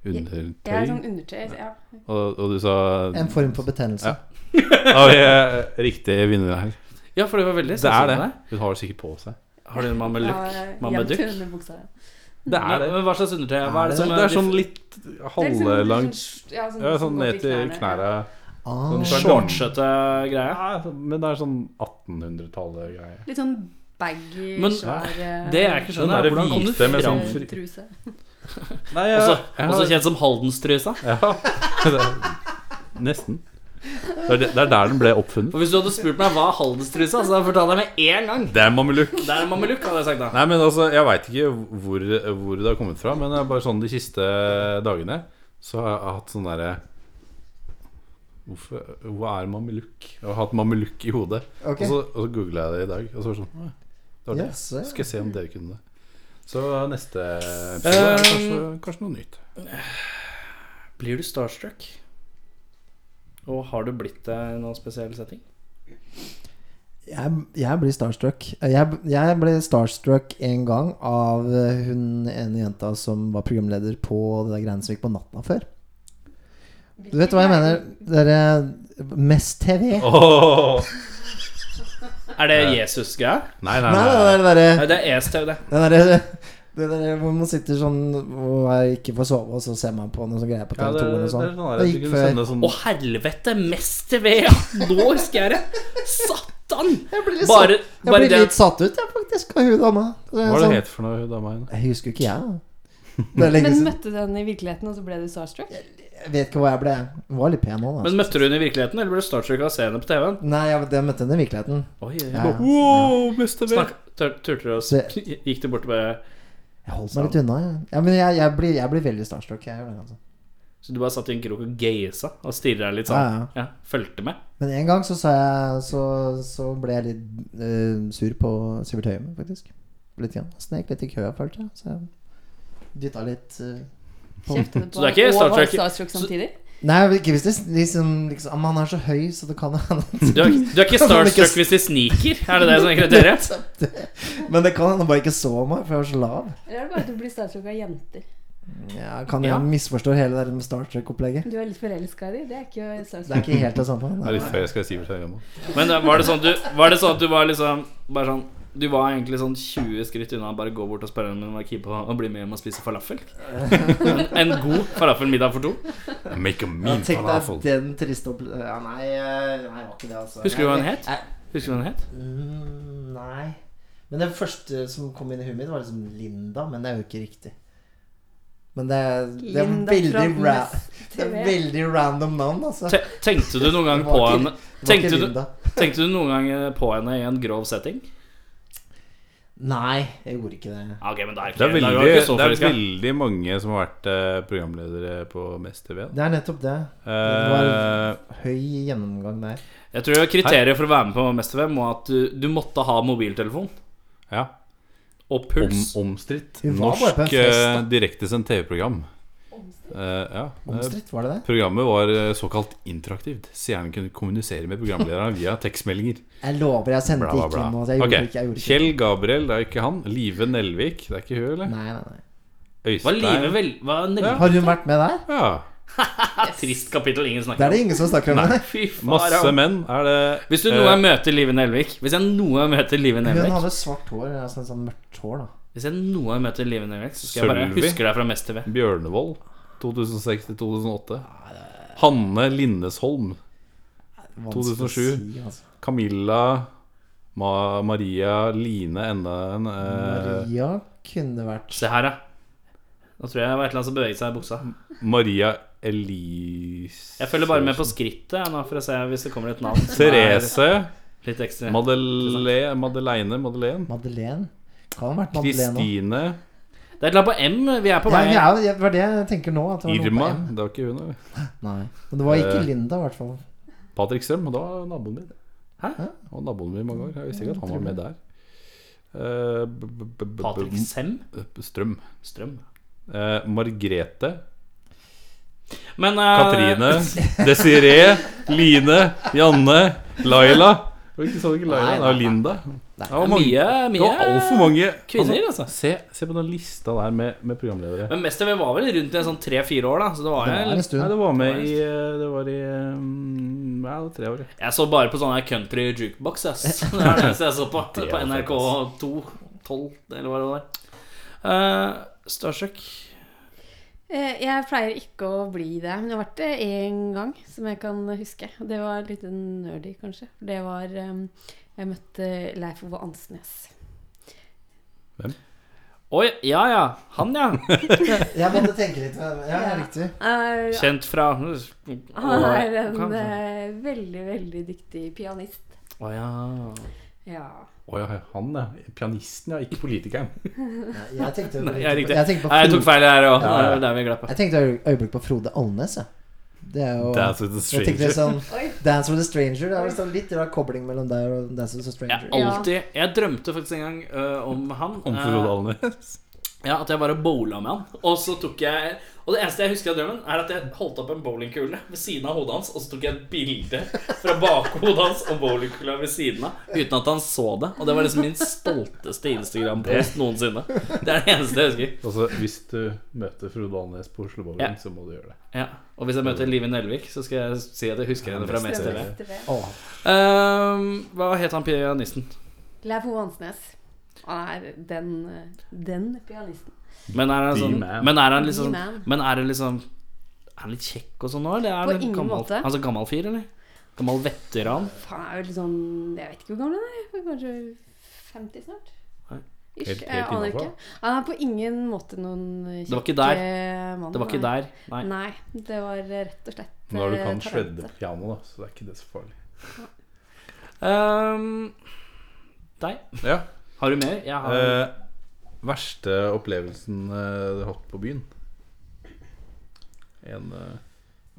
Speaker 4: Jeg er sånn
Speaker 3: undertøy?
Speaker 4: undertøy. Ja.
Speaker 3: Og, og du sa
Speaker 5: En form for betennelse.
Speaker 3: Ja. Oi, eh, riktig vinner her.
Speaker 2: Ja, for det var veldig
Speaker 3: Det er det.
Speaker 2: sensomt
Speaker 3: Hun har det sikkert på seg.
Speaker 2: Har du en mamelukk?
Speaker 4: Ja,
Speaker 2: Mameduck?
Speaker 4: jevnt under buksa, ja.
Speaker 3: Det er det.
Speaker 2: Men hva slags undertøy? Hva er det som
Speaker 3: Det er sånn litt
Speaker 4: Det er liksom
Speaker 3: halvlangt
Speaker 4: sånn- Ja, sånn,
Speaker 3: ja, Sånn
Speaker 4: som går
Speaker 3: ned til
Speaker 4: knærne.
Speaker 3: knærne.
Speaker 5: Ah,
Speaker 3: Sånn
Speaker 2: shortsete greie?
Speaker 3: Ja, men det er sånn 1800-tallet greie.
Speaker 4: Litt sånn baggy,
Speaker 2: Men-
Speaker 4: svær eh,
Speaker 2: Det jeg ikke
Speaker 3: Den
Speaker 2: skjønner,
Speaker 3: der
Speaker 2: er hvordan kom du
Speaker 3: hvite med
Speaker 2: fram
Speaker 3: sånn fri-
Speaker 4: truse.
Speaker 3: Nei,
Speaker 2: Også,
Speaker 3: jeg-
Speaker 2: også kjent som Haldenstrøsa.
Speaker 3: Ja. Det er- Nesten. Det er, det det er der den ble oppfunnet.
Speaker 2: Og hvis du hadde spurt meg hva er Haldenstrøsa, så hadde jeg fortalt deg med en gang.
Speaker 3: Det er mamelukk.
Speaker 2: Det er en mamelukk, hadde jeg sagt da.
Speaker 3: Nei, men altså, jeg veit ikke hvor, hvor det har kommet fra, men det er bare sånn de siste dagene så har jeg hatt sånn derre Hvorfor Hva er mamelukk? Jeg har hatt mamelukk i hodet.
Speaker 5: ok.
Speaker 3: Og så, og så googla jeg det i dag, og så var det sånn «Å, det var det.
Speaker 5: Yes, ja.
Speaker 3: Så skal jeg se om dere kunne det. Så neste episode er
Speaker 5: Ehm.
Speaker 3: det kanskje, kanskje noe nytt.
Speaker 2: Blir du starstruck? Og har du blitt det i noen spesiell setting?
Speaker 5: Jeg, jeg blir starstruck. Jeg, jeg ble starstruck en gang av eh, hun ene jenta som var programleder på det der greiene som gikk på natta før. Du vet hva jeg mener? eh, Dere Mest TV.
Speaker 3: Åh!
Speaker 2: Er
Speaker 5: Eh.
Speaker 2: det Jesus-greia?
Speaker 3: Nei, nei,
Speaker 5: Nei, det
Speaker 3: nei.
Speaker 5: er det derre
Speaker 2: Nei, det er ESTV, det.
Speaker 5: Det derre det der hvor man sitter sånn og jeg ikke får sove, og så ser man på noe sånn greier på
Speaker 3: Ja, det,
Speaker 5: TV2 eller
Speaker 3: det er
Speaker 5: sånn.
Speaker 3: sånn der,
Speaker 5: Det
Speaker 3: at du
Speaker 5: gikk
Speaker 3: kunne
Speaker 5: før.
Speaker 3: sende sånn
Speaker 2: Å, helvete! Mest TV, ja! Nå husker jeg det! Satan!
Speaker 5: Jeg blir litt,
Speaker 2: Bare,
Speaker 5: satt, jeg
Speaker 2: bare
Speaker 5: blir
Speaker 2: det
Speaker 5: litt satt ut, jeg, faktisk, av hun dama. Det er
Speaker 3: Hva er det
Speaker 5: sånn-
Speaker 3: het for noe, hun dama? igjen?
Speaker 5: Jeg husker jo ikke, jeg. da. Det er lenge
Speaker 4: Men
Speaker 5: siden.
Speaker 4: møtte du henne i virkeligheten, og så ble du starstruck?
Speaker 5: Jeg vet ikke hva jeg ble. Hun var litt pen òg, da.
Speaker 2: Men møtte du henne i virkeligheten, eller ble du starstruck av å se henne på TV-en?
Speaker 5: Nei, jeg jeg møtte henne i virkeligheten.
Speaker 2: Oi,
Speaker 5: Ja,
Speaker 2: ja.
Speaker 5: ja.
Speaker 3: Wow, mester
Speaker 2: Snakk, tur- turte du å
Speaker 5: Se.
Speaker 2: s- Gikk du bort og bare
Speaker 5: Jeg holdt meg litt unna, jeg. Ja, men jeg, jeg, blir, jeg blir veldig starstruck. Jeg gjør det, altså.
Speaker 2: Så du bare satt i en krok og gaisa og stirra litt
Speaker 5: ja,
Speaker 2: sånn?
Speaker 5: ja.
Speaker 2: Ja, Fulgte med?
Speaker 5: Men en gang så, sa jeg, så, så ble jeg litt eh, sur på Sivert Høyem, faktisk. Litt igjen. Snek litt i køa, følte jeg. Så jeg dytta litt eh, på
Speaker 4: Kjeftet du på
Speaker 2: Så det er ikke
Speaker 4: henne, og var
Speaker 2: starstruck-
Speaker 4: starstruck
Speaker 2: så-
Speaker 4: samtidig?
Speaker 5: Nei, ikke hvis det liksom, liksom ah, men Han er så høy, så det kan hende
Speaker 2: Du er, du er ikke starstruck hvis de sniker? Er det det som er kriteriet?
Speaker 5: Men det kan hende han bare ikke så meg, for jeg var så lav.
Speaker 4: Eller er det bare at du blir starstruck av jenter?
Speaker 5: Ja, kan
Speaker 2: Ja.
Speaker 5: jeg misforstå hele det der med Star Trek-opplegget?
Speaker 4: Du er litt forelska i dem, det er ikke
Speaker 5: Det er
Speaker 4: starstruck.
Speaker 5: ikke helt det samme.
Speaker 3: Det
Speaker 5: nei.
Speaker 3: er litt før jeg skal si hvor jeg er nå.
Speaker 2: Men eh, var det sånn at du var, det sånn at du var liksom bare sånn du var egentlig sånn 20 skritt unna bare gå bort og spørre om hun var keen på å bli med hjem og spise falafel. En, en god falafelmiddag for to.
Speaker 3: Make a mean
Speaker 5: Jeg tenkte at
Speaker 3: falafel.
Speaker 5: den triste opple... Ja, nei, eh, nei, det var ikke det, altså.
Speaker 2: Husker du hva den het?
Speaker 5: Jeg-
Speaker 2: Husker du hva den het?
Speaker 5: Mm, Nei. Men det første som kom inn i huet mitt, var liksom Linda, men det er jo ikke riktig. Men det er, det er,
Speaker 4: Linda
Speaker 5: veldig,
Speaker 4: fra
Speaker 5: ra
Speaker 4: Mest
Speaker 5: det er
Speaker 4: TV.
Speaker 5: veldig random navn, altså.
Speaker 2: Te- Tenkte du noen gang
Speaker 5: Det
Speaker 2: på
Speaker 5: var ikke-
Speaker 2: henne
Speaker 5: Det var ikke
Speaker 2: tenkte du-
Speaker 5: Linda.
Speaker 2: Tenkte du noen gang eh, på henne i en grov setting?
Speaker 5: Nei, jeg gjorde ikke det.
Speaker 2: Ja, ok, men da er ikke,
Speaker 3: Det er,
Speaker 2: da
Speaker 3: veldig,
Speaker 2: var du ikke så
Speaker 3: det er
Speaker 2: forelska.
Speaker 3: veldig mange som har vært eh, programledere på Mest TV. da.
Speaker 5: Det er nettopp det.
Speaker 3: Eh,
Speaker 5: Høy gjennomgang der.
Speaker 2: Jeg tror kriteriet for å være med på Mestervem var at du, du måtte ha mobiltelefon
Speaker 3: ja.
Speaker 2: og
Speaker 3: Om,
Speaker 2: puls.
Speaker 3: omstridt.
Speaker 5: Hun var bare på en
Speaker 3: Norsk
Speaker 5: fest, da.
Speaker 3: eh, direktesendt TV-program. Eh, ja. Eh,
Speaker 5: Omstridt, var det det?
Speaker 3: Programmet var eh, såkalt interaktivt. Seeren kunne kommunisere med programlederen via tekstmeldinger.
Speaker 5: Jeg lover, jeg sendte
Speaker 3: Bla, bla,
Speaker 5: ikke
Speaker 3: bla.
Speaker 5: noe. altså, Jeg gjorde
Speaker 3: Ok.
Speaker 5: ikke, jeg gjorde ikke.
Speaker 3: Kjell Gabriel, det er ikke han. Live Nelvik, det er ikke hun, eller?
Speaker 5: Nei, nei, nei.
Speaker 2: Var livet
Speaker 3: Øystein.
Speaker 2: vel... Var Nelvik
Speaker 5: Har hun vært med der?
Speaker 3: Ja.
Speaker 2: et trist kapittel ingen
Speaker 5: Det
Speaker 2: snakker
Speaker 5: er
Speaker 2: om?
Speaker 5: det ingen som snakker om. det
Speaker 2: Fy faen.
Speaker 3: Masse menn er det.
Speaker 2: Hvis du
Speaker 3: eh,
Speaker 2: noen gang møter Live Nelvik Hvis jeg noen gang møter Live
Speaker 5: Hun
Speaker 2: Nelvik
Speaker 5: hadde svart hår, altså en sånn mørkt hår, da.
Speaker 2: Hvis jeg noen gang møter Live Nelvik, så skal jeg bare
Speaker 3: Sølvi.
Speaker 2: huske deg fra Mest TV.
Speaker 3: Bjørnevold 2006-2008.
Speaker 5: Ah,
Speaker 3: Hanne Lindesholm.
Speaker 5: Vanskelig å
Speaker 3: 2007.
Speaker 5: si, altså.
Speaker 3: Camilla Ma Maria Line enda en eh,
Speaker 5: Maria kunne vært
Speaker 2: Se her, ja. Nå tror jeg det var et eller annet som beveget seg i buksa.
Speaker 3: Maria Elise
Speaker 2: Jeg følger bare med på skrittet jeg, nå for å se hvis det kommer et navn. som
Speaker 3: Therese.
Speaker 2: er Litt ekstra.
Speaker 3: Madele, Madeleine. Madeleine.
Speaker 5: Madeleine. Kan ha vært Madeleine òg.
Speaker 3: Kristine.
Speaker 2: Det er et eller annet på M. Vi er på
Speaker 5: Ja,
Speaker 2: vei.
Speaker 5: ja, det var det jeg tenker nå. At det var noe på
Speaker 3: Irma.
Speaker 5: M.
Speaker 3: Det var ikke hun. eller?
Speaker 5: Nei. Men det var ikke
Speaker 3: Eh.
Speaker 5: Linda, i hvert fall.
Speaker 3: Patrick Strøm. Det var naboen min.
Speaker 2: Hæ?
Speaker 3: Han var naboen min i mange år. Jeg visste ikke at han var med der. Eh, b- b- b- b-
Speaker 2: Patrick Sem
Speaker 3: Strøm.
Speaker 2: Strøm.
Speaker 3: Eh, Margrete
Speaker 2: Men eh,
Speaker 3: Katrine, Desiree, Line, Janne, Laila Hvorfor sa du ikke Laila? Det
Speaker 5: Nei, nei,
Speaker 3: var
Speaker 5: nei.
Speaker 3: Linda.
Speaker 5: Nei,
Speaker 3: var mange-
Speaker 2: mye-
Speaker 3: Det var
Speaker 2: mye
Speaker 3: altfor mange
Speaker 2: kvinner, altså.
Speaker 3: Se, se på den lista der med, med programledere.
Speaker 2: Men mest av vi var vel rundt i sånn tre-fire år, da. Så det var
Speaker 5: det er
Speaker 2: jeg,
Speaker 5: en
Speaker 3: Nei,
Speaker 5: stund.
Speaker 3: det var med i eh, Det var i um, Ja, det var tre år. ja.
Speaker 2: jeg så bare på sånne country jukebox, ass. Det er det eneste jeg så på. På NRK2 12, eller hva det var. Eh, Starstruck
Speaker 4: Eh, Jeg pleier ikke å bli det, men jeg har vært det én gang som jeg kan huske. Det var litt nerdy, kanskje. Det var em, Jeg møtte Leif Ove Ansnes.
Speaker 2: Oi, ja ja. Han, ja.
Speaker 5: Jeg måtte tenke litt. men- Ja, det er riktig.
Speaker 4: Er-
Speaker 2: Kjent fra Å
Speaker 4: Han er
Speaker 2: Kan-
Speaker 4: en eh, veldig, veldig dyktig pianist.
Speaker 2: ja.
Speaker 4: Ja.
Speaker 3: Å ja, han ja. Pianisten, ja. Ikke politikeren.
Speaker 5: Nei, Jeg tenkte,
Speaker 2: Nei, jeg, er riktig.
Speaker 5: jeg tenkte på
Speaker 2: Nei, jeg tok
Speaker 5: Frode,
Speaker 2: feil her òg.
Speaker 5: Ja,
Speaker 2: Det
Speaker 5: ja.
Speaker 2: er der vi glapp.
Speaker 5: jeg tenkte øye- øyeblikk på Frode Alnes, jeg. Det er jo
Speaker 3: Dance with a
Speaker 5: Jeg tenkte
Speaker 3: stranger.
Speaker 5: litt sånn
Speaker 4: Oi.
Speaker 5: Dance with a Stranger. Det er vel sånn litt rar kobling mellom deg og Dance with a
Speaker 2: Jeg,
Speaker 5: Stranger.
Speaker 4: Ja.
Speaker 2: alltid, jeg drømte faktisk en gang øh, om han.
Speaker 3: Om
Speaker 2: Eh,
Speaker 3: Frode Alnes.
Speaker 2: Ja, At jeg bare bowla med han. Og så tok jeg Og det eneste jeg husker av drømmen, er at jeg holdt opp en bowlingkule ved siden av hodet hans, og så tok jeg et bilde fra bakhodet hans og bowlingkula ved siden av, uten at han så det. Og det var liksom min stolteste Instagram-post noensinne. Det er det eneste jeg husker.
Speaker 3: Altså, hvis du møter Frode Alnes på Oslo Bowling,
Speaker 2: Ja.
Speaker 3: så må du gjøre det.
Speaker 2: Ja. Og hvis jeg møter Live Nelvik, så skal jeg si at jeg husker henne fra Mest TV.
Speaker 3: Stemmer.
Speaker 5: Åh,
Speaker 2: Ehm, hva het han pianisten?
Speaker 4: Leif Ove Ansnes. Han er den, eh, den pianisten.
Speaker 2: Men er han
Speaker 3: The
Speaker 2: sånn
Speaker 3: Man.
Speaker 2: Men er han
Speaker 4: The
Speaker 2: liksom
Speaker 4: Man.
Speaker 2: Men er det liksom Er han litt kjekk og sånn nå, eller er
Speaker 4: På
Speaker 2: han
Speaker 4: ingen
Speaker 2: gammel,
Speaker 4: måte.
Speaker 2: Han er sånn gammel fyr, eller? Gammel veteran?
Speaker 4: Han er jo litt sånn Jeg vet ikke hvor gammel han er. jeg. Kanskje 50 snart?
Speaker 2: Nei.
Speaker 4: Ish,
Speaker 3: Helt- helt
Speaker 4: jeg aner
Speaker 3: innenfor,
Speaker 4: ikke. Han er på ingen måte noen kjekk
Speaker 2: var ikke der.
Speaker 4: eh, mann.
Speaker 2: Det var ikke
Speaker 4: nei.
Speaker 2: der. Nei.
Speaker 4: Nei, det var rett og slett
Speaker 3: Nå har du
Speaker 4: eh,
Speaker 3: kan
Speaker 4: talentet.
Speaker 3: shredde piano, da, så det er ikke det så farlig.
Speaker 2: Ehm, deg?
Speaker 3: Ja.
Speaker 2: Har du mer? Jeg har
Speaker 3: Eh, verste opplevelsen eh, du har hatt på byen? En eh,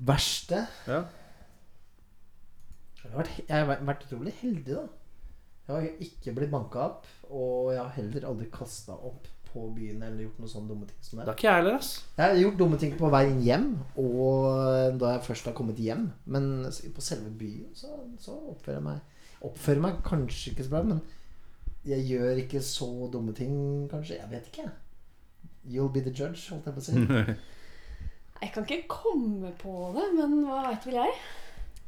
Speaker 5: verste
Speaker 3: Ja.
Speaker 5: Jeg har, vært, jeg har vært utrolig heldig, da. Jeg har jo ikke blitt banka opp, og jeg har heller aldri kasta opp på byen eller gjort noen sånne dumme ting som
Speaker 2: Det
Speaker 5: det.
Speaker 2: har ikke jeg heller, ass.
Speaker 5: Jeg har gjort dumme ting på vei hjem, og eh, da jeg først har kommet hjem. Men på selve byen så, så oppfører jeg meg Oppfører meg kanskje ikke så bra, men jeg gjør ikke så dumme ting, kanskje. Jeg vet ikke. You'll be the judge, holdt jeg på å si.
Speaker 4: Jeg kan ikke komme på det, men hva veit vel jeg?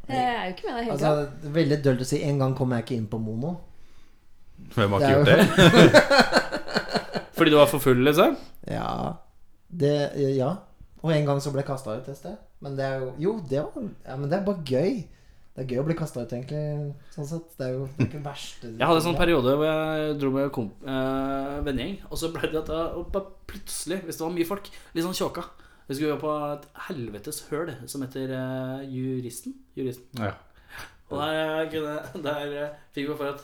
Speaker 4: Jeg er jo ikke med deg hele
Speaker 5: Altså,
Speaker 4: tida.
Speaker 5: det er veldig dølt å si en gang kom jeg ikke inn på Mono.
Speaker 3: Hvem har
Speaker 5: Det
Speaker 3: ikke
Speaker 5: er
Speaker 3: gjort det?
Speaker 2: Fordi du var for full, liksom?
Speaker 5: Ja. Det, ja. Og en gang så ble jeg kasta ut et sted. Men det er jo Jo, det var ja, Men det er bare gøy. Det er gøy å bli kasta ut, egentlig. Sånn sett. Det er jo det er ikke det verste.
Speaker 2: Jeg hadde en sånn periode hvor jeg dro med komp eh, vennegjeng, og så ble det at jeg, og bare plutselig, hvis det var mye folk, litt sånn tjåka. Vi skulle jo på et helvetes høl som heter eh, Juristen. Juristen.
Speaker 3: Ja.
Speaker 2: Og der, eh, kunne, der eh, fikk vi for at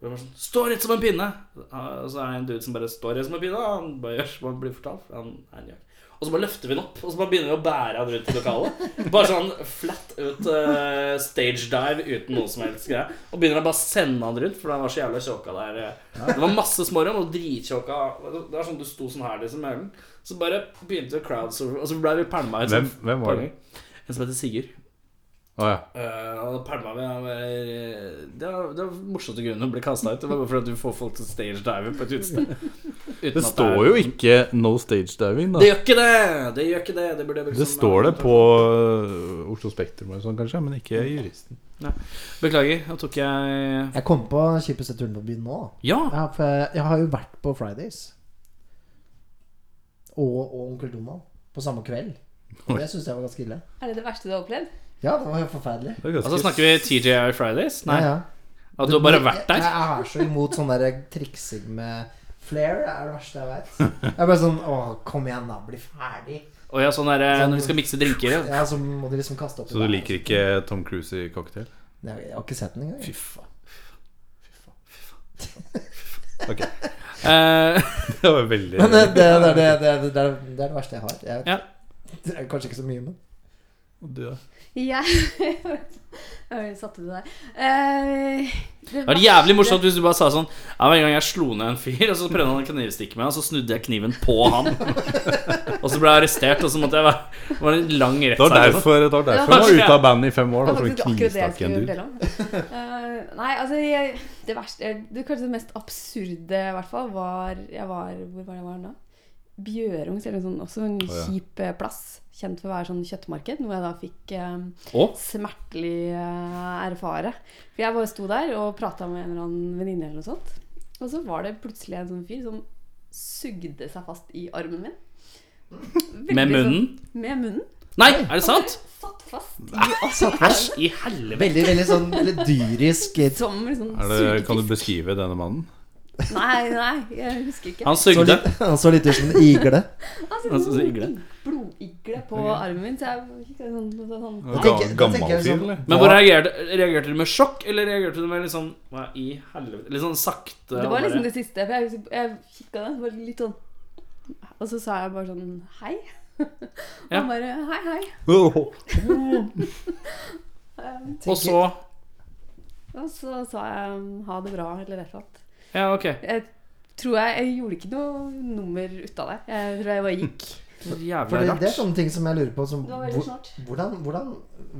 Speaker 2: det var sånn, Stå rett som en pinne! Ja, Og så er det en dude som bare står rett som en pinne. og Han bare gjør som han blir fortalt. for Han er en jævel. Og så bare løfter vi den opp, og så bare begynner vi å bære han rundt i lokalet. Bare sånn flatt ut eh, stage dive uten noe som helst greie. Og begynner han bare å sende han rundt, for han var så jævla tjåka der. eh. Det var masse smårom og drittjåka. Det var sånn du sto sånn her liksom med ølen. Så bare begynte crowdsurfer, og så ble vi pælma ut.
Speaker 3: Hvem,
Speaker 2: som-
Speaker 3: hvem var det?
Speaker 2: En som heter Sigurd.
Speaker 3: Å ja.
Speaker 2: Eh, og da pælma vi han var, eh, Det var, det var morsomste grunnen å bli kasta ut. Det var bare fordi at du får folk til stagedive på et utested. Uten
Speaker 3: Det står jo ikke 'no stage diving',
Speaker 2: Det
Speaker 3: da.
Speaker 2: gjør ikke det! Det gjør ikke det Det, burde jeg liksom- brukt
Speaker 3: Det
Speaker 2: som-
Speaker 3: står det på eh, Oslo Spektrum eller sånn, kanskje, men ikke juristen.
Speaker 2: Beklager, nå tok jeg
Speaker 5: Jeg kom på kjipeste turen på byen nå. da.
Speaker 2: Ja!
Speaker 5: Ja, for jeg, jeg har jo vært på Fridays. Og, og Onkel Donald. På samme kveld. Og det syns jeg var ganske ille.
Speaker 4: Er det det verste du har opplevd?
Speaker 5: Ja, det var helt forferdelig.
Speaker 3: Det er ganske
Speaker 2: Altså snakker vi TJI Fridays? Nei,
Speaker 5: Ja, ja.
Speaker 2: at du har bare vært
Speaker 5: Jeg,
Speaker 2: der?
Speaker 5: jeg er så imot sånn der triksing med Flair er det verste jeg vet. Jeg er bare sånn Å, kom igjen, da. Bli ferdig.
Speaker 2: Og ja, sånn der, eh, når vi skal mikse drinker ja.
Speaker 5: Ja, så må de liksom kaste opp i
Speaker 3: Så du
Speaker 5: været.
Speaker 3: liker ikke Tom Cruise i cocktail?
Speaker 5: Jeg, jeg har ikke sett den engang.
Speaker 2: Eh,
Speaker 3: Det var veldig
Speaker 5: Men det, det, det, er det, det, er- det, er- det er det verste jeg har. Jeg,
Speaker 2: Ja.
Speaker 5: Det er kanskje ikke så mye, men
Speaker 3: Du, da?
Speaker 4: Jeg, Oi, satte du deg? Eh, det
Speaker 2: Det var jævlig morsomt hvis du bare sa sånn Ja, men en gang jeg slo ned en fyr, og så prøvde han å knivstikke meg, og så snudde jeg kniven på han. Og så ble jeg arrestert, og så måtte jeg være Det var en lang
Speaker 3: Det var
Speaker 2: rettssak.
Speaker 3: derfor, det var
Speaker 4: Ja,
Speaker 3: derfor han var
Speaker 2: kanskje.
Speaker 3: ute av bandet i fem år. Da,
Speaker 4: Det var
Speaker 3: for
Speaker 4: faktisk
Speaker 3: han
Speaker 4: akkurat det
Speaker 3: sånn
Speaker 4: jeg
Speaker 3: knivstakk en
Speaker 4: skulle
Speaker 3: dude.
Speaker 4: dele om. Eh, nei, altså jeg, Det verste det, Kanskje det mest absurde, i hvert fall, var Jeg var Hvor var det jeg var da? Bjørung, eller noe sånt. Også en
Speaker 3: ja.
Speaker 4: kjip eh, plass. Kjent for å være sånn kjøttmarked, noe jeg da fikk eh,
Speaker 2: Å?
Speaker 4: smertelig eh, erfare. For jeg bare sto der og prata med en eller annen venninne eller noe sånt. Og så var det plutselig en sånn fyr som sugde seg fast i armen min.
Speaker 2: Med
Speaker 4: Veldig sånn-
Speaker 2: munnen?
Speaker 4: Med munnen.
Speaker 2: Nei, er det sant?
Speaker 4: Satt fast.
Speaker 2: Æsj i helvete.
Speaker 5: Veldig, veldig sånn litt dyrisk eh,
Speaker 4: Som liksom
Speaker 3: Er det, kan du
Speaker 4: sugefisk.
Speaker 3: beskrive denne mannen?
Speaker 4: Nei, nei, jeg husker ikke.
Speaker 2: Han
Speaker 5: så
Speaker 2: sugde.
Speaker 5: litt, Han så litt ut som en igle.
Speaker 4: Han
Speaker 2: han så igle.
Speaker 4: blodigle på armen min. Så jeg gikk sånn, sånn, sånn.
Speaker 5: Da
Speaker 3: Ga-
Speaker 5: tenker- da
Speaker 3: Gammel
Speaker 5: tenker jeg
Speaker 3: fyr,
Speaker 5: sånn-
Speaker 3: eller?
Speaker 2: Men hvor reagerte, reagerte du med sjokk, eller reagerte du med litt sånn Hva i helvete? Litt sånn sakte? og
Speaker 4: Det var
Speaker 2: bare-
Speaker 4: liksom det siste. For jeg, husker- jeg kikka det, var litt sånn Og så sa jeg bare sånn hei. Og
Speaker 2: Ja.
Speaker 4: han bare hei, hei. sånn
Speaker 2: Og så
Speaker 4: Og så sa jeg ha det bra, eller et eller annet.
Speaker 2: Ja, ok.
Speaker 4: Jeg tror jeg, jeg gjorde ikke noe nummer ut av det. Jeg tror jeg bare gikk.
Speaker 2: Så
Speaker 5: For
Speaker 2: Jævla
Speaker 5: det,
Speaker 2: rart.
Speaker 5: det er sånn- sånne ting som jeg lurer på. Som,
Speaker 4: Det var veldig sånn.
Speaker 5: hvor,
Speaker 4: snart.
Speaker 5: hvordan, hvordan,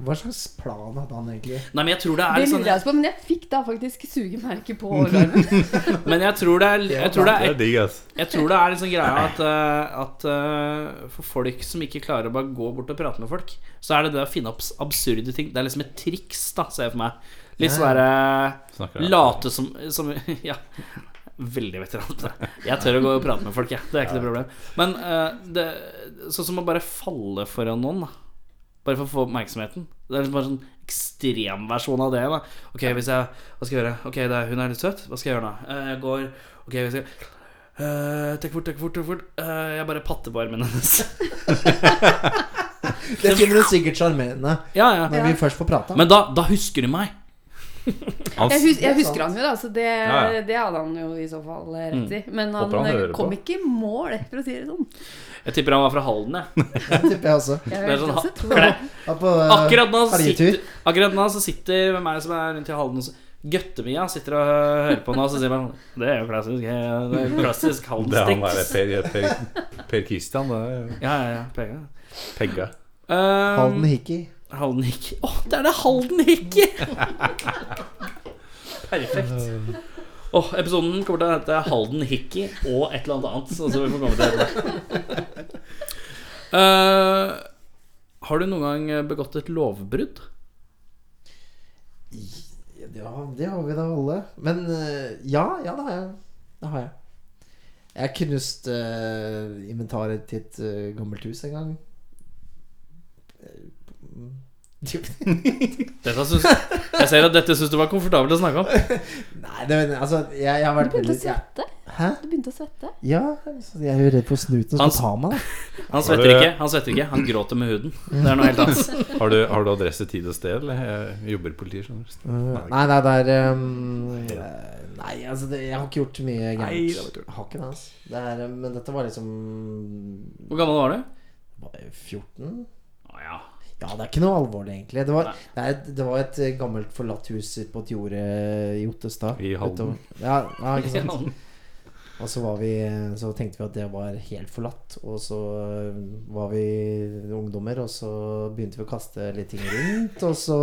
Speaker 5: hva slags plan hadde han egentlig?
Speaker 2: Nei, men jeg tror det er
Speaker 4: Det
Speaker 2: litt
Speaker 4: lurer jeg
Speaker 2: sånn
Speaker 4: også på, men jeg fikk da faktisk sugemerke på overarmen.
Speaker 2: Men jeg tror det er, jeg tror det er
Speaker 3: Det er digg, ass.
Speaker 2: Jeg tror det er liksom greia at, eh, at eh, for folk som ikke klarer å bare gå bort og prate med folk, så er det det å finne opp s- absurde ting. Det er liksom et triks, da, ser jeg for meg. Litt sånn derre
Speaker 3: Snakker jeg.
Speaker 2: late som, som Ja. Veldig veteran. Jeg tør å gå og prate med folk, jeg. Det er ikke noe problem. Men eh, det, sånn som å bare falle foran noen, da. Bare for å få oppmerksomheten. Det er liksom bare sånn ekstremversjon av det. da Ok, hvis jeg Hva skal jeg gjøre? Ok, det er, hun er litt søt. Hva skal jeg gjøre nå? Eh, Jeg går Ok, hvis jeg eh, Tenk fort, tenk fort, tenk fort. Eh, jeg bare patter på armen hennes.
Speaker 5: Det finner du sikkert sjarmerende
Speaker 2: ja, ja.
Speaker 5: når vi først får prata.
Speaker 2: Men da, da husker du meg.
Speaker 3: Han,
Speaker 4: Jeg, hus jeg
Speaker 5: Det er
Speaker 4: husker han jo, da, så det,
Speaker 3: Ja, ja.
Speaker 4: det hadde han jo i så fall eh, rett i. Men han,
Speaker 3: Håper han
Speaker 4: eh,
Speaker 3: hører
Speaker 4: kom
Speaker 3: på.
Speaker 4: ikke i mål, for å si det sånn.
Speaker 2: Jeg tipper han var fra Halden, jeg.
Speaker 5: tipper jeg også.
Speaker 4: Jeg
Speaker 2: Det er
Speaker 4: vil
Speaker 2: sånn,
Speaker 4: også tro
Speaker 2: for
Speaker 4: det.
Speaker 2: det-
Speaker 5: Ja, på, eh,
Speaker 2: Akkurat nå, så sitter,
Speaker 5: helgetur.
Speaker 2: akkurat nå så sitter hvem er det som er rundt i Halden og så- Gøttemia sitter og hører på nå, så sier man Det er jo klassisk, eh, det er jo klassisk
Speaker 3: det er han der
Speaker 2: Halden-stikk.
Speaker 3: Per, per, per Christian. Det er
Speaker 2: Ja, ja, ja. Pega.
Speaker 3: Pegga.
Speaker 2: Um,
Speaker 5: Halden Hickey.
Speaker 2: Halden Hickey. Å, det er det Halden Hickey! Perfekt. Åh, episoden kommer til å hete Halden Hickey og et eller annet annet. Så så vi får komme til det. Eh, har du noen gang begått et lovbrudd?
Speaker 5: Ja, det har vi da alle. Men eh, ja, ja, det har jeg. Det har jeg. Jeg knuste eh, inventaret til et eh, gammelt hus en gang. Eh,
Speaker 2: Dette synes, jeg ser at dette syns du var komfortabelt å snakke om.
Speaker 5: Nei, det, altså jeg, jeg har
Speaker 4: Du
Speaker 5: vært
Speaker 4: begynte å
Speaker 5: veldig jeg,
Speaker 4: svette.
Speaker 5: Hæ?
Speaker 4: Du begynte å svette.
Speaker 5: Ja, så jeg er jo redd for snuten
Speaker 2: Han-
Speaker 5: skal ta meg, da.
Speaker 2: Han svetter ikke, han svetter ikke, han gråter med huden. Det er noe helt annet.
Speaker 3: Har du, har du adresse, tid og sted? Eller Jeg jobber i politiet? skjønner du.
Speaker 5: Uh, Nei, nei, det er um, eh, Nei, altså det, Jeg har ikke gjort mye gærent. Jeg Har ikke det, altså. Det er, um, men dette var liksom
Speaker 2: Hvor gammel var du?
Speaker 5: var jeg 14?
Speaker 2: Å ja.
Speaker 5: Ja, det er ikke noe alvorlig, egentlig. Det var,
Speaker 2: Nei.
Speaker 5: det er, et- det var et eh, gammelt forlatt hus ute på et jorde i Ottestad.
Speaker 3: I Halden.
Speaker 5: utover. Ja, ja, ikke sant.
Speaker 2: Halden.
Speaker 5: Og så, var vi, så tenkte vi at det var helt forlatt. Og så eh, var vi ungdommer, og så begynte vi å kaste litt ting rundt. Og så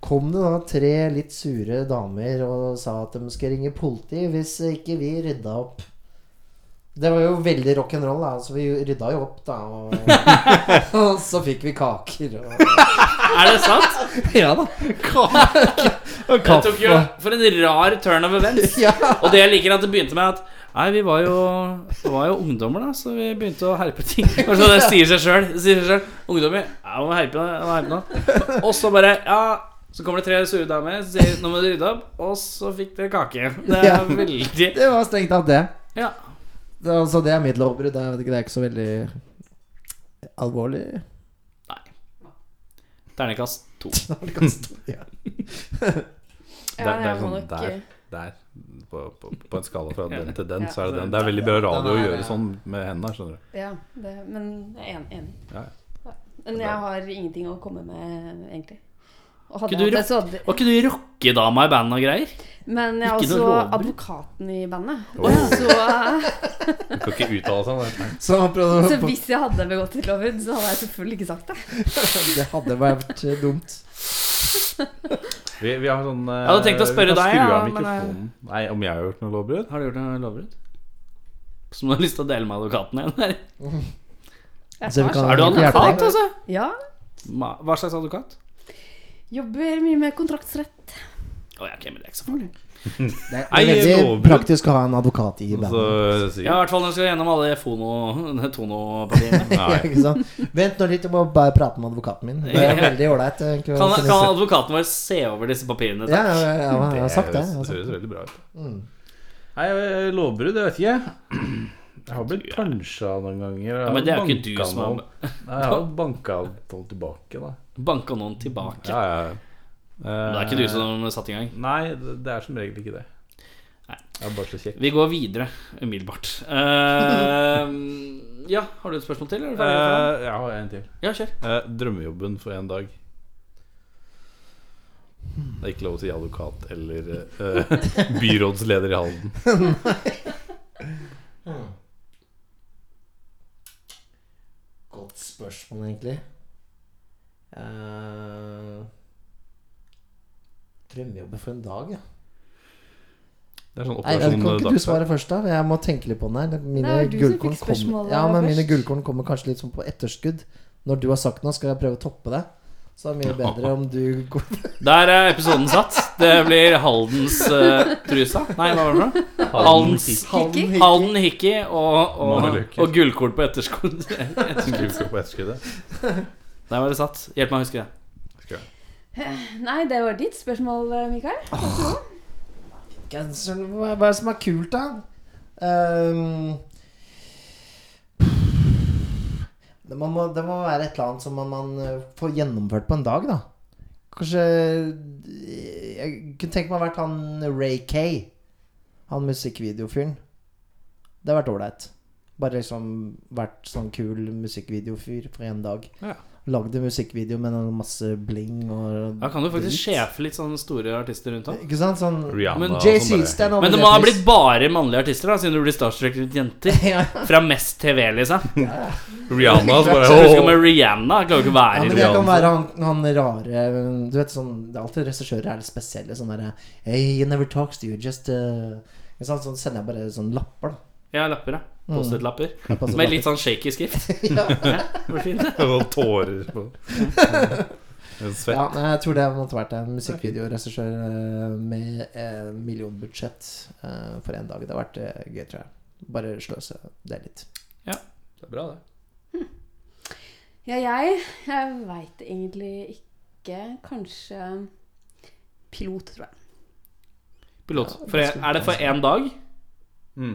Speaker 5: kom det da tre litt sure damer og sa at de skulle ringe politi hvis ikke vi rydda opp. Det var jo veldig rock'n'roll, da, så vi rydda jo opp, da. Og, og så fikk vi kaker. Og,
Speaker 2: Er det sant?
Speaker 5: ja da. Kaker og
Speaker 2: Det tok jo
Speaker 5: kaffe.
Speaker 2: For en rar turn of events.
Speaker 5: Ja.
Speaker 2: Og det jeg liker at det begynte med at Nei, vi var jo, vi var jo ungdommer, da, så vi begynte å herpe ting. Og så det sier seg sjøl. Det sier seg selv. Ungdommer. Ja, må herpe nå, må herpe nå. Og så bare Ja. Så kommer det tre sure damer og sier nå må du rydde opp. Og så fikk dere kake. Det
Speaker 5: Ja.
Speaker 2: er veldig
Speaker 5: Det var strengt tatt det.
Speaker 2: Ja.
Speaker 5: Det, er altså, det er mitt lovbrudd. Det, er- det er ikke så veldig alvorlig.
Speaker 2: Ternekast to.
Speaker 5: ja.
Speaker 3: Det er,
Speaker 4: Ja,
Speaker 3: det er
Speaker 4: jeg må
Speaker 3: sånn
Speaker 4: nok,
Speaker 3: der,
Speaker 4: eh,
Speaker 3: der. På, på, på en skala fra den til den,
Speaker 4: Ja.
Speaker 3: så er det den. Det er veldig bra radio å
Speaker 5: Den er-
Speaker 3: gjøre sånn med hendene. skjønner du
Speaker 4: Ja, det, men jeg er en- enig.
Speaker 3: Ja, ja.
Speaker 4: Men jeg har ingenting å komme med, egentlig. Og hadde
Speaker 2: Ikke du
Speaker 4: jeg hatt det, så hadde
Speaker 2: Var ikke du rockedama i bandet og greier?
Speaker 4: Men jeg er
Speaker 2: Ikke noe
Speaker 4: også
Speaker 2: lovbrudd?
Speaker 4: advokaten i bandet.
Speaker 3: Oi.
Speaker 4: Så, eh,
Speaker 3: Du kan ikke uttale seg om det.
Speaker 5: Så han
Speaker 4: så
Speaker 5: prøvde å
Speaker 4: hvis jeg hadde begått et lovbrudd, så hadde jeg selvfølgelig ikke sagt det.
Speaker 5: Det hadde vært eh, dumt.
Speaker 3: Vi, vi har sånn eh,
Speaker 2: Jeg hadde tenkt å spørre
Speaker 3: vi kan
Speaker 2: deg, ja,
Speaker 3: skru av
Speaker 2: men, eh,
Speaker 3: mikrofonen. Nei, om jeg har gjort noe lovbrudd?
Speaker 2: Har du gjort noe lovbrudd? Som du har lyst til å dele med advokaten igjen?
Speaker 4: Jeg
Speaker 5: Så vi
Speaker 4: har
Speaker 5: kan-
Speaker 4: sagt-
Speaker 2: Er du
Speaker 5: Hjelper
Speaker 2: advokat, altså?
Speaker 4: Ja.
Speaker 2: Ma- Hva slags advokat?
Speaker 4: Jobber mye med kontraktsrett.
Speaker 2: Å ja, ok, men det er ikke så farlig.
Speaker 5: Det
Speaker 3: Nei,
Speaker 5: er veldig
Speaker 3: lovbrudd.
Speaker 5: praktisk å ha en advokat i
Speaker 3: Så
Speaker 2: Ja,
Speaker 5: bandet.
Speaker 2: i
Speaker 3: sikkert.
Speaker 2: hvert fall når du skal gjennom alle fono- tonopapirene.
Speaker 5: Ja,
Speaker 3: Nei.
Speaker 5: ikke sant? Vent nå litt, jeg må bare prate med advokaten min. Det er veldig ålreit. eh, egentlig, å
Speaker 2: Kan,
Speaker 5: kunne
Speaker 2: kan
Speaker 5: se-
Speaker 2: advokaten vår se over disse papirene?
Speaker 5: Ja,
Speaker 2: takk?
Speaker 5: ja, ja, ja, jeg har
Speaker 3: Det
Speaker 5: sagt det.
Speaker 3: høres-
Speaker 5: jeg har sagt
Speaker 3: Det
Speaker 5: det.
Speaker 3: høres veldig bra ut. Nei, eh, lovbrudd, jeg vet ikke. Jeg har blitt punsja noen ganger. og
Speaker 2: Ja, men det er jo ikke
Speaker 3: banket
Speaker 2: du som har-
Speaker 3: noen. Nei, Jeg har banka noen tilbake, da.
Speaker 2: Banka noen tilbake.
Speaker 3: Ja, ja.
Speaker 2: Men Det er ikke du som satte i gang.
Speaker 3: Nei, det det er som regel ikke det.
Speaker 2: Nei.
Speaker 3: Jeg er bare så kjekk.
Speaker 2: Vi går videre umiddelbart. Eh, ja, har du et spørsmål til? Er du ferdig med det?
Speaker 3: Eh, jeg har en til.
Speaker 2: ja, kjør.
Speaker 3: Eh, drømmejobben for en dag. Det er ikke lov å si advokat eller eh, byrådsleder i Halden.
Speaker 5: Godt spørsmål, egentlig. Uh, drømmejobber for en dag, ja.
Speaker 3: Det er sånn
Speaker 5: Nei, jeg,
Speaker 3: operasjon
Speaker 5: kan ikke du
Speaker 3: Dagsverk.
Speaker 5: svare først, da? Jeg må tenke litt på den her. Mine
Speaker 4: Nei, det var du som
Speaker 5: gullkorn
Speaker 4: fikk spørsmålet
Speaker 5: kommer, ja, men mine
Speaker 4: først.
Speaker 5: gullkorn kommer kanskje litt sånn på etterskudd. Når du har sagt noe, skal jeg prøve å toppe det. Så det er mye bedre om du går
Speaker 2: Der er episoden satt. Det blir Haldens eh, trusa. Nei, hva var det for noe? Haldens
Speaker 4: Hickey?
Speaker 2: Halden Hickey og, og,
Speaker 3: Mare Løken.
Speaker 2: og gullkorn på etterskudd. Der
Speaker 3: Skriv på etterskuddet.
Speaker 2: var det satt. Hjelp meg å huske det.
Speaker 4: Nei, det var ditt spørsmål, eh, Mikael.
Speaker 5: Genseren, hva hva er det som er kult, da? Ehm, det, man må, det må være et eller annet som man, man eh, får gjennomført på en dag, da. Kanskje eh, Jeg kunne tenke meg å ha vært han Ray Kay. Han musikkvideofyren. Det har vært ålreit. Bare liksom vært sånn kul musikkvideofyr for en dag.
Speaker 3: Ja.
Speaker 5: Lagd en musikkvideo med noe masse bling og
Speaker 2: Da kan du faktisk
Speaker 5: drit.
Speaker 2: sjefe litt sånne store artister rundt om.
Speaker 5: Ikke sant? Sånn
Speaker 3: Rihanna
Speaker 2: Men
Speaker 3: og
Speaker 5: Jay
Speaker 3: sånn bare.
Speaker 5: Sealstein og
Speaker 2: Men det må ha
Speaker 5: Britney
Speaker 2: blitt bare mannlige artister, da siden du blir starstruck rundt jenter.
Speaker 5: Ja.
Speaker 2: Fra Mest TV, liksom.
Speaker 3: Rihanna så bare
Speaker 2: Så du skal
Speaker 3: «Åh!»
Speaker 2: med Rihanna. Klarer jo ikke å
Speaker 5: Ja,
Speaker 2: være i
Speaker 5: men det
Speaker 2: Rihanna.
Speaker 5: kan være han, han rare Du vet sånn Det er alltid regissører er litt spesielle. Sånn derre Hey, he never talks to you, just uh, ikke sant? Sånn sender jeg bare sånne lapper, da.
Speaker 2: Ja, lapper, ja.
Speaker 5: Mm.
Speaker 2: Post-it-lapper.
Speaker 5: Jeg passer
Speaker 2: Med
Speaker 5: lapper.
Speaker 2: litt sånn shaky skrift. Hvor fint. det.
Speaker 3: Og tårer på En svett.
Speaker 5: Ja, nei, jeg tror det måtte vært en musikkvideoregissør eh, med eh, millionbudsjett eh, for en dag. Det har vært eh, gøy, tror jeg. Bare sløse det litt.
Speaker 3: Det er bra, det.
Speaker 4: Ja, jeg Jeg veit egentlig ikke. Kanskje pilot, tror jeg.
Speaker 2: Pilot. For en, er det for én dag?
Speaker 3: Mm.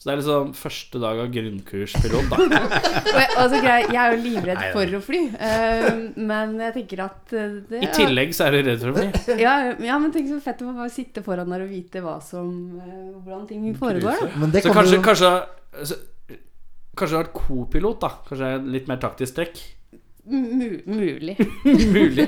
Speaker 2: Så det er liksom første dag av grunnkurspilot, da.
Speaker 4: Og jeg, altså, grei, jeg er jo livredd for å fly, eh, men jeg tenker at eh, det
Speaker 2: I tillegg så er du redd for å bli.
Speaker 4: ja, ja, men tenk så fett å bare sitte foran der og vite hva som eh, hvordan ting foregår. da.
Speaker 5: Men det
Speaker 2: Så
Speaker 5: kommer
Speaker 2: kanskje
Speaker 5: jo
Speaker 2: Kanskje, så, kanskje du har vært co-pilot, da. Kanskje det er litt mer taktisk trekk.
Speaker 4: Mu mulig.
Speaker 2: Mulig.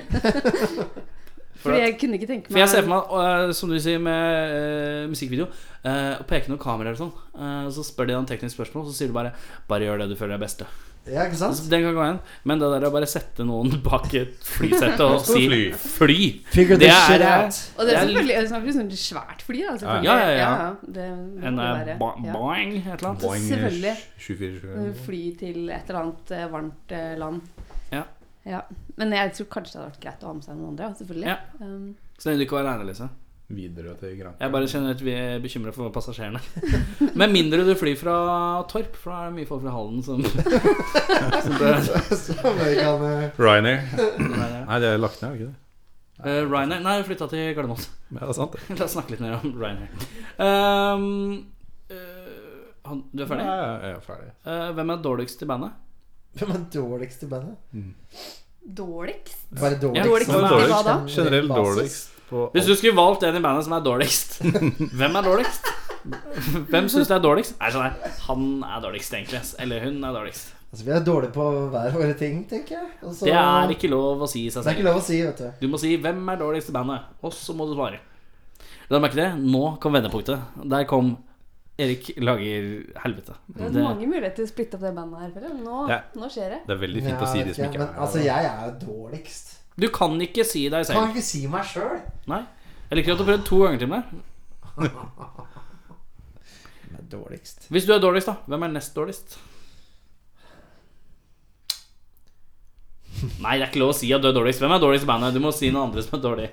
Speaker 4: For jeg kunne ikke tenke meg
Speaker 2: For jeg ser for meg, øh, som du sier med øh, musikkvideo, øh, å peke noen kameraer og sånn. øh, så spør de deg en teknisk spørsmål, så sier du bare 'bare gjør det du føler er beste'.
Speaker 5: Ja, ikke sant?
Speaker 2: Altså, den kan gå igjen. Men det der å bare sette noen bak et flysett og
Speaker 3: skal
Speaker 2: si
Speaker 3: fly.
Speaker 2: 'fly',
Speaker 5: Figure
Speaker 2: det
Speaker 5: this shit
Speaker 2: er eh,
Speaker 5: out.
Speaker 4: Og det
Speaker 2: Det
Speaker 4: er
Speaker 2: er
Speaker 4: selvfølgelig det snakker vi sånn svært fly, da. selvfølgelig.
Speaker 2: Ja, ja, ja.
Speaker 4: Det må
Speaker 2: en
Speaker 4: det
Speaker 2: øh,
Speaker 4: være.
Speaker 2: bo-
Speaker 4: Ja.
Speaker 2: boing, et eller annet.
Speaker 3: Boing,
Speaker 4: Selvfølgelig.
Speaker 3: 24,
Speaker 8: Eh,
Speaker 3: 25.
Speaker 4: Fly til et eller annet eh, varmt eh, land.
Speaker 2: Ja.
Speaker 4: Ja. Men jeg tror kanskje det hadde vært greit å ha med seg noen andre, ja, selvfølgelig.
Speaker 2: Ja.
Speaker 4: Um,
Speaker 2: Så lenge du ikke var aleine, Lise.
Speaker 3: Videre til Granca.
Speaker 2: Jeg er bare generelt vi er bekymra for passasjerene. Med mindre du flyr fra Torp, for da er det mye folk fra Halden som, som dør.
Speaker 5: Så vi kan, eh,
Speaker 3: Ryanair.
Speaker 2: Nei, det er-
Speaker 3: Nei, det er lagt ned, er det ikke det?
Speaker 2: Eh, Ryanair Nei, jeg flytta til Gardermoen.
Speaker 3: Ja, det er sant, det.
Speaker 2: La oss snakke litt mer om Ryanair. Ehm, eh, han- du er ferdig?
Speaker 3: Ja, ja, jeg er ferdig.
Speaker 2: Eh, hvem er dårligst i bandet?
Speaker 5: Hvem er dårligst i bandet?
Speaker 4: dårligst?
Speaker 5: Bare dårligst.
Speaker 2: Dårligst
Speaker 4: i bandet, hva da?
Speaker 3: Generelt
Speaker 5: Basis.
Speaker 3: dårligst på
Speaker 2: Hvis du skulle valgt en i bandet som er dårligst, hvem er dårligst? Hvem syns det er dårligst? Nei, sånn her, Han er dårligst, egentlig. ass. Eller hun er dårligst.
Speaker 5: Altså, vi er dårlige på hver våre ting, tenker jeg. Og så-
Speaker 2: Det er ikke lov å si seg
Speaker 5: det er
Speaker 2: selv.
Speaker 5: ikke lov å si, vet du.
Speaker 2: Du må si 'Hvem er dårligst i bandet?' Og så må du svare. La deg merke det. Nå kom vendepunktet. Der kom Erik lager helvete.
Speaker 8: Det er mange muligheter til å splitte opp det bandet her. føler jeg. Nå,
Speaker 3: Ja.
Speaker 8: nå skjer det.
Speaker 3: Det er veldig fint
Speaker 5: Ja,
Speaker 3: å si
Speaker 5: vet
Speaker 3: de som
Speaker 5: jeg,
Speaker 3: ikke
Speaker 5: men,
Speaker 3: er
Speaker 5: Altså, jeg er jo dårligst.
Speaker 2: Du kan ikke si deg
Speaker 5: Kan
Speaker 2: selv.
Speaker 5: ikke si meg sjøl.
Speaker 2: Nei. Jeg liker at du har prøvd to ganger til meg.
Speaker 5: Dårligst.
Speaker 2: Hvis du er dårligst, da. Hvem er nest dårligst? Nei, det er ikke lov å si at du er dårligst. Hvem er dårligst i bandet? Du må si noen andre som er dårlig.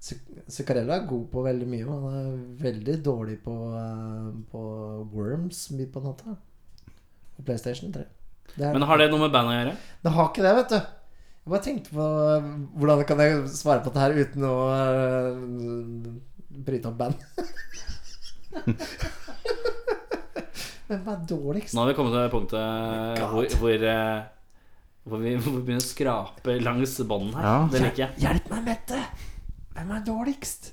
Speaker 5: Zuc- Zuccarello er god på veldig mye. og Han er veldig dårlig på, eh, på Worms midt på natta. Og PlayStation 3. Det, er,
Speaker 2: Men har det noe med bandet å gjøre?
Speaker 5: det har ikke det, vet du. Jeg bare tenkte på eh, hvordan kan jeg svare på dette her uten å eh, bryte opp band. Hvem er dårligst?
Speaker 2: Nå har vi kommet til punktet
Speaker 5: God.
Speaker 2: hvor, hvor, eh, hvor vi hvor vi begynner å skrape langs bånden her.
Speaker 3: Ja.
Speaker 2: Det liker jeg.
Speaker 5: Hjelp meg, Mette! Hvem er dårligst?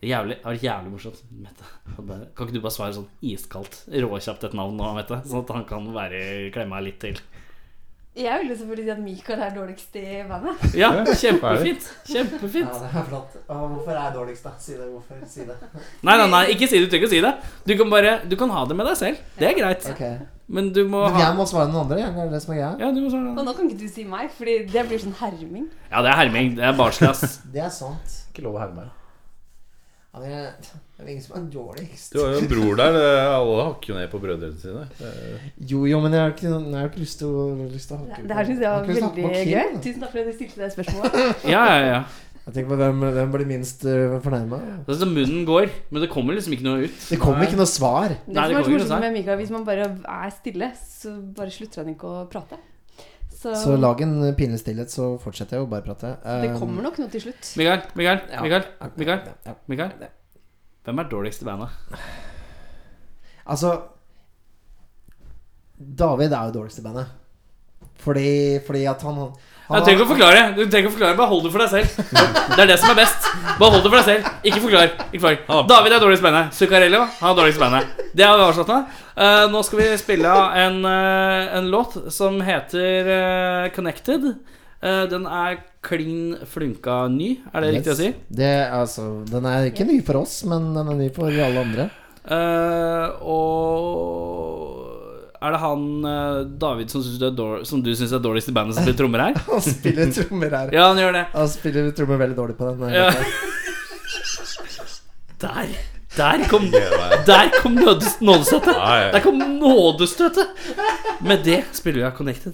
Speaker 2: Det er jævlig, det var jævlig morsomt. Mette, og bare, kan ikke du bare svare sånn iskaldt, råkjapt et navn nå, Mette? Sånn at han kan være klemma litt til.
Speaker 8: Jeg vil jo selvfølgelig si at Michael er dårligst i bandet.
Speaker 2: Ja,
Speaker 3: Ja,
Speaker 2: kjempefint!
Speaker 5: Ja,
Speaker 2: Kjempefint.
Speaker 5: det er flott. Å, hvorfor er jeg dårligst, da? Si det. Hvorfor? Si det.
Speaker 2: Nei, nei, nei, ikke si det. Du trenger ikke å si det. Du kan bare Du kan ha det med deg selv. Det er greit.
Speaker 5: Ok.
Speaker 2: Men du må
Speaker 5: Men
Speaker 2: ha
Speaker 5: jeg må svare noen andre, eller er det det som er greia?
Speaker 2: Ja, du må svare.
Speaker 8: Og nå kan ikke du si meg, Fordi det blir sånn herming.
Speaker 2: Ja, det er herming. Det er barnslig, ass.
Speaker 5: Det er sant.
Speaker 3: Ikke lov å herme.
Speaker 5: Ja, men jeg- Det er ingen som er dårligst.
Speaker 3: Du har jo en bror der. eh, Alle hakker jo ned på brødrene sine. Eh,
Speaker 5: Jo, jo, men jeg har ikke, jeg har ikke lyst til å lyst til å hakke
Speaker 8: Det her syns jeg
Speaker 5: har
Speaker 8: var
Speaker 5: ikke lyst til å hakke
Speaker 8: veldig
Speaker 5: på
Speaker 8: gøy.
Speaker 5: Kim, da.
Speaker 8: Tusen takk for at du stilte det spørsmålet.
Speaker 2: Ja, ja, ja.
Speaker 5: Jeg tenker på hvem, hvem blir minst eh, fornærma.
Speaker 2: Det er sånn munnen går, men det kommer liksom ikke noe ut.
Speaker 5: Det kommer ikke noe svar.
Speaker 8: Det
Speaker 2: Nei,
Speaker 8: som
Speaker 2: det
Speaker 8: er så
Speaker 2: kommer ikke
Speaker 8: morsomt
Speaker 2: seg.
Speaker 8: med Michael, hvis man bare er stille, så bare slutter han ikke å prate. Så,
Speaker 5: Så lag en pinlig stillhet, så fortsetter jeg å bare prate. Ehm,
Speaker 8: det kommer nok noe til slutt.
Speaker 2: Mikael, Mikael, Mikael. Mikael.
Speaker 5: Ja.
Speaker 2: Mikael. Hvem er dårligst i bandet?
Speaker 5: Altså David er jo dårligst i bandet. Fordi, fordi at han, han
Speaker 2: Jeg trenger ikke å forklare. Du trenger ikke å forklare Bare hold det for deg selv. Det er det som er best. Bare hold det for deg selv. Ikke forklar. Ikke forklar. David er dårligst i bandet. Zuccarello han er dårligst i bandet. Det har vi avslått nå. Eh, nå skal vi spille av en, eh, en låt som heter eh, Connected. Eh, den er klin flunka ny, er det riktig å si?
Speaker 5: Yes. Det, er altså, den er ikke ny for oss, men den er ny for alle andre.
Speaker 2: Eh, og er det han eh, David som, synes du er dår- som du syns er dårligst i bandet, som blir trommer her?
Speaker 5: Han spiller trommer her.
Speaker 2: Ja, han gjør det.
Speaker 5: Han spiller trommer veldig dårlig på den.
Speaker 2: Ja. Der. Der kom, der kom nådes- nådestøtet.
Speaker 3: Nei.
Speaker 2: Der kom nådestøtet. Med det spiller vi av Connected.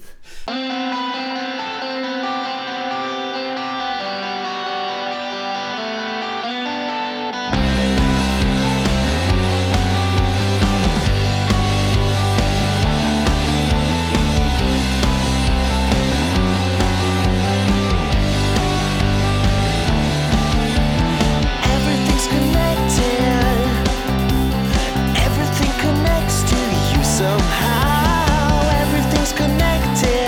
Speaker 7: Everything's connected. Everything connects to you somehow. Everything's connected.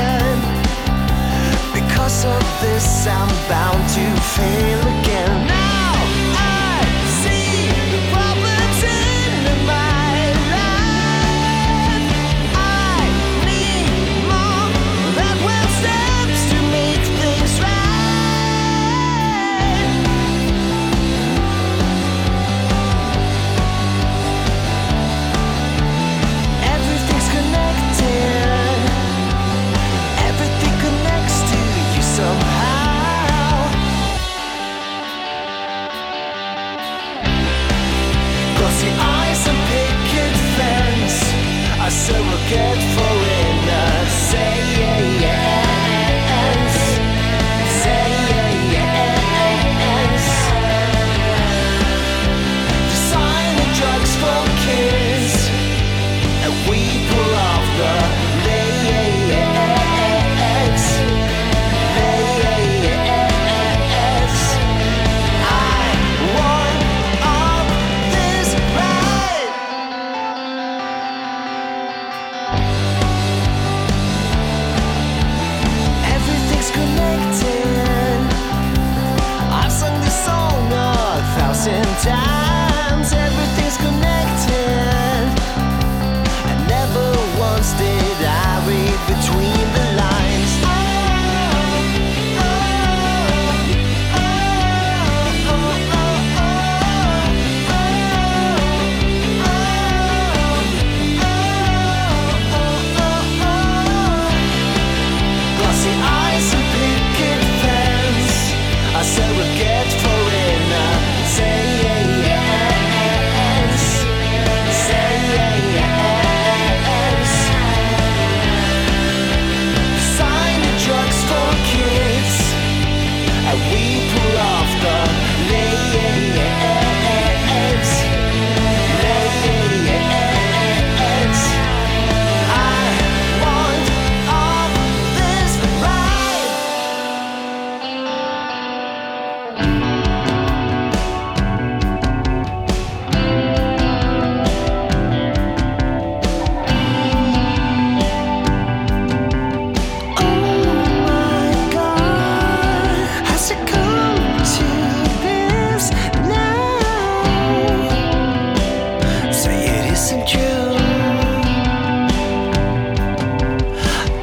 Speaker 7: isn't true.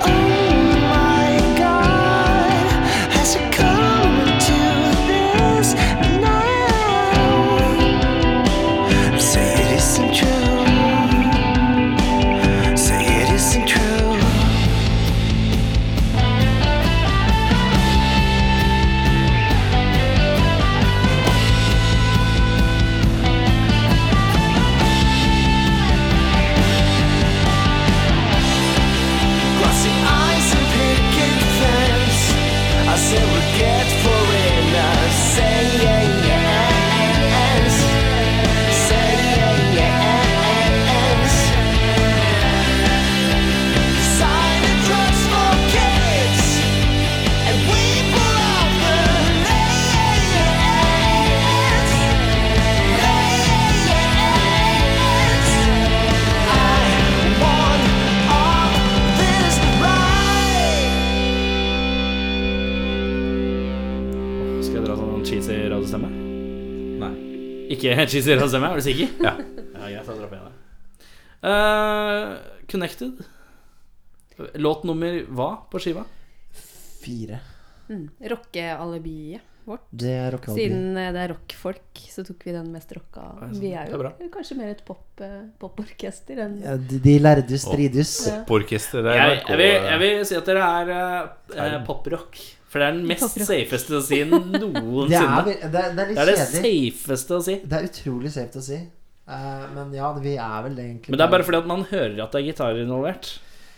Speaker 7: Oh my God, has it come to this now? Say it isn't true. Say it isn't true. Crossing eyes and picket fence I say we get foreigners Saying yes Saying yes Sign and drugs for kids And we pull out the lanes Lanes I want all this
Speaker 2: Skal jeg
Speaker 7: right
Speaker 2: dra sånn cheesy radiostemme?
Speaker 3: Nei.
Speaker 2: Ikke cheesy radiostemme, er du sikker?
Speaker 3: Ja.
Speaker 2: ja greit, da dropper jeg det. Eh, connected. Låt nummer hva på skiva?
Speaker 5: Fire.
Speaker 8: Rockealibiet.
Speaker 5: Det er rockealbum.
Speaker 8: Siden eh, det er rockfolk, så tok vi den mest rocka. Vi er jo kanskje mer et pop, eh, poporkester enn
Speaker 5: Ja, de, de lærde strides.
Speaker 3: Opporkester. Det er
Speaker 2: Jeg, jeg, vil, jeg
Speaker 3: NRK. eh.
Speaker 2: vil si at dere er eh, eh, poprock. For det er den mest
Speaker 8: Poprock.
Speaker 2: safeste å si
Speaker 5: Det er,
Speaker 2: noensinne.
Speaker 5: vi- det, er- det er
Speaker 2: Det er det
Speaker 5: litt kjedelig.
Speaker 2: safeste å si.
Speaker 5: Det er utrolig safe å si. Eh, men ja, vi er vel egentlig
Speaker 2: Men det er bare fordi at man hører at det er gitarer involvert.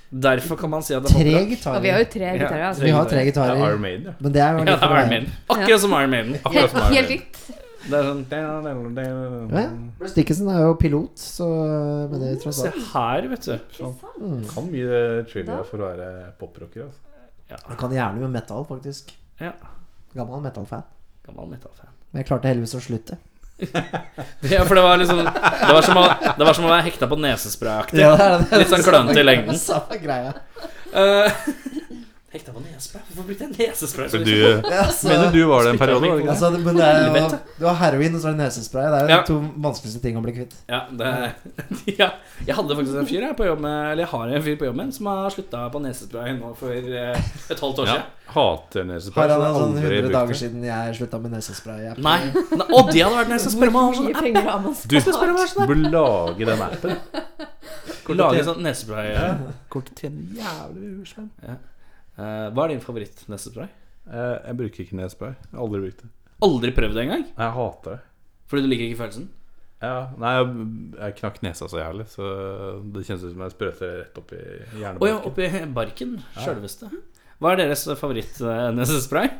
Speaker 2: Derfor kan man si at det er
Speaker 5: Tre
Speaker 2: poprock.
Speaker 5: gitarer.
Speaker 8: Og vi har jo tre gitarer. Altså.
Speaker 5: Vi har tre
Speaker 3: Det er
Speaker 5: gitarer.
Speaker 3: Iron Maiden, ja.
Speaker 5: Men det er jo
Speaker 2: Ja, det
Speaker 5: litt
Speaker 2: er
Speaker 5: for
Speaker 2: Iron
Speaker 5: meg.
Speaker 2: Maiden. Akkurat som Iron Maiden.
Speaker 3: Akkurat som Iron
Speaker 8: Helt
Speaker 3: Maiden.
Speaker 8: likt.
Speaker 2: Det er sånn,
Speaker 5: Ja, ja. Stickenson er jo pilot, så Men det er tross
Speaker 2: Se
Speaker 5: alt
Speaker 2: her, vet du. Mm.
Speaker 3: Kan mye trivia for å være poprocker. Altså.
Speaker 5: Jeg kan gjerne med metal, faktisk.
Speaker 2: Ja.
Speaker 5: Gammel metal-fan.
Speaker 2: Gammel metal-fan.
Speaker 5: Men jeg klarte heldigvis å slutte.
Speaker 2: Ja, for det var liksom Det var som å, det var som å være hekta på nesesprayaktig.
Speaker 5: det er det.
Speaker 2: Litt sånn klønete i lengden.
Speaker 5: Samme greia.
Speaker 2: Eh, hekta på nesespray? Hvorfor brukte jeg nesespray?
Speaker 3: Men du,
Speaker 5: Altså,
Speaker 3: mener du var det en periode? var det ikke det?
Speaker 5: altså, det- men det er jo,
Speaker 2: Helvete.
Speaker 5: du har heroin og så er det nesespray. Det er jo
Speaker 2: Ja.
Speaker 5: de to vanskeligste ting å bli kvitt.
Speaker 2: Ja, det, ja, jeg hadde faktisk en fyr jeg, på jobb med, Eller jeg har en fyr på jobben som har slutta på nesespray nå for eh, et halvt år
Speaker 3: Ja.
Speaker 2: siden.
Speaker 3: Hater nesespray.
Speaker 5: Har han
Speaker 3: så
Speaker 5: sånn
Speaker 3: aldri
Speaker 5: 100
Speaker 3: brukt
Speaker 5: dager
Speaker 3: det.
Speaker 5: siden jeg slutta med nesespray? Jeg-
Speaker 2: Nei. Nei og det hadde vært nesespray. Man har sånn
Speaker 8: Mye penger har man
Speaker 3: Du
Speaker 8: spart.
Speaker 3: du burde lage den appen.
Speaker 2: Lage sånn nesespray. Ja. Kort tjene jævlig uspenn. Eh, hva er din favoritt-nesespray?
Speaker 3: Eh, Jeg bruker ikke nesespray. Jeg har Aldri brukt det.
Speaker 2: Aldri prøvd det engang?
Speaker 3: Jeg hater det.
Speaker 2: Fordi du liker ikke følelsen?
Speaker 3: Ja, nei, jeg, jeg knakk nesa så jævlig, så det kjennes ut som jeg sprøyter rett opp i
Speaker 2: Å ja,
Speaker 3: hjernebarken.
Speaker 2: oppi barken. Sjølveste. Hva er deres eh, favoritt-nesespray?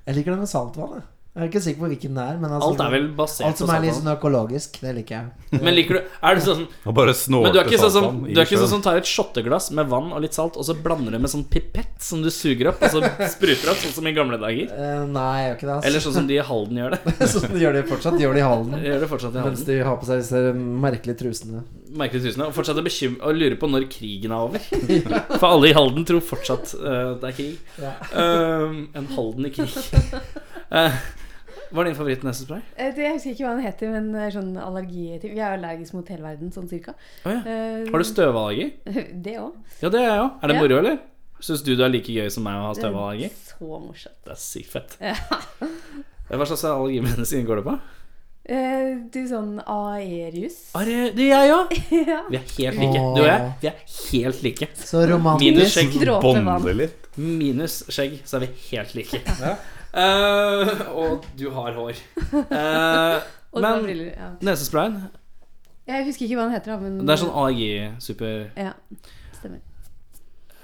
Speaker 5: Jeg liker den med saltvann. Jeg. jeg er ikke sikker på hvilken det er. Men altså,
Speaker 2: Alt er vel basert
Speaker 5: alt som
Speaker 2: på
Speaker 5: er litt
Speaker 2: saltvann.
Speaker 5: sånn økologisk, det liker jeg.
Speaker 2: Men liker du Er du sånn
Speaker 3: Og bare snorte
Speaker 2: Men du er ikke sånn som,
Speaker 3: saltvann i
Speaker 2: du er ikke sånn
Speaker 3: sjøen.
Speaker 2: som tar et shotteglass med vann og litt salt, og så blander det med sånn pipett som du suger opp, og så spruter opp, sånn som i gamle dager?
Speaker 5: Eh, nei, jeg gjør ikke det. Altså.
Speaker 2: Eller sånn som de i Halden gjør det.
Speaker 5: sånn de gjør det fortsatt. De gjør det i hallen.
Speaker 2: Gjør det fortsatt i
Speaker 5: Mens
Speaker 2: Halden.
Speaker 5: de har på seg disse merkelige trusene.
Speaker 2: Merkelig tusen, og fortsatt er bekym- og lurer på når krigen er over. For alle i Halden tror fortsatt eh, det er krig.
Speaker 5: Ja.
Speaker 2: Um, en Halden i krig. Eh, hva er din favoritt-nesespray?
Speaker 8: Eh, det- Jeg husker ikke hva den heter, men eh, sånn allergi Vi er allergisk mot hele verden, sånn cirka.
Speaker 2: Å ja.
Speaker 8: Eh,
Speaker 4: Mm.
Speaker 2: Har du støvallergi?
Speaker 8: Det òg.
Speaker 2: Ja, det er jeg òg. Er det
Speaker 8: Ja.
Speaker 2: moro, eller? Syns du det er like gøy som meg å ha støvallergi?
Speaker 8: Så morsomt.
Speaker 2: Det er sykt fett. Eh, Hva slags allergimedisin går det på?
Speaker 8: Eh, Du, sånn aerius.
Speaker 2: Er det, det er jeg òg!
Speaker 8: Ja.
Speaker 2: Vi er helt like. Du og jeg, vi er helt like.
Speaker 5: Så
Speaker 2: Minus
Speaker 5: romantisk.
Speaker 2: skjegg.
Speaker 3: Bonde
Speaker 8: Dråpevann.
Speaker 3: litt.
Speaker 2: Minus skjegg, så er vi helt like. Eh, og du har hår. Eh,
Speaker 8: Og
Speaker 2: Men-
Speaker 8: men, briller. Ja.
Speaker 2: nesesprayen,
Speaker 8: Jeg husker ikke hva den heter, da, men
Speaker 2: det er sånn AG-super
Speaker 8: Ja, stemmer.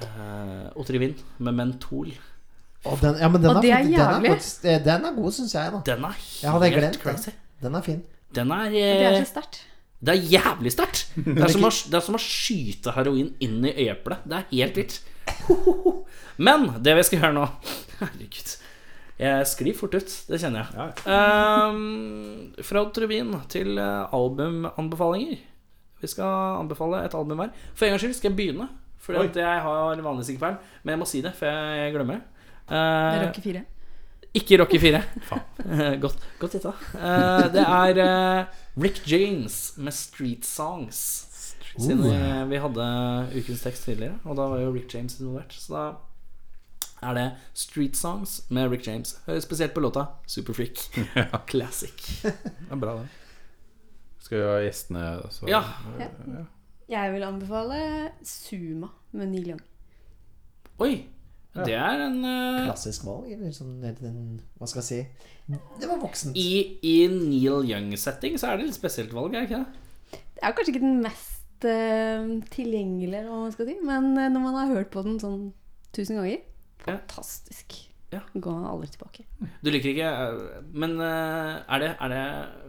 Speaker 8: Eh,
Speaker 2: uh, Otrivin med mentol.
Speaker 5: Og den, ja, men den,
Speaker 8: Og
Speaker 5: er,
Speaker 8: det er
Speaker 5: faktisk- den,
Speaker 8: jævlig.
Speaker 5: er faktisk, eh, den er god, syns jeg. da
Speaker 2: Den er
Speaker 5: Jeg hadde
Speaker 2: helt
Speaker 5: glemt den.
Speaker 2: crazy.
Speaker 5: Den er fin.
Speaker 2: Den er,
Speaker 8: Det er
Speaker 2: eh,
Speaker 8: så sterkt.
Speaker 2: det er jævlig sterkt. Det, er som å- det er som å skyte heroin inn i øyeeplet. Det er helt vilt. Hohoho. Men det vi skal gjøre nå Herregud. Jeg sklir fort ut. Det kjenner jeg.
Speaker 3: Ja.
Speaker 2: Ehm, fra Trubin til eh, albumanbefalinger. Vi skal anbefale et album hver. For en gangs skyld skal jeg begynne. For
Speaker 3: Oi.
Speaker 2: jeg har vanligvis ikke peiling, men jeg må si det, for jeg glemmer det.
Speaker 8: Det er
Speaker 2: Eh,
Speaker 8: Rocky 4.
Speaker 2: ikke Rocky 4. godt, godt gjetta. Eh, det er eh, Rick James med Street Songs. Siden vi, vi hadde ukens tekst tidligere, og da var jo Rick James involvert. Så da er det Street Songs med Rick James. Hører spesielt på låta Superfreak. Classic.
Speaker 3: Det er bra, det. Skal vi ha gjestene så
Speaker 2: Ja.
Speaker 8: Jeg vil anbefale Suma med Neil Young.
Speaker 2: Oi! Det er en eh,
Speaker 5: Klassisk valg, eller sånn helt en, Hva skal jeg si? Det var voksent.
Speaker 2: i, I Neil Young-setting så er det litt spesielt valg, er det ikke det?
Speaker 8: Det er kanskje ikke den mest eh, tilgjengelige, eller hva man skal si, men eh, når man har hørt på den sånn tusen ganger
Speaker 2: Ja.
Speaker 8: Fantastisk.
Speaker 2: Ja.
Speaker 8: Går man aldri tilbake.
Speaker 2: Du liker ikke eh, Men eh, er det, er det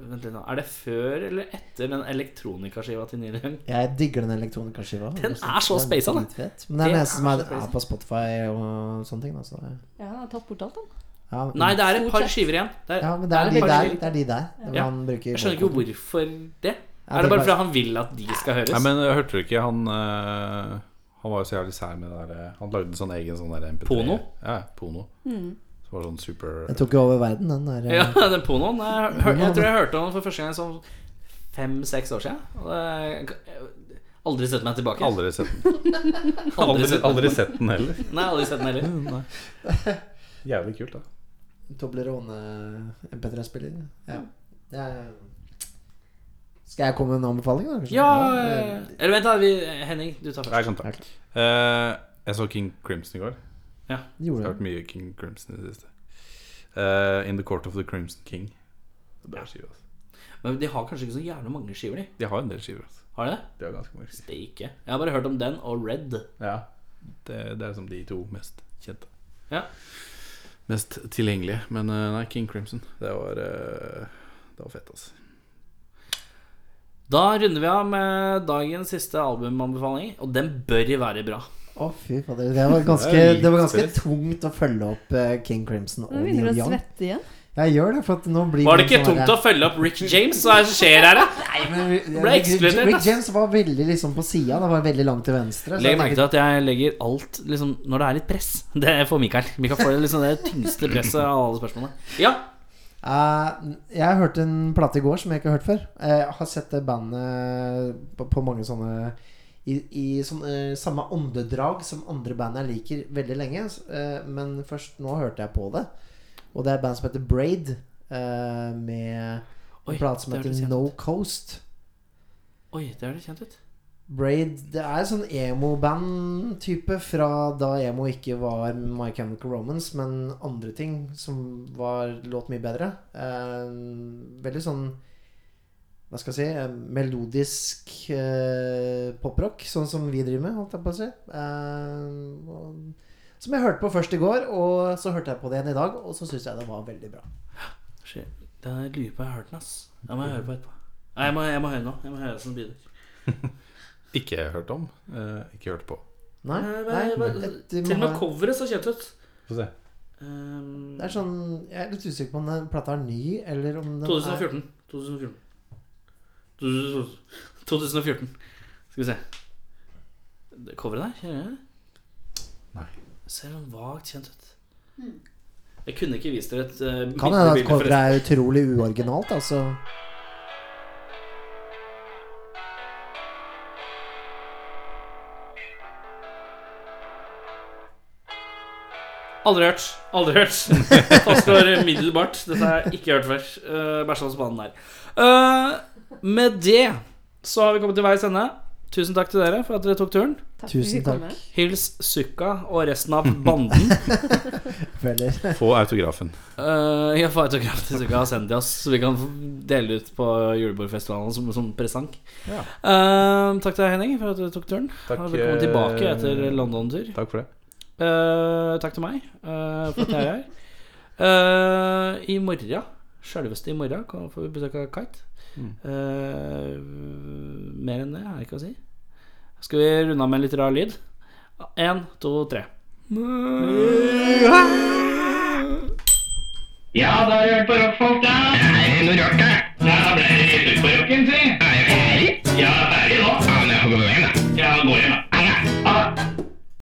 Speaker 2: Vent litt nå. Er det før eller etter den elektronikaskiva til Neil Young?
Speaker 5: Jeg digger den elektronikkaskiva.
Speaker 2: Den er så speisa, den.
Speaker 5: dritfett. Men det
Speaker 2: Den
Speaker 5: er den
Speaker 2: er
Speaker 5: eneste som er,
Speaker 2: så speisa.
Speaker 5: er på Spotify og sånne ting. Da, så. det-
Speaker 8: Ja, han har tatt bort alt, han.
Speaker 5: Ja, men-
Speaker 2: Nei, det er et
Speaker 8: Stort
Speaker 2: par
Speaker 8: sett.
Speaker 2: skiver igjen. Det er,
Speaker 5: ja, men det er,
Speaker 2: et
Speaker 5: de
Speaker 2: par
Speaker 5: der.
Speaker 2: skiver.
Speaker 5: Det er de der. Det er
Speaker 2: Ja.
Speaker 5: han bruker
Speaker 2: Jeg skjønner ikke
Speaker 5: vocoden.
Speaker 2: hvorfor det. Er
Speaker 5: Ja,
Speaker 2: det
Speaker 5: det
Speaker 2: bare
Speaker 5: var-
Speaker 2: fordi han vil at de skal høres?
Speaker 3: Nei, men øh, hørte du ikke han øh, Han var jo så jævlig sær med det der øh, Han lagde en sånn egen sånn der MP3
Speaker 2: Porno?
Speaker 3: Ja, Pono Som var sånn super
Speaker 5: Den tok jo over verden, den der. eh,
Speaker 2: Ja, den pornoen. Jeg, hør, jeg tror jeg hørte om den for første gang sånn fem-seks år siden. Og det, jeg har aldri sett meg tilbake.
Speaker 3: Aldri sett den
Speaker 2: Aldri
Speaker 3: Aldri,
Speaker 2: sett den.
Speaker 3: aldri sett den heller
Speaker 2: Nei, aldri sett den heller.
Speaker 3: Jævlig kult da
Speaker 5: Toblerone MP3-spiller. Ja. Det er... Skal jeg komme med en anbefaling, da? kanskje?
Speaker 2: Ja eh,
Speaker 5: det-
Speaker 2: Eller vent, da. Vi, Henning, du tar først.
Speaker 3: Nei, kan ta
Speaker 5: Ok.
Speaker 3: Eh, Jeg så King Crimson i går Jeg har
Speaker 5: Gjorde det.
Speaker 3: hørt mye King Crimson i det siste Eh, In the Court of the Crimson King Det er bra skiver altså.
Speaker 2: Men de har kanskje ikke så jævlig mange skiver, de.
Speaker 3: De har en del skiver altså.
Speaker 2: Har de det?
Speaker 3: De har ganske mange skiver
Speaker 2: Det er ikke. Jeg har bare hørt om den og Red.
Speaker 3: Ja Det, det er som de to mest kjente
Speaker 2: Ja.
Speaker 3: Mest tilgjengelige Men øh, nei, King Crimson Det var, øh, det var fett altså
Speaker 2: Da runder vi av med dagens siste albumanbefaling, og den bør være bra.
Speaker 5: Å, fy fader. Det var ganske, det var ganske tungt å følge opp eh, King Crimson og
Speaker 8: Nå
Speaker 5: Neil
Speaker 8: begynner du å
Speaker 5: Young.
Speaker 8: svette igjen.
Speaker 5: Jeg gjør det, for at nå blir
Speaker 2: Var det
Speaker 5: den
Speaker 2: ikke
Speaker 5: sånn
Speaker 2: tungt
Speaker 5: der-
Speaker 2: å følge opp Rick James? Hva er det som skjer her, da?
Speaker 5: Nei, men Rick-
Speaker 2: ble
Speaker 5: Rick-
Speaker 2: ekskludert,
Speaker 5: Rick
Speaker 2: ass.
Speaker 5: James var veldig liksom på sida. Han var veldig langt til venstre. så
Speaker 2: Legg
Speaker 5: jeg
Speaker 2: merke
Speaker 5: tenkte-
Speaker 2: til at jeg legger alt liksom, når det er litt press. Det får Mikael. Mikael får det liksom det tyngste presset av alle spørsmålene. Ja,
Speaker 5: Eh, jeg hørte en plate i går som jeg ikke har hørt før. Eh, Jeg har sett det bandet på, på mange sånne I, i sånn, eh, samme åndedrag som andre band jeg liker veldig lenge. s- eh, men først nå hørte jeg på det. Og det er et band som heter Braid. eh, med
Speaker 2: Oi,
Speaker 5: en plate som
Speaker 2: det hørtes
Speaker 5: heter
Speaker 2: kjent
Speaker 5: No
Speaker 2: ut.
Speaker 5: Coast.
Speaker 2: Oi, det høres kjent ut.
Speaker 5: Braid Det er sånn emo-band-type fra da emo ikke var My Chemical Romance, men andre ting som var, låt mye bedre. Eh, veldig sånn Hva skal jeg si eh, Melodisk eh, poprock, sånn som vi driver med, holdt jeg på å si. Eh, og, som jeg hørte på først i går, og så hørte jeg på det igjen i dag, og så syns jeg det var veldig bra.
Speaker 2: Shit, Det er lurer på om jeg har hørt den, ass. Jeg må høre på etterpå. Nei, jeg må, jeg må høre nå. Jeg må høre som bidrag.
Speaker 3: Ikke hørt om. eh, ikke hørt på.
Speaker 5: Nei,
Speaker 2: Nei,
Speaker 5: nei,
Speaker 2: men-
Speaker 5: et- vi må
Speaker 2: Til og med
Speaker 5: ha-
Speaker 2: coveret så kjent ut.
Speaker 3: Få se.
Speaker 2: Ehm,
Speaker 5: det er sånn, Jeg er litt usikker på om den plata er ny, eller om den er
Speaker 2: 2014. 2014. 2014. 2014. Skal vi se. Det coveret der, kjenner jeg det?
Speaker 3: Nei.
Speaker 2: Ser sånn vagt kjent ut. Jeg kunne ikke vist dere et uh,
Speaker 5: Kan hende at coveret er utrolig uoriginalt, altså.
Speaker 2: Aldri hørt. Aldri hørt. Fastslår umiddelbart. Dette har jeg ikke hørt før. Uh, Bæsja hos banen der. Eh, med det så har vi kommet til veis ende. Tusen takk til dere for at dere tok turen.
Speaker 8: Takk for at vi
Speaker 5: Tusen
Speaker 8: kom
Speaker 5: takk.
Speaker 8: med.
Speaker 2: Hils Sukka og resten av banden.
Speaker 5: Føler.
Speaker 3: Få autografen.
Speaker 2: Uh, jeg får autograf til Sukka og send til oss, så vi kan dele ut på julebordfestivalen som, som presang.
Speaker 3: Ja.
Speaker 2: Eh, takk til deg, Henning, for at du tok turen.
Speaker 3: Takk,
Speaker 2: og velkommen
Speaker 3: eh,
Speaker 2: tilbake etter London-tur.
Speaker 3: Takk for det.
Speaker 2: Eh, takk til meg eh, for at jeg er her. Eh, I morgen, sjølveste i morgen, kan- får vi besøk av Kite.
Speaker 3: Mm.
Speaker 2: Eh, mer enn det er det ikke å si. Skal vi runde av med en litt rar lyd? Én, to, tre.
Speaker 9: Ja, da har du hørt på Rockfolk.